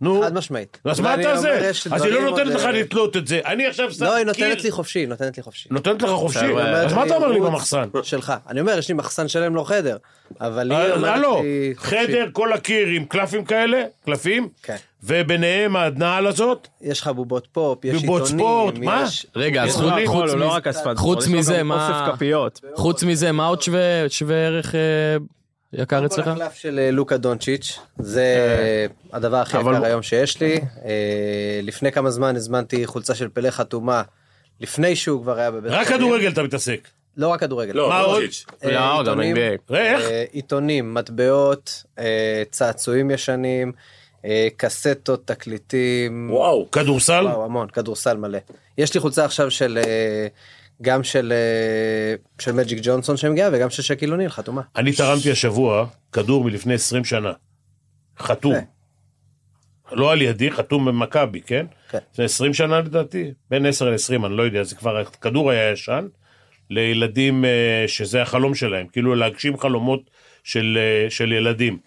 [SPEAKER 6] נו,
[SPEAKER 9] חד משמעית.
[SPEAKER 6] אז מה
[SPEAKER 9] ואני
[SPEAKER 6] אתה
[SPEAKER 9] אומר,
[SPEAKER 6] זה?
[SPEAKER 9] יש
[SPEAKER 6] אז היא
[SPEAKER 9] דברים
[SPEAKER 6] לא נותנת
[SPEAKER 9] עוד,
[SPEAKER 6] לך
[SPEAKER 9] אה,
[SPEAKER 6] לתלות את זה. אני עכשיו שם
[SPEAKER 9] לא, היא
[SPEAKER 6] קיר.
[SPEAKER 9] נותנת לי חופשי, היא נותנת לי חופשי.
[SPEAKER 6] נותנת לך חופשי?
[SPEAKER 9] אומרת
[SPEAKER 6] אז מה
[SPEAKER 9] לי,
[SPEAKER 6] אתה אומר לי
[SPEAKER 9] רוץ
[SPEAKER 6] במחסן?
[SPEAKER 9] שלך. אני אומר, יש לי מחסן שלם, לא חדר. אבל היא
[SPEAKER 6] אה,
[SPEAKER 9] אומרת
[SPEAKER 6] הלו,
[SPEAKER 9] לי חופשי.
[SPEAKER 6] חדר, כל הקיר עם קלפים כאלה, קלפים,
[SPEAKER 9] כן.
[SPEAKER 6] וביניהם הנעל הזאת,
[SPEAKER 9] יש לך בובות פופ, יש
[SPEAKER 6] בובות
[SPEAKER 9] עיתונים,
[SPEAKER 6] ספורט, מה?
[SPEAKER 9] יש...
[SPEAKER 5] רגע, אז
[SPEAKER 6] יש
[SPEAKER 5] חוץ-
[SPEAKER 6] לו הכל,
[SPEAKER 5] חוץ
[SPEAKER 8] הוא לא
[SPEAKER 5] מזה-
[SPEAKER 8] רק הספד,
[SPEAKER 5] חוץ
[SPEAKER 8] יש לו
[SPEAKER 5] מזה,
[SPEAKER 8] גם
[SPEAKER 5] מה-
[SPEAKER 8] אוסף כפיות.
[SPEAKER 5] חוץ מזה, מה עוד שווה שווה ערך אה, יקר
[SPEAKER 9] כל
[SPEAKER 5] אצלך?
[SPEAKER 9] הקלף של אה, לוקה דונצ'יץ', זה
[SPEAKER 6] אה.
[SPEAKER 9] הדבר הכי
[SPEAKER 5] אבל-
[SPEAKER 9] יקר היום שיש לי. אה, לפני כמה זמן הזמנתי חולצה של פלא חתומה, לפני שהוא כבר היה בבית
[SPEAKER 6] רק כדורגל אתה מתעסק.
[SPEAKER 9] לא רק כדורגל.
[SPEAKER 4] לא,
[SPEAKER 6] מה עוד?
[SPEAKER 4] דונצ'יץ'.
[SPEAKER 9] אה,
[SPEAKER 8] לא, גם
[SPEAKER 9] עיתונים.
[SPEAKER 8] NBA.
[SPEAKER 6] ראה, איך?
[SPEAKER 9] אה, עיתונים, מטבעות, אה, צעצועים ישנים, אה, קסטות, תקליטים.
[SPEAKER 4] וואו.
[SPEAKER 6] כדורסל?
[SPEAKER 9] וואו, המון, כדורסל מלא. יש לי חולצה עכשיו של... אה, גם של אה, של מג'יק ג'ונסון שהם גאה וגם של שקיל אוניל חתומה.
[SPEAKER 6] אני תרמתי השבוע כדור מלפני 20 שנה. חתום. לא על ידי, חתום במכבי, כן?
[SPEAKER 9] כן.
[SPEAKER 6] זה 20 שנה לדעתי, בין 10 ל-20, אני לא יודע, זה כבר, הכדור היה ישן, לילדים אה, שזה החלום שלהם, כאילו להגשים חלומות של, אה, של ילדים.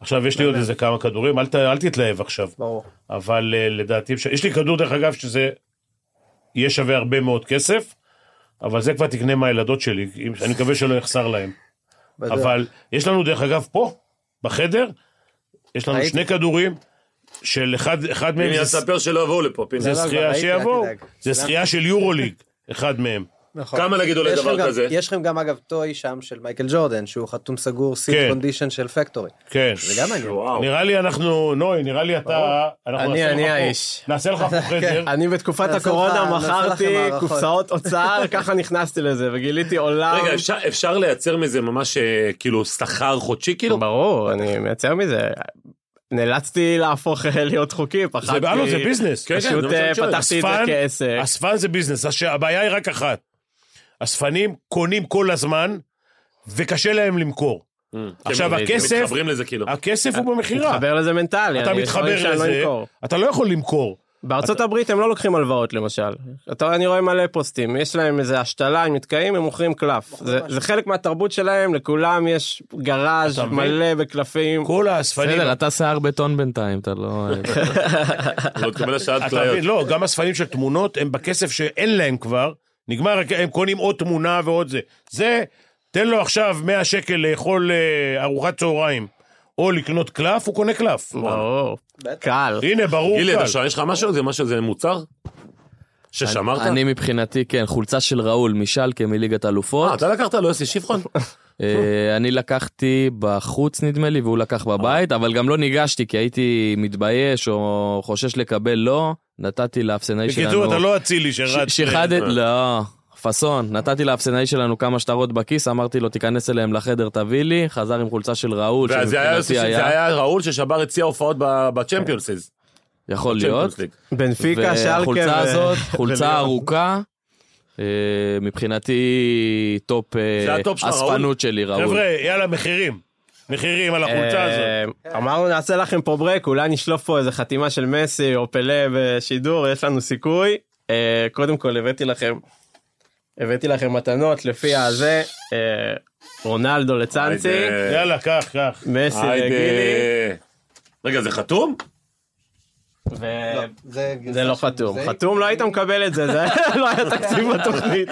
[SPEAKER 6] עכשיו, יש לי עוד איזה כמה כדורים, אל, ת, אל תתלהב עכשיו.
[SPEAKER 9] ברור.
[SPEAKER 6] אבל אה, לדעתי, אפשר- יש לי כדור, דרך אגב, שזה יהיה שווה הרבה מאוד כסף, אבל זה כבר תקנה מהילדות שלי, אם- אני מקווה שלא יחסר להם.
[SPEAKER 9] בטוח.
[SPEAKER 6] אבל יש לנו דרך אגב פה, בחדר, יש לנו
[SPEAKER 9] ראיתי.
[SPEAKER 6] שני כדורים, של אחד, אחד מהם
[SPEAKER 4] הנה,
[SPEAKER 6] זה-
[SPEAKER 4] אספר שלא יבואו לפה, פינה.
[SPEAKER 6] זה
[SPEAKER 9] לא, לא,
[SPEAKER 6] זכייה
[SPEAKER 9] ראיתי, אל
[SPEAKER 6] שיבואו,
[SPEAKER 9] תדאג.
[SPEAKER 6] זה זכייה של יורוליג, אחד מהם.
[SPEAKER 9] נכון.
[SPEAKER 4] כמה נגיד עולה
[SPEAKER 9] יש לכם
[SPEAKER 4] דבר
[SPEAKER 9] גם-
[SPEAKER 4] כזה?
[SPEAKER 9] יש לכם גם אגב טוי שם של מייקל ג'ורדן שהוא חתום סגור סיט
[SPEAKER 6] כן.
[SPEAKER 9] קונדישן של פקטורי.
[SPEAKER 6] כן.
[SPEAKER 9] זה גם מעניין.
[SPEAKER 4] וואו.
[SPEAKER 6] נראה לי אנחנו, נוי, נראה לי אתה, אנחנו
[SPEAKER 8] אני-
[SPEAKER 6] נעשה
[SPEAKER 8] אני
[SPEAKER 6] לך פה-
[SPEAKER 8] האיש.
[SPEAKER 6] נעשה לך
[SPEAKER 4] כן,
[SPEAKER 6] פה חדר.
[SPEAKER 8] אני בתקופת
[SPEAKER 9] נעשה לך-
[SPEAKER 8] הקורונה
[SPEAKER 9] נעשה לכם
[SPEAKER 8] מכרתי
[SPEAKER 9] הערכות.
[SPEAKER 8] קופסאות אוצר, ככה נכנסתי לזה, וגיליתי עולם.
[SPEAKER 4] רגע, אפשר- אפשר לייצר מזה ממש אה, כאילו שכר חודשי כאילו?
[SPEAKER 8] ברור, אני מייצר מזה. נאלצתי להפוך אה, להיות חוקי, פחדתי.
[SPEAKER 6] זה הלו, זה ביזנס.
[SPEAKER 4] כן, כן,
[SPEAKER 8] פשוט
[SPEAKER 4] זה מה שאני
[SPEAKER 8] אה,
[SPEAKER 4] שואל.
[SPEAKER 8] פתחתי את זה
[SPEAKER 6] אספן,
[SPEAKER 8] כעסק.
[SPEAKER 6] אספן זה ביזנס, הש- הבעיה היא רק אחת. אספנים קונים כל הזמן, וקשה להם למכור. עכשיו,
[SPEAKER 4] כן,
[SPEAKER 6] הכסף-
[SPEAKER 4] מתחברים לזה כאילו.
[SPEAKER 6] הכסף הוא במכירה.
[SPEAKER 8] מתחבר לזה מנטלי,
[SPEAKER 6] אתה
[SPEAKER 8] אני
[SPEAKER 6] מתחבר
[SPEAKER 8] לפעמים שאני לא
[SPEAKER 6] לזה,
[SPEAKER 8] אמכור.
[SPEAKER 6] אתה לא יכול למכור.
[SPEAKER 8] בארצות הברית הם לא לוקחים הלוואות למשל. אתה, אני רואה מלא פוסטים, יש להם איזה השתלה, הם נתקעים, הם מוכרים קלף. זה, זה חלק מהתרבות שלהם, לכולם יש גראז'
[SPEAKER 6] לא. אתה מבין?
[SPEAKER 8] מלא בקלפים.
[SPEAKER 6] כל האספנים,
[SPEAKER 5] בסדר, אתה שיער בטון בינתיים, אתה לא...
[SPEAKER 4] לא תקבל השעת
[SPEAKER 6] אתה מבין,
[SPEAKER 4] כליות.
[SPEAKER 6] לא, גם הספנים של תמונות הם בכסף שאין להם כבר, נגמר, הכ- הם קונים עוד תמונה ועוד זה. זה, תן לו עכשיו 100 שקל לאכול אה, ארוחת צהריים, או לקנות קלף, הוא קונה קלף.
[SPEAKER 8] ברור, קל.
[SPEAKER 6] הנה, ברור
[SPEAKER 4] גילי,
[SPEAKER 6] קל.
[SPEAKER 4] אתה שואל, יש לך משהו? זה משהו, זה מוצר? ששמרת?
[SPEAKER 5] אני מבחינתי, כן, חולצה של ראול משלקה מליגת
[SPEAKER 4] אה,
[SPEAKER 5] אלופות.
[SPEAKER 4] אתה לקחת לו יוסי שפחון?
[SPEAKER 5] אה, אני לקחתי בחוץ נדמה לי, והוא לקח
[SPEAKER 4] אה.
[SPEAKER 5] בבית, אבל גם לא ניגשתי כי הייתי מתבייש או חושש לקבל לא, נתתי לאפסנאי שלנו...
[SPEAKER 6] בקיצור, אתה לא אצילי
[SPEAKER 5] ש-
[SPEAKER 6] שרץ.
[SPEAKER 5] שיחדת, לא, פאסון, נתתי לאפסנאי שלנו כמה שטרות בכיס, אמרתי לו תיכנס אליהם לחדר תביא לי, חזר עם חולצה של ראול,
[SPEAKER 4] ואז זה היה יוסי-
[SPEAKER 5] שמבחינתי
[SPEAKER 4] זה
[SPEAKER 5] היה,
[SPEAKER 4] היה ראול ששבר את שיא ההופעות ב- בצ'מפיונסיז.
[SPEAKER 5] יכול להיות,
[SPEAKER 4] צ'מפיונס ליג.
[SPEAKER 8] בנפיקה, שלקה.
[SPEAKER 5] והחולצה
[SPEAKER 8] ו-
[SPEAKER 5] הזאת, חולצה
[SPEAKER 8] וליאון.
[SPEAKER 5] ארוכה, אה, מבחינתי טופ אה,
[SPEAKER 4] זה הטופ שלך, ראול?
[SPEAKER 5] אספנות שלי ראול.
[SPEAKER 6] חבר'ה, יאללה, מחירים. מחירים על החולצה הזאת.
[SPEAKER 8] אה, אמרנו נעשה לכם פה ברק, אולי נשלוף פה איזה חתימה של מסי או פלא בשידור, יש לנו סיכוי. אה, קודם כל הבאתי לכם, הבאתי לכם מתנות לפי הזה, אה, רונלדו לצאנצי,
[SPEAKER 4] היידה.
[SPEAKER 6] יאללה, קח, קח.
[SPEAKER 8] מסי
[SPEAKER 4] היידה.
[SPEAKER 8] לגילי,
[SPEAKER 4] רגע, זה חתום?
[SPEAKER 8] ו-
[SPEAKER 9] זה
[SPEAKER 8] זה לא חתום, חתום לא היית מקבל את זה, זה לא היה תקציב בתוכנית.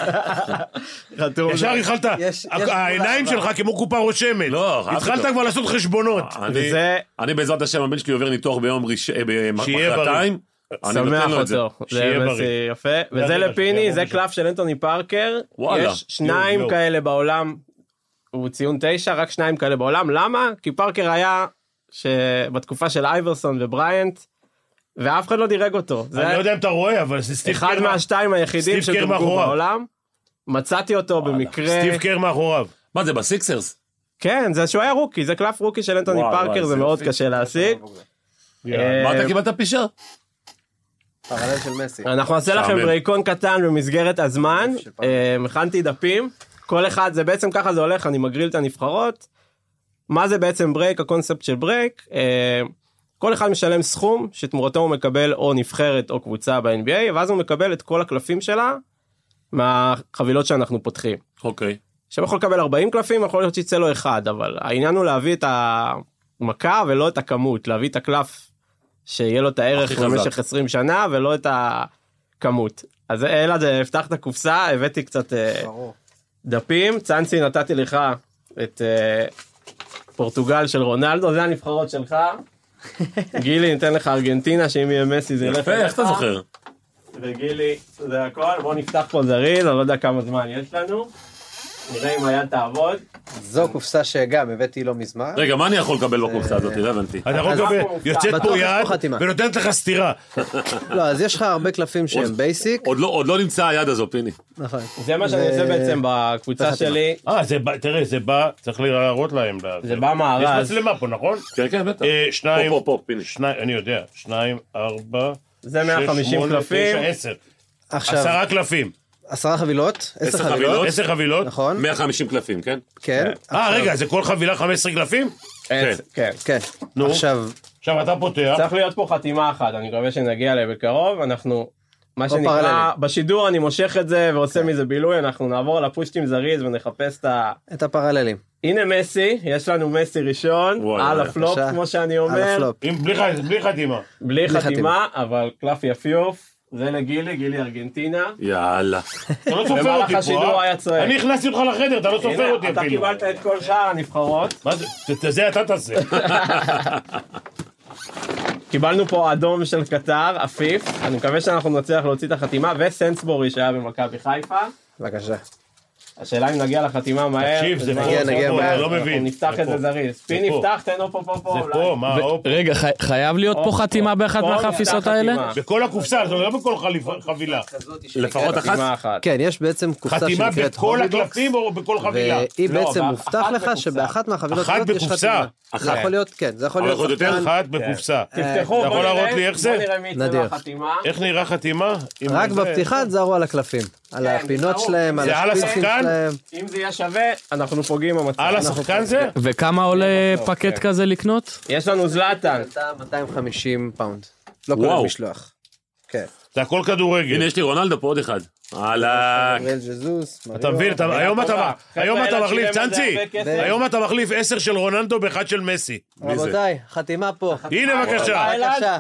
[SPEAKER 8] חתום.
[SPEAKER 6] ישר
[SPEAKER 8] זה-
[SPEAKER 6] התחלת,
[SPEAKER 9] יש- יש
[SPEAKER 6] העיניים
[SPEAKER 9] פעולה,
[SPEAKER 6] שלך כמו קופה רושמת.
[SPEAKER 4] לא, אהבתי
[SPEAKER 6] התחלת
[SPEAKER 4] אותו.
[SPEAKER 6] כבר לעשות חשבונות.
[SPEAKER 4] אה, אני-
[SPEAKER 8] וזה
[SPEAKER 4] אני בעזרת השם, הבן שלי עובר ניתוח ביום ראשון,
[SPEAKER 6] שיהיה
[SPEAKER 4] מחרתיים. אני נותן
[SPEAKER 8] שמח
[SPEAKER 4] לו את זה.
[SPEAKER 8] אותו, זה
[SPEAKER 6] שיהיה
[SPEAKER 8] מסי
[SPEAKER 6] בריא.
[SPEAKER 8] יפה, וזה
[SPEAKER 6] רגע,
[SPEAKER 8] לפיני,
[SPEAKER 6] שיבוא
[SPEAKER 8] זה
[SPEAKER 6] מישהו.
[SPEAKER 8] קלף של אנטוני פארקר,
[SPEAKER 4] וואלה.
[SPEAKER 8] יש שניים
[SPEAKER 6] יואו.
[SPEAKER 8] כאלה בעולם, הוא ציון תשע, רק שניים כאלה בעולם, למה? כי פארקר היה שבתקופה של אייברסון ובריאנט, ואף אחד לא דירג אותו, זה
[SPEAKER 6] אני לא יודע אם אתה רואה, אבל זה סטיב
[SPEAKER 8] אחד
[SPEAKER 6] קר-
[SPEAKER 8] מהשתיים היחידים
[SPEAKER 6] סטיב קר
[SPEAKER 8] שדורגו
[SPEAKER 6] מאחוריו.
[SPEAKER 8] בעולם, מצאתי אותו במקרה,
[SPEAKER 6] סטיב קר מאחוריו.
[SPEAKER 8] אה,
[SPEAKER 4] מה זה, בסיקסרס?
[SPEAKER 8] כן, זה שהוא היה רוקי, זה קלף רוקי של אנטוני
[SPEAKER 4] וואי, וואי,
[SPEAKER 8] פארקר,
[SPEAKER 4] זה
[SPEAKER 8] זה מאוד
[SPEAKER 4] יופי.
[SPEAKER 8] קשה להשיג. אה,
[SPEAKER 4] מה אתה קיבלת פישר?
[SPEAKER 9] פרלל של מסי.
[SPEAKER 4] לא
[SPEAKER 8] אנחנו נעשה לכם
[SPEAKER 4] שעמם.
[SPEAKER 8] בריקון קטן במסגרת הזמן.
[SPEAKER 9] של פעם.
[SPEAKER 8] אה, הכנתי דפים, כל אחד, זה בעצם ככה זה הולך, אני מגריל את הנבחרות. מה זה בעצם ברייק, הקונספט של ברייק? אה, כל אחד משלם סכום שתמורתו הוא מקבל או נבחרת או קבוצה ב-NBA, ואז הוא מקבל את כל הקלפים שלה מהחבילות שאנחנו פותחים.
[SPEAKER 4] אוקיי.
[SPEAKER 8] עכשיו יכול לקבל 40 קלפים, יכול להיות שיצא לו אחד, אבל העניין הוא להביא את המכה ולא את הכמות, להביא את הקלף שיהיה לו את הערך
[SPEAKER 4] הכי חזק.
[SPEAKER 8] במשך 20 שנה ולא את הכמות. אז אלעד, הבטחת קופסה, הבאתי קצת אה, דפים, צאנסי נתתי לך את אה, פורטוגל של רונלדו, זה הנבחרות שלך. גילי ניתן לך ארגנטינה שאם יהיה מסי זה ילך.
[SPEAKER 4] יפה, איך אתה
[SPEAKER 8] אליך.
[SPEAKER 4] זוכר?
[SPEAKER 8] וגילי, זה הכל, בוא נפתח פה זריז, אני לא יודע כמה זמן יש לנו. נראה אם היד תעבוד.
[SPEAKER 9] זו קופסה שגם הבאתי לא מזמן.
[SPEAKER 4] רגע, מה אני יכול לקבל בקופסה הזאת? לא הבנתי.
[SPEAKER 6] אתה יכול
[SPEAKER 8] אז
[SPEAKER 6] לקבל,
[SPEAKER 8] אנחנו מופתע.
[SPEAKER 6] יוצאת
[SPEAKER 9] בטוח
[SPEAKER 6] פה
[SPEAKER 9] יש פה
[SPEAKER 6] יד
[SPEAKER 9] חתימה.
[SPEAKER 6] ונותנת לך סטירה.
[SPEAKER 9] לא, אז יש לך הרבה קלפים שהם בייסיק.
[SPEAKER 4] עוד לא- עוד לא נמצא היד הזו, פיני.
[SPEAKER 9] נכון.
[SPEAKER 8] זה מה שאני
[SPEAKER 9] זה-
[SPEAKER 8] עושה בעצם בקבוצה
[SPEAKER 9] בחתימה.
[SPEAKER 8] שלי,
[SPEAKER 6] אה, זה בא, תראה, זה בא, צריך להראות להם. לזה.
[SPEAKER 8] זה במארז.
[SPEAKER 6] יש מצלמה פה, נכון?
[SPEAKER 4] כן, כן, בטח.
[SPEAKER 6] אה, שניים,
[SPEAKER 4] פה, פה, פה, פיני.
[SPEAKER 6] שניים, אני יודע, שניים, ארבע,
[SPEAKER 8] זה
[SPEAKER 6] שש,
[SPEAKER 8] 150
[SPEAKER 6] שמונה,
[SPEAKER 8] קלפים.
[SPEAKER 6] תשע, עשר.
[SPEAKER 9] עכשיו,
[SPEAKER 6] עשרה קלפים.
[SPEAKER 9] עשרה חבילות? עשר
[SPEAKER 4] חבילות.
[SPEAKER 9] חבילות,
[SPEAKER 4] חבילות?
[SPEAKER 6] עשר חבילות.
[SPEAKER 9] נכון?
[SPEAKER 4] 150 קלפים, כן?
[SPEAKER 9] כן.
[SPEAKER 6] אה, רגע, זה כל חבילה 15 קלפים?
[SPEAKER 8] עץ, כן.
[SPEAKER 9] כן.
[SPEAKER 6] נו.
[SPEAKER 9] עכשיו,
[SPEAKER 6] עכשיו אתה פותח.
[SPEAKER 8] צריך להיות פה חתימה אחת, אני מקווה שנגיע אליה בקרוב, אנחנו, מה
[SPEAKER 9] לא כן.
[SPEAKER 8] שנקרא,
[SPEAKER 9] פרללים.
[SPEAKER 8] בשידור אני מושך את זה ועושה מזה בילוי, אנחנו נעבור לפושטים זריז ונחפש את ה...
[SPEAKER 9] את הפרללים.
[SPEAKER 8] הנה מסי, יש לנו מסי ראשון,
[SPEAKER 4] וואי,
[SPEAKER 8] על
[SPEAKER 4] וואי,
[SPEAKER 8] הפלופ
[SPEAKER 9] בבקשה.
[SPEAKER 8] כמו שאני
[SPEAKER 9] על
[SPEAKER 8] אומר,
[SPEAKER 9] הפלופ.
[SPEAKER 6] עם- בלי ח- בלי חתימה.
[SPEAKER 8] בלי
[SPEAKER 9] בלי
[SPEAKER 8] חתימה, אבל קלף יפיוף, זה לגילי, גילי ארגנטינה.
[SPEAKER 4] יאללה.
[SPEAKER 6] אתה לא סופר
[SPEAKER 8] במהלך
[SPEAKER 6] אותי
[SPEAKER 8] השידור
[SPEAKER 6] פה, אה?
[SPEAKER 8] היה צועק.
[SPEAKER 6] אני הכנסתי אותך לחדר, אתה לא סופר אותי
[SPEAKER 8] הנה, אתה
[SPEAKER 6] אפילו.
[SPEAKER 8] קיבלת את כל שאר הנבחרות.
[SPEAKER 6] מה זה? זה- זה אתה תעשה.
[SPEAKER 8] אה, קיבלנו פה אדום של קטר, עפיף, אני מקווה שאנחנו נצליח להוציא את החתימה, וסנסבורי שהיה במכבי חיפה.
[SPEAKER 9] בבקשה.
[SPEAKER 8] השאלה אם נגיע לחתימה מהר.
[SPEAKER 6] תקשיב, זה פה,
[SPEAKER 8] בזמן-
[SPEAKER 9] נגיע,
[SPEAKER 6] זה
[SPEAKER 9] נגיע,
[SPEAKER 6] פה,
[SPEAKER 9] מהר.
[SPEAKER 6] אני לא
[SPEAKER 8] אנחנו
[SPEAKER 6] מבין.
[SPEAKER 8] נפתח
[SPEAKER 6] זה
[SPEAKER 8] את
[SPEAKER 6] פה.
[SPEAKER 8] זה זריז. פיני,
[SPEAKER 6] פה.
[SPEAKER 8] פתח, תן לו פה, פה, פה.
[SPEAKER 6] זה
[SPEAKER 8] אולי.
[SPEAKER 6] פה, מה, הופ.
[SPEAKER 5] רגע, חי- חייב להיות פה
[SPEAKER 8] אופ,
[SPEAKER 5] חתימה באחת
[SPEAKER 8] פה
[SPEAKER 5] מהחפיסות
[SPEAKER 8] נפתח
[SPEAKER 5] האלה?
[SPEAKER 8] חתימה.
[SPEAKER 6] בכל הקופסה, זה לא בכל חליפה- חבילה.
[SPEAKER 4] לפחות אחת.
[SPEAKER 8] חתימה אחת.
[SPEAKER 9] כן, יש בעצם קופסה
[SPEAKER 6] חתימה
[SPEAKER 9] שנקראת
[SPEAKER 6] בכל
[SPEAKER 9] הובי בוקס,
[SPEAKER 6] הקלפים או בכל חבילה?
[SPEAKER 9] והיא
[SPEAKER 8] לא,
[SPEAKER 9] בעצם
[SPEAKER 8] אבל
[SPEAKER 9] מובטח
[SPEAKER 8] אחת
[SPEAKER 9] לך
[SPEAKER 8] בקופסה.
[SPEAKER 9] שבאחת מהחבילות
[SPEAKER 6] אחת
[SPEAKER 9] הזאת יש
[SPEAKER 6] בקופסה.
[SPEAKER 9] חתימה. זה
[SPEAKER 4] אחת.
[SPEAKER 9] יכול להיות, כן, זה יכול
[SPEAKER 4] אבל
[SPEAKER 9] להיות
[SPEAKER 4] יכול להיות יותר?
[SPEAKER 9] חתן.
[SPEAKER 6] אחת בקופסה.
[SPEAKER 8] תפתחו,
[SPEAKER 6] אתה
[SPEAKER 8] בואו
[SPEAKER 6] יכול להראות לי
[SPEAKER 8] נראה,
[SPEAKER 6] איך
[SPEAKER 8] בואו
[SPEAKER 6] זה?
[SPEAKER 8] נראה מי יצא
[SPEAKER 9] נדיר.
[SPEAKER 8] לחתימה.
[SPEAKER 6] איך נראה חתימה? עם
[SPEAKER 9] רק
[SPEAKER 6] זה-
[SPEAKER 9] בפתיחה תזהרו על הקלפים, על הפינות
[SPEAKER 8] תזהרו.
[SPEAKER 9] שלהם, על
[SPEAKER 6] זה על
[SPEAKER 9] השפיצים
[SPEAKER 6] השחקן?
[SPEAKER 9] שלהם.
[SPEAKER 8] אם זה יהיה שווה, אנחנו פוגעים במצב.
[SPEAKER 6] על
[SPEAKER 8] אנחנו-
[SPEAKER 6] השחקן זה?
[SPEAKER 5] וכמה עולה פקט כזה לקנות?
[SPEAKER 8] יש לנו זלאטן.
[SPEAKER 9] עלתה 250 פאונד. לא כולל
[SPEAKER 4] וואו.
[SPEAKER 9] משלוח. כן.
[SPEAKER 6] זה הכל כדורגל.
[SPEAKER 4] הנה, יש לי רונלדו פה עוד אחד. אהלן.
[SPEAKER 9] אריאל ז'זוס,
[SPEAKER 6] אה, אתה
[SPEAKER 9] מריו.
[SPEAKER 6] מבין? אתה- היום אתה
[SPEAKER 8] חבר'ה,
[SPEAKER 6] היום אתה
[SPEAKER 8] אלה
[SPEAKER 6] מחליף,
[SPEAKER 8] שילם על זה
[SPEAKER 6] צאנצי,
[SPEAKER 8] הרבה כסף.
[SPEAKER 6] היום אתה מחליף עשר של רוננדו באחד של מסי.
[SPEAKER 4] זה?
[SPEAKER 9] רבותיי, חתימה פה.
[SPEAKER 6] הנה בבקשה.
[SPEAKER 8] וואי.
[SPEAKER 9] בבקשה.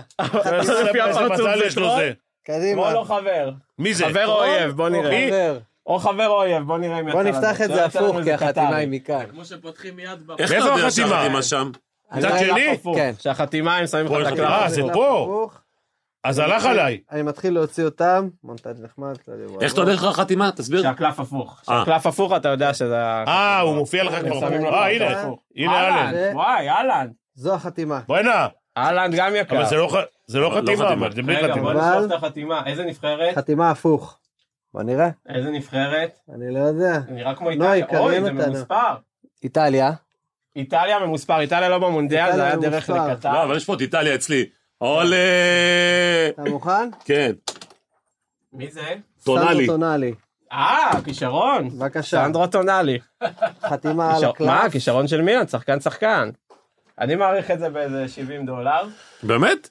[SPEAKER 6] איזה
[SPEAKER 8] לפי הפרצוף
[SPEAKER 6] מזל
[SPEAKER 8] זה
[SPEAKER 6] יש לו
[SPEAKER 8] טוב.
[SPEAKER 6] זה.
[SPEAKER 9] קדימה.
[SPEAKER 8] בוא לא חבר.
[SPEAKER 6] מי זה?
[SPEAKER 8] חבר או אויב, בוא נראה.
[SPEAKER 9] חבר.
[SPEAKER 8] או חבר או אויב, בוא נראה אם יצא
[SPEAKER 9] בוא
[SPEAKER 8] לנו.
[SPEAKER 9] נפתח את
[SPEAKER 8] לא
[SPEAKER 9] זה
[SPEAKER 8] יצא לנו
[SPEAKER 9] הפוך, כי
[SPEAKER 8] איזה
[SPEAKER 9] החתימה
[SPEAKER 8] קטרי.
[SPEAKER 9] היא מכאן.
[SPEAKER 4] איך אתה
[SPEAKER 6] מאיפה
[SPEAKER 4] יודע
[SPEAKER 6] החתימה?
[SPEAKER 4] שהחתימה שם?
[SPEAKER 6] מצד שני?
[SPEAKER 8] הפוך,
[SPEAKER 9] כן.
[SPEAKER 8] שהחתימה הם שמים לך
[SPEAKER 6] פה
[SPEAKER 8] את
[SPEAKER 6] יש
[SPEAKER 8] הקלף.
[SPEAKER 6] אה, זה
[SPEAKER 9] קלף
[SPEAKER 6] פה.
[SPEAKER 9] הפוך.
[SPEAKER 6] אז הלך עליי.
[SPEAKER 9] אני מתחיל להוציא אותם. מונטאז' נחמד. לא כללי וואו.
[SPEAKER 4] איך אתה יודע לך החתימה? תסביר.
[SPEAKER 8] שהקלף הפוך.
[SPEAKER 4] אה.
[SPEAKER 8] שהקלף הפוך אתה יודע שזה...
[SPEAKER 6] אה, הוא מופיע לך כבר.
[SPEAKER 8] שמים לך
[SPEAKER 6] אה,
[SPEAKER 8] אותו
[SPEAKER 6] הנה.
[SPEAKER 8] הפוך.
[SPEAKER 6] הנה אלן.
[SPEAKER 9] זה-
[SPEAKER 8] וואי, אהלן.
[SPEAKER 9] זו החתימה.
[SPEAKER 6] בואנה.
[SPEAKER 8] אהלן גם יקר.
[SPEAKER 6] אבל זה לא ח- זה לא
[SPEAKER 4] לא
[SPEAKER 6] חתימה,
[SPEAKER 4] חתימה.
[SPEAKER 6] אבל זה בלי
[SPEAKER 8] כן. רגע,
[SPEAKER 6] חתימה.
[SPEAKER 8] בוא
[SPEAKER 9] אבל-
[SPEAKER 8] נשלוף את החתימה. איזה נבחרת?
[SPEAKER 9] חתימה הפוך. בוא נראה.
[SPEAKER 8] איזה נבחרת?
[SPEAKER 9] אני לא יודע.
[SPEAKER 8] זה נראה כמו
[SPEAKER 9] נוי,
[SPEAKER 8] איטליה. אוי,
[SPEAKER 9] קרים
[SPEAKER 8] זה
[SPEAKER 9] אותנו.
[SPEAKER 8] ממוספר.
[SPEAKER 9] איטליה.
[SPEAKER 8] איטליה ממוספר, איטליה לא במונדיאל,
[SPEAKER 9] איטליה
[SPEAKER 8] זה היה דרך
[SPEAKER 9] ממוספר.
[SPEAKER 4] לא,
[SPEAKER 8] לקטר.
[SPEAKER 4] אבל יש פה את איטליה אצלי. עולה.
[SPEAKER 9] אתה מוכן?
[SPEAKER 4] כן.
[SPEAKER 8] מי זה?
[SPEAKER 4] טונאלי.
[SPEAKER 9] סנדרו טונאלי.
[SPEAKER 8] אה, כישרון.
[SPEAKER 9] בבקשה.
[SPEAKER 8] סנדרו טונאלי.
[SPEAKER 9] חתימה על
[SPEAKER 8] כישר- מה,
[SPEAKER 9] הקלף.
[SPEAKER 8] כישרון של מילן, שחקן שחקן. אני מעריך את זה באיזה 70 דולר.
[SPEAKER 4] באמת?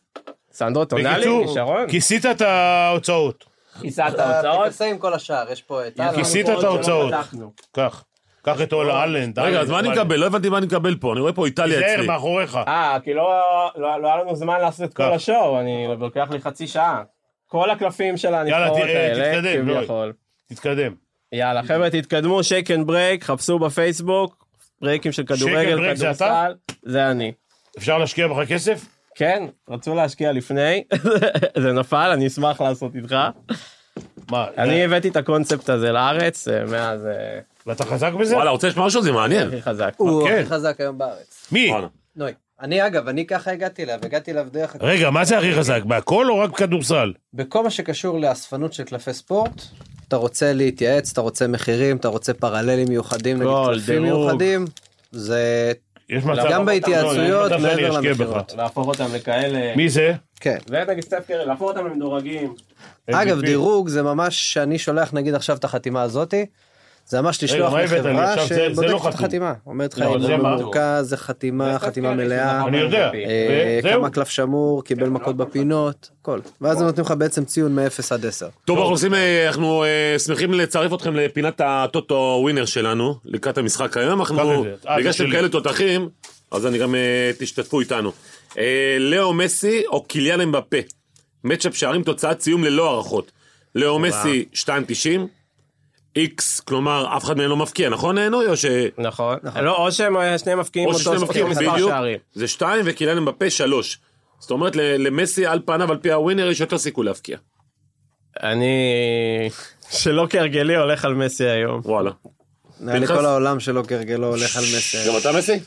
[SPEAKER 8] סנדרו טונאלי,
[SPEAKER 6] בקיצור,
[SPEAKER 8] כישרון.
[SPEAKER 6] כיסית את ההוצאות.
[SPEAKER 8] כיסה את
[SPEAKER 9] אתה
[SPEAKER 8] ההוצאות.
[SPEAKER 9] תעשה עם כל השאר, יש פה את...
[SPEAKER 8] יש לנו
[SPEAKER 6] כיסית
[SPEAKER 8] פה
[SPEAKER 6] את
[SPEAKER 8] עוד שלא
[SPEAKER 6] ההוצאות.
[SPEAKER 8] פתחנו.
[SPEAKER 6] קח. קח את אולה אלנד. אה,
[SPEAKER 4] רגע, אז מה אני מקבל? לא הבנתי מה אני מקבל פה. אני רואה פה איטליה
[SPEAKER 6] תיזהר
[SPEAKER 4] אצלי.
[SPEAKER 6] מאחוריך.
[SPEAKER 8] אה, כי לא, לא, לא היה לנו זמן לעשות את כל
[SPEAKER 6] כך.
[SPEAKER 8] השואו, אני לוקח לי חצי שעה. כל הקלפים של הנבחרות
[SPEAKER 6] תראה,
[SPEAKER 8] האלה,
[SPEAKER 6] תתקדם, לא. נוי.
[SPEAKER 8] כביכול.
[SPEAKER 6] תתקדם.
[SPEAKER 8] יאללה, חבר'ה, תתקדמו, שייק אנד ברייק, חפשו בפייסבוק, ברייקים של
[SPEAKER 6] Shake and
[SPEAKER 8] כדורגל,
[SPEAKER 6] Break זה אתה?
[SPEAKER 8] כדורסל. זה אני.
[SPEAKER 6] אפשר להשקיע בך כסף?
[SPEAKER 8] כן, רצו להשקיע לפני, זה נפל, אני אשמח לעשות איתך.
[SPEAKER 6] מה?
[SPEAKER 8] אני הבאתי את הקונספט הזה לארץ, אה, מאז אה,
[SPEAKER 6] ואתה חזק בזה?
[SPEAKER 4] וואלה, רוצה לשמוע משהו? זה מעניין.
[SPEAKER 8] הכי חזק.
[SPEAKER 9] הוא
[SPEAKER 6] כן.
[SPEAKER 9] הכי חזק היום בארץ.
[SPEAKER 6] מי?
[SPEAKER 4] וואלה.
[SPEAKER 9] נוי. אני אגב, אני ככה הגעתי אליו, הגעתי אליו דרך...
[SPEAKER 6] רגע, מה זה הכי חזק? בהכל או רק בכדורסל?
[SPEAKER 9] בכל מה שקשור לאספנות של קלפי ספורט, אתה רוצה להתייעץ, אתה רוצה מחירים, אתה רוצה פרללים מיוחדים, נגיד
[SPEAKER 8] כל
[SPEAKER 9] קלפים
[SPEAKER 8] דירוג.
[SPEAKER 9] מיוחדים, זה...
[SPEAKER 6] יש מצב...
[SPEAKER 9] גם בהתייעצויות,
[SPEAKER 6] לא, יש מצב שאני
[SPEAKER 9] מעבר
[SPEAKER 6] אשקיע
[SPEAKER 9] למכירות.
[SPEAKER 6] בך.
[SPEAKER 8] להפוך אותם לכאלה,
[SPEAKER 6] מי זה?
[SPEAKER 9] כן.
[SPEAKER 8] ונגיד סטף קרי, להפוך אותם למדורגים.
[SPEAKER 9] אגב,
[SPEAKER 6] MVP.
[SPEAKER 9] דירוג זה ממש שאני שולח נגיד עכשיו את החתימה הזאתי, זה ממש לשלוח
[SPEAKER 6] מה הבאת לי?
[SPEAKER 9] לחברה
[SPEAKER 6] עכשיו זה- זה לא
[SPEAKER 9] שבודקת את
[SPEAKER 6] חתום.
[SPEAKER 9] החתימה. אומרת לך,
[SPEAKER 6] לא,
[SPEAKER 9] אם
[SPEAKER 6] זה
[SPEAKER 9] זה
[SPEAKER 6] מה?
[SPEAKER 9] מורכז, זה חתימה, חתימה מלאה.
[SPEAKER 6] אני יודע.
[SPEAKER 9] אה,
[SPEAKER 6] וזהו.
[SPEAKER 9] כמה קלף שמור, קיבל מכות בפינות, הכל. ואז הם נותנים לך בעצם ציון מ-0 עד 10.
[SPEAKER 4] טוב, אנחנו עושים, אה, אנחנו אה, שמחים לצרף אתכם לפינת הטוטו ווינר שלנו, לקראת המשחק היום.
[SPEAKER 6] קח
[SPEAKER 4] אנחנו,
[SPEAKER 6] את זה. אה,
[SPEAKER 4] בגלל
[SPEAKER 6] זה
[SPEAKER 4] שאתם
[SPEAKER 6] שלי.
[SPEAKER 4] כאלה תותחים, אז אני גם, אה, תשתתפו איתנו. אה, לאו מסי או קיליאן אמבפה. מצ'אפ שערים תוצאת סיום ללא הערכות. לאו מסי 2.90, איקס, כלומר, אף אחד מהם לא מבקיע, נכון נוי? או ש...
[SPEAKER 8] נכון. לא, או שהם אה, שניהם מפקיעים
[SPEAKER 4] או
[SPEAKER 8] אותו
[SPEAKER 4] ששניהם מבקיעים
[SPEAKER 8] מספר
[SPEAKER 4] בדיוק,
[SPEAKER 8] שערים.
[SPEAKER 4] זה 2 וקיליאן אמבפה 3. זאת אומרת, ל- למסי על פניו, על פי הווינר, יש יותר סיכוי להבקיע.
[SPEAKER 8] אני, שלא כהרגלי, הולך על מסי היום.
[SPEAKER 4] וואלה.
[SPEAKER 9] נראה לי
[SPEAKER 4] פנחס?
[SPEAKER 9] כל העולם שלו כרגלו הולך על מסר.
[SPEAKER 4] גם אתה מסי?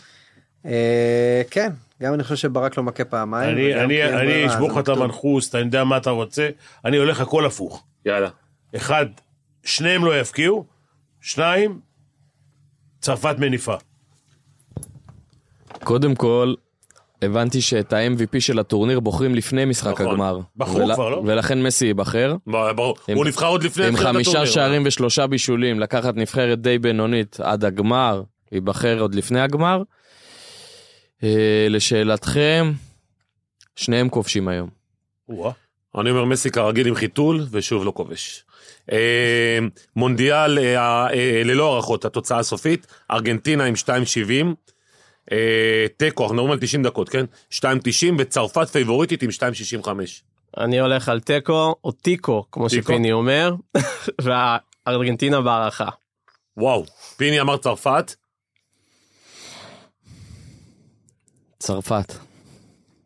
[SPEAKER 9] אה, כן, גם אני חושב שברק לא מכה פעמיים.
[SPEAKER 6] אני-
[SPEAKER 9] וגם
[SPEAKER 6] אני
[SPEAKER 9] כי אין
[SPEAKER 6] אני
[SPEAKER 9] ברירה,
[SPEAKER 6] אשבור
[SPEAKER 9] אז
[SPEAKER 6] לך את
[SPEAKER 9] הוא-
[SPEAKER 6] המנחוס, אתה יודע מה אתה רוצה, אני הולך הכל הפוך.
[SPEAKER 4] יאללה.
[SPEAKER 6] אחד, שניהם לא יפקיעו, שניים, צרפת מניפה.
[SPEAKER 5] קודם כל, הבנתי שאת ה-MVP של הטורניר בוחרים לפני משחק
[SPEAKER 4] נכון.
[SPEAKER 5] הגמר.
[SPEAKER 6] בחרו
[SPEAKER 5] ול-
[SPEAKER 6] כבר, לא?
[SPEAKER 5] ולכן מסי ייבחר.
[SPEAKER 4] ב- ברור.
[SPEAKER 5] עם-
[SPEAKER 4] הוא נבחר עוד לפני
[SPEAKER 5] עם
[SPEAKER 4] תחילת
[SPEAKER 5] חמישה
[SPEAKER 4] הטורניר.
[SPEAKER 5] שערים ושלושה בישולים, לקחת נבחרת די בינונית עד הגמר, ייבחר עוד לפני הגמר. אה, לשאלתכם, שניהם כובשים היום.
[SPEAKER 6] או-אה.
[SPEAKER 4] אני אומר מסי כרגיל עם חיתול, ושוב לא כובש. אה, מונדיאל אה, אה, ללא הערכות, התוצאה הסופית, ארגנטינה עם 2.70, אה, תיקו, אנחנו מדברים על 90 דקות, כן? 2.90 וצרפת פייבוריטית עם 2.65.
[SPEAKER 8] אני הולך על תיקו, או טיקו, כמו
[SPEAKER 4] טיקו?
[SPEAKER 8] שפיני אומר, והארגנטינה בהערכה.
[SPEAKER 4] וואו, פיני אמר צרפת,
[SPEAKER 5] צרפת.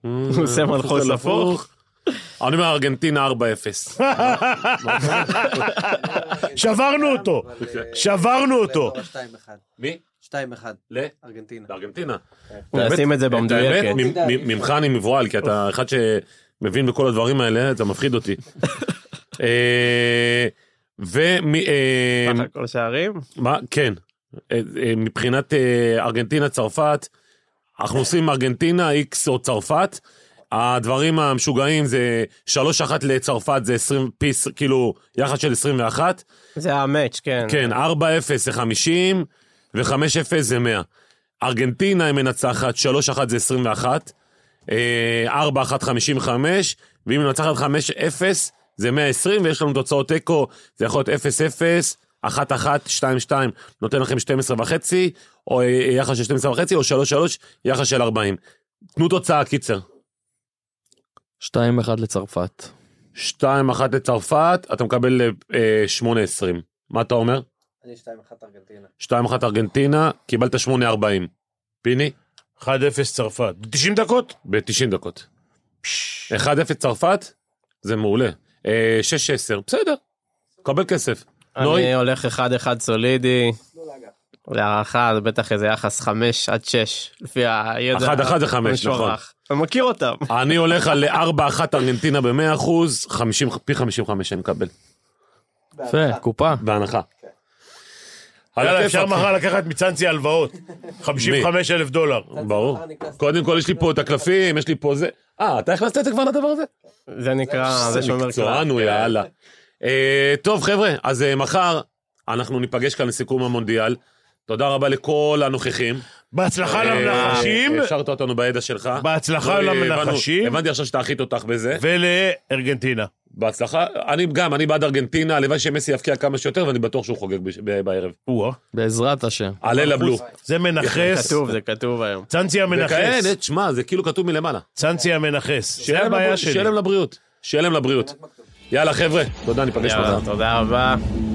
[SPEAKER 8] הוא עושה מנחוס הפוך.
[SPEAKER 4] אני אומר ארגנטינה 4-0.
[SPEAKER 6] שברנו אותו, שברנו אותו.
[SPEAKER 9] 2-1.
[SPEAKER 4] מי?
[SPEAKER 9] 2-1,
[SPEAKER 4] ל?
[SPEAKER 9] ארגנטינה.
[SPEAKER 4] לארגנטינה.
[SPEAKER 8] נשים את זה במדויקת.
[SPEAKER 4] האמת, מ- מ- ממך אני מבוהל, כי אתה אחד שמבין בכל הדברים האלה, אתה מפחיד אותי. אה, ומי... אה,
[SPEAKER 8] סך הכל שערים.
[SPEAKER 4] מה? כן. אה, אה, מבחינת אה, ארגנטינה, צרפת, אנחנו עושים ארגנטינה, איקס או צרפת. הדברים המשוגעים זה 3-1 לצרפת זה 20 פיס, כאילו, יחס של 21.
[SPEAKER 8] זה המאץ', כן.
[SPEAKER 4] כן, 4-0 זה 50, ו-5-0 זה 100. ארגנטינה היא מנצחת, 3-1 זה 21, אה, 4-1 55, ואם היא מנצחת 5-0 זה 120, ויש לנו תוצאות תיקו, זה יכול להיות 0-0. 1-1, 2-2, נותן לכם 12 וחצי, או אה, יחס של 12 וחצי, או 3-3, יחס של 40. תנו תוצאה, קיצר.
[SPEAKER 5] 2-1 לצרפת.
[SPEAKER 4] 2-1 לצרפת, אתה מקבל אה, 8-20. מה אתה אומר?
[SPEAKER 9] אני 2-1 ארגנטינה.
[SPEAKER 4] 2-1 ארגנטינה, קיבלת 8-40. פיני?
[SPEAKER 6] 1-0 צרפת.
[SPEAKER 4] 90 דקות? ב-90 דקות. 1-0 צרפת? זה מעולה. אה, 6-10, בסדר. קבל כסף. נוי?
[SPEAKER 8] אני הולך אחד אחד סולידי. להערכה זה בטח איזה יחס חמש עד שש לפי הידע.
[SPEAKER 4] אחד אחד זה חמש,
[SPEAKER 8] המשוערך.
[SPEAKER 4] נכון.
[SPEAKER 8] אתה מכיר אותם.
[SPEAKER 4] אני הולך על 4-1 ארגנטינה ב-100%, 50 פי 55 אני מקבל.
[SPEAKER 5] יפה, קופה.
[SPEAKER 4] בהנחה.
[SPEAKER 6] יאללה,
[SPEAKER 4] יאללה,
[SPEAKER 6] אפשר
[SPEAKER 4] איפה-
[SPEAKER 6] מחר לקחת מצאנצי הלוואות. 55 אלף דולר.
[SPEAKER 4] ברור. קודם כל יש לי פה את הקלפים, יש לי פה זה. אה, אתה הכנסת את זה כבר לדבר הזה?
[SPEAKER 8] זה נקרא, זה
[SPEAKER 6] כן.
[SPEAKER 8] שומר קרב.
[SPEAKER 4] מקצוען הוא יאללה. אה, טוב חבר'ה, אז אה, מחר אנחנו ניפגש כאן לסיכום המונדיאל. תודה רבה לכל הנוכחים.
[SPEAKER 6] בהצלחה
[SPEAKER 4] אה,
[SPEAKER 6] למנחשים
[SPEAKER 4] אה, השארת אותנו בידע שלך.
[SPEAKER 6] בהצלחה
[SPEAKER 4] לא, אה,
[SPEAKER 6] למנחשים.
[SPEAKER 4] הבנו- הבנתי עכשיו שתאחית אותך בזה.
[SPEAKER 6] ולארגנטינה.
[SPEAKER 4] בהצלחה. אני גם, אני בעד ארגנטינה, הלוואי שמסי יבקיע כמה שיותר, ואני בטוח שהוא חוגג בש- ב- בערב.
[SPEAKER 6] או-אה.
[SPEAKER 5] בעזרת השם.
[SPEAKER 4] הלילה בלו.
[SPEAKER 6] אה. זה
[SPEAKER 8] זה
[SPEAKER 6] מנכס.
[SPEAKER 8] כתוב, זה כתוב היום.
[SPEAKER 6] צאנצי המנכס.
[SPEAKER 4] וכאלה, תשמע, זה כאילו כתוב מלמעלה.
[SPEAKER 6] צאנצי המנכס. זה
[SPEAKER 4] שיהיה להם
[SPEAKER 6] הבעיה
[SPEAKER 4] לבריאות,
[SPEAKER 6] שלי.
[SPEAKER 4] שיהיה להם לבריאות. שיהיה להם לבריאות. יאללה חבר'ה, תודה, ניפגש מחר.
[SPEAKER 8] יאללה, תודה רבה.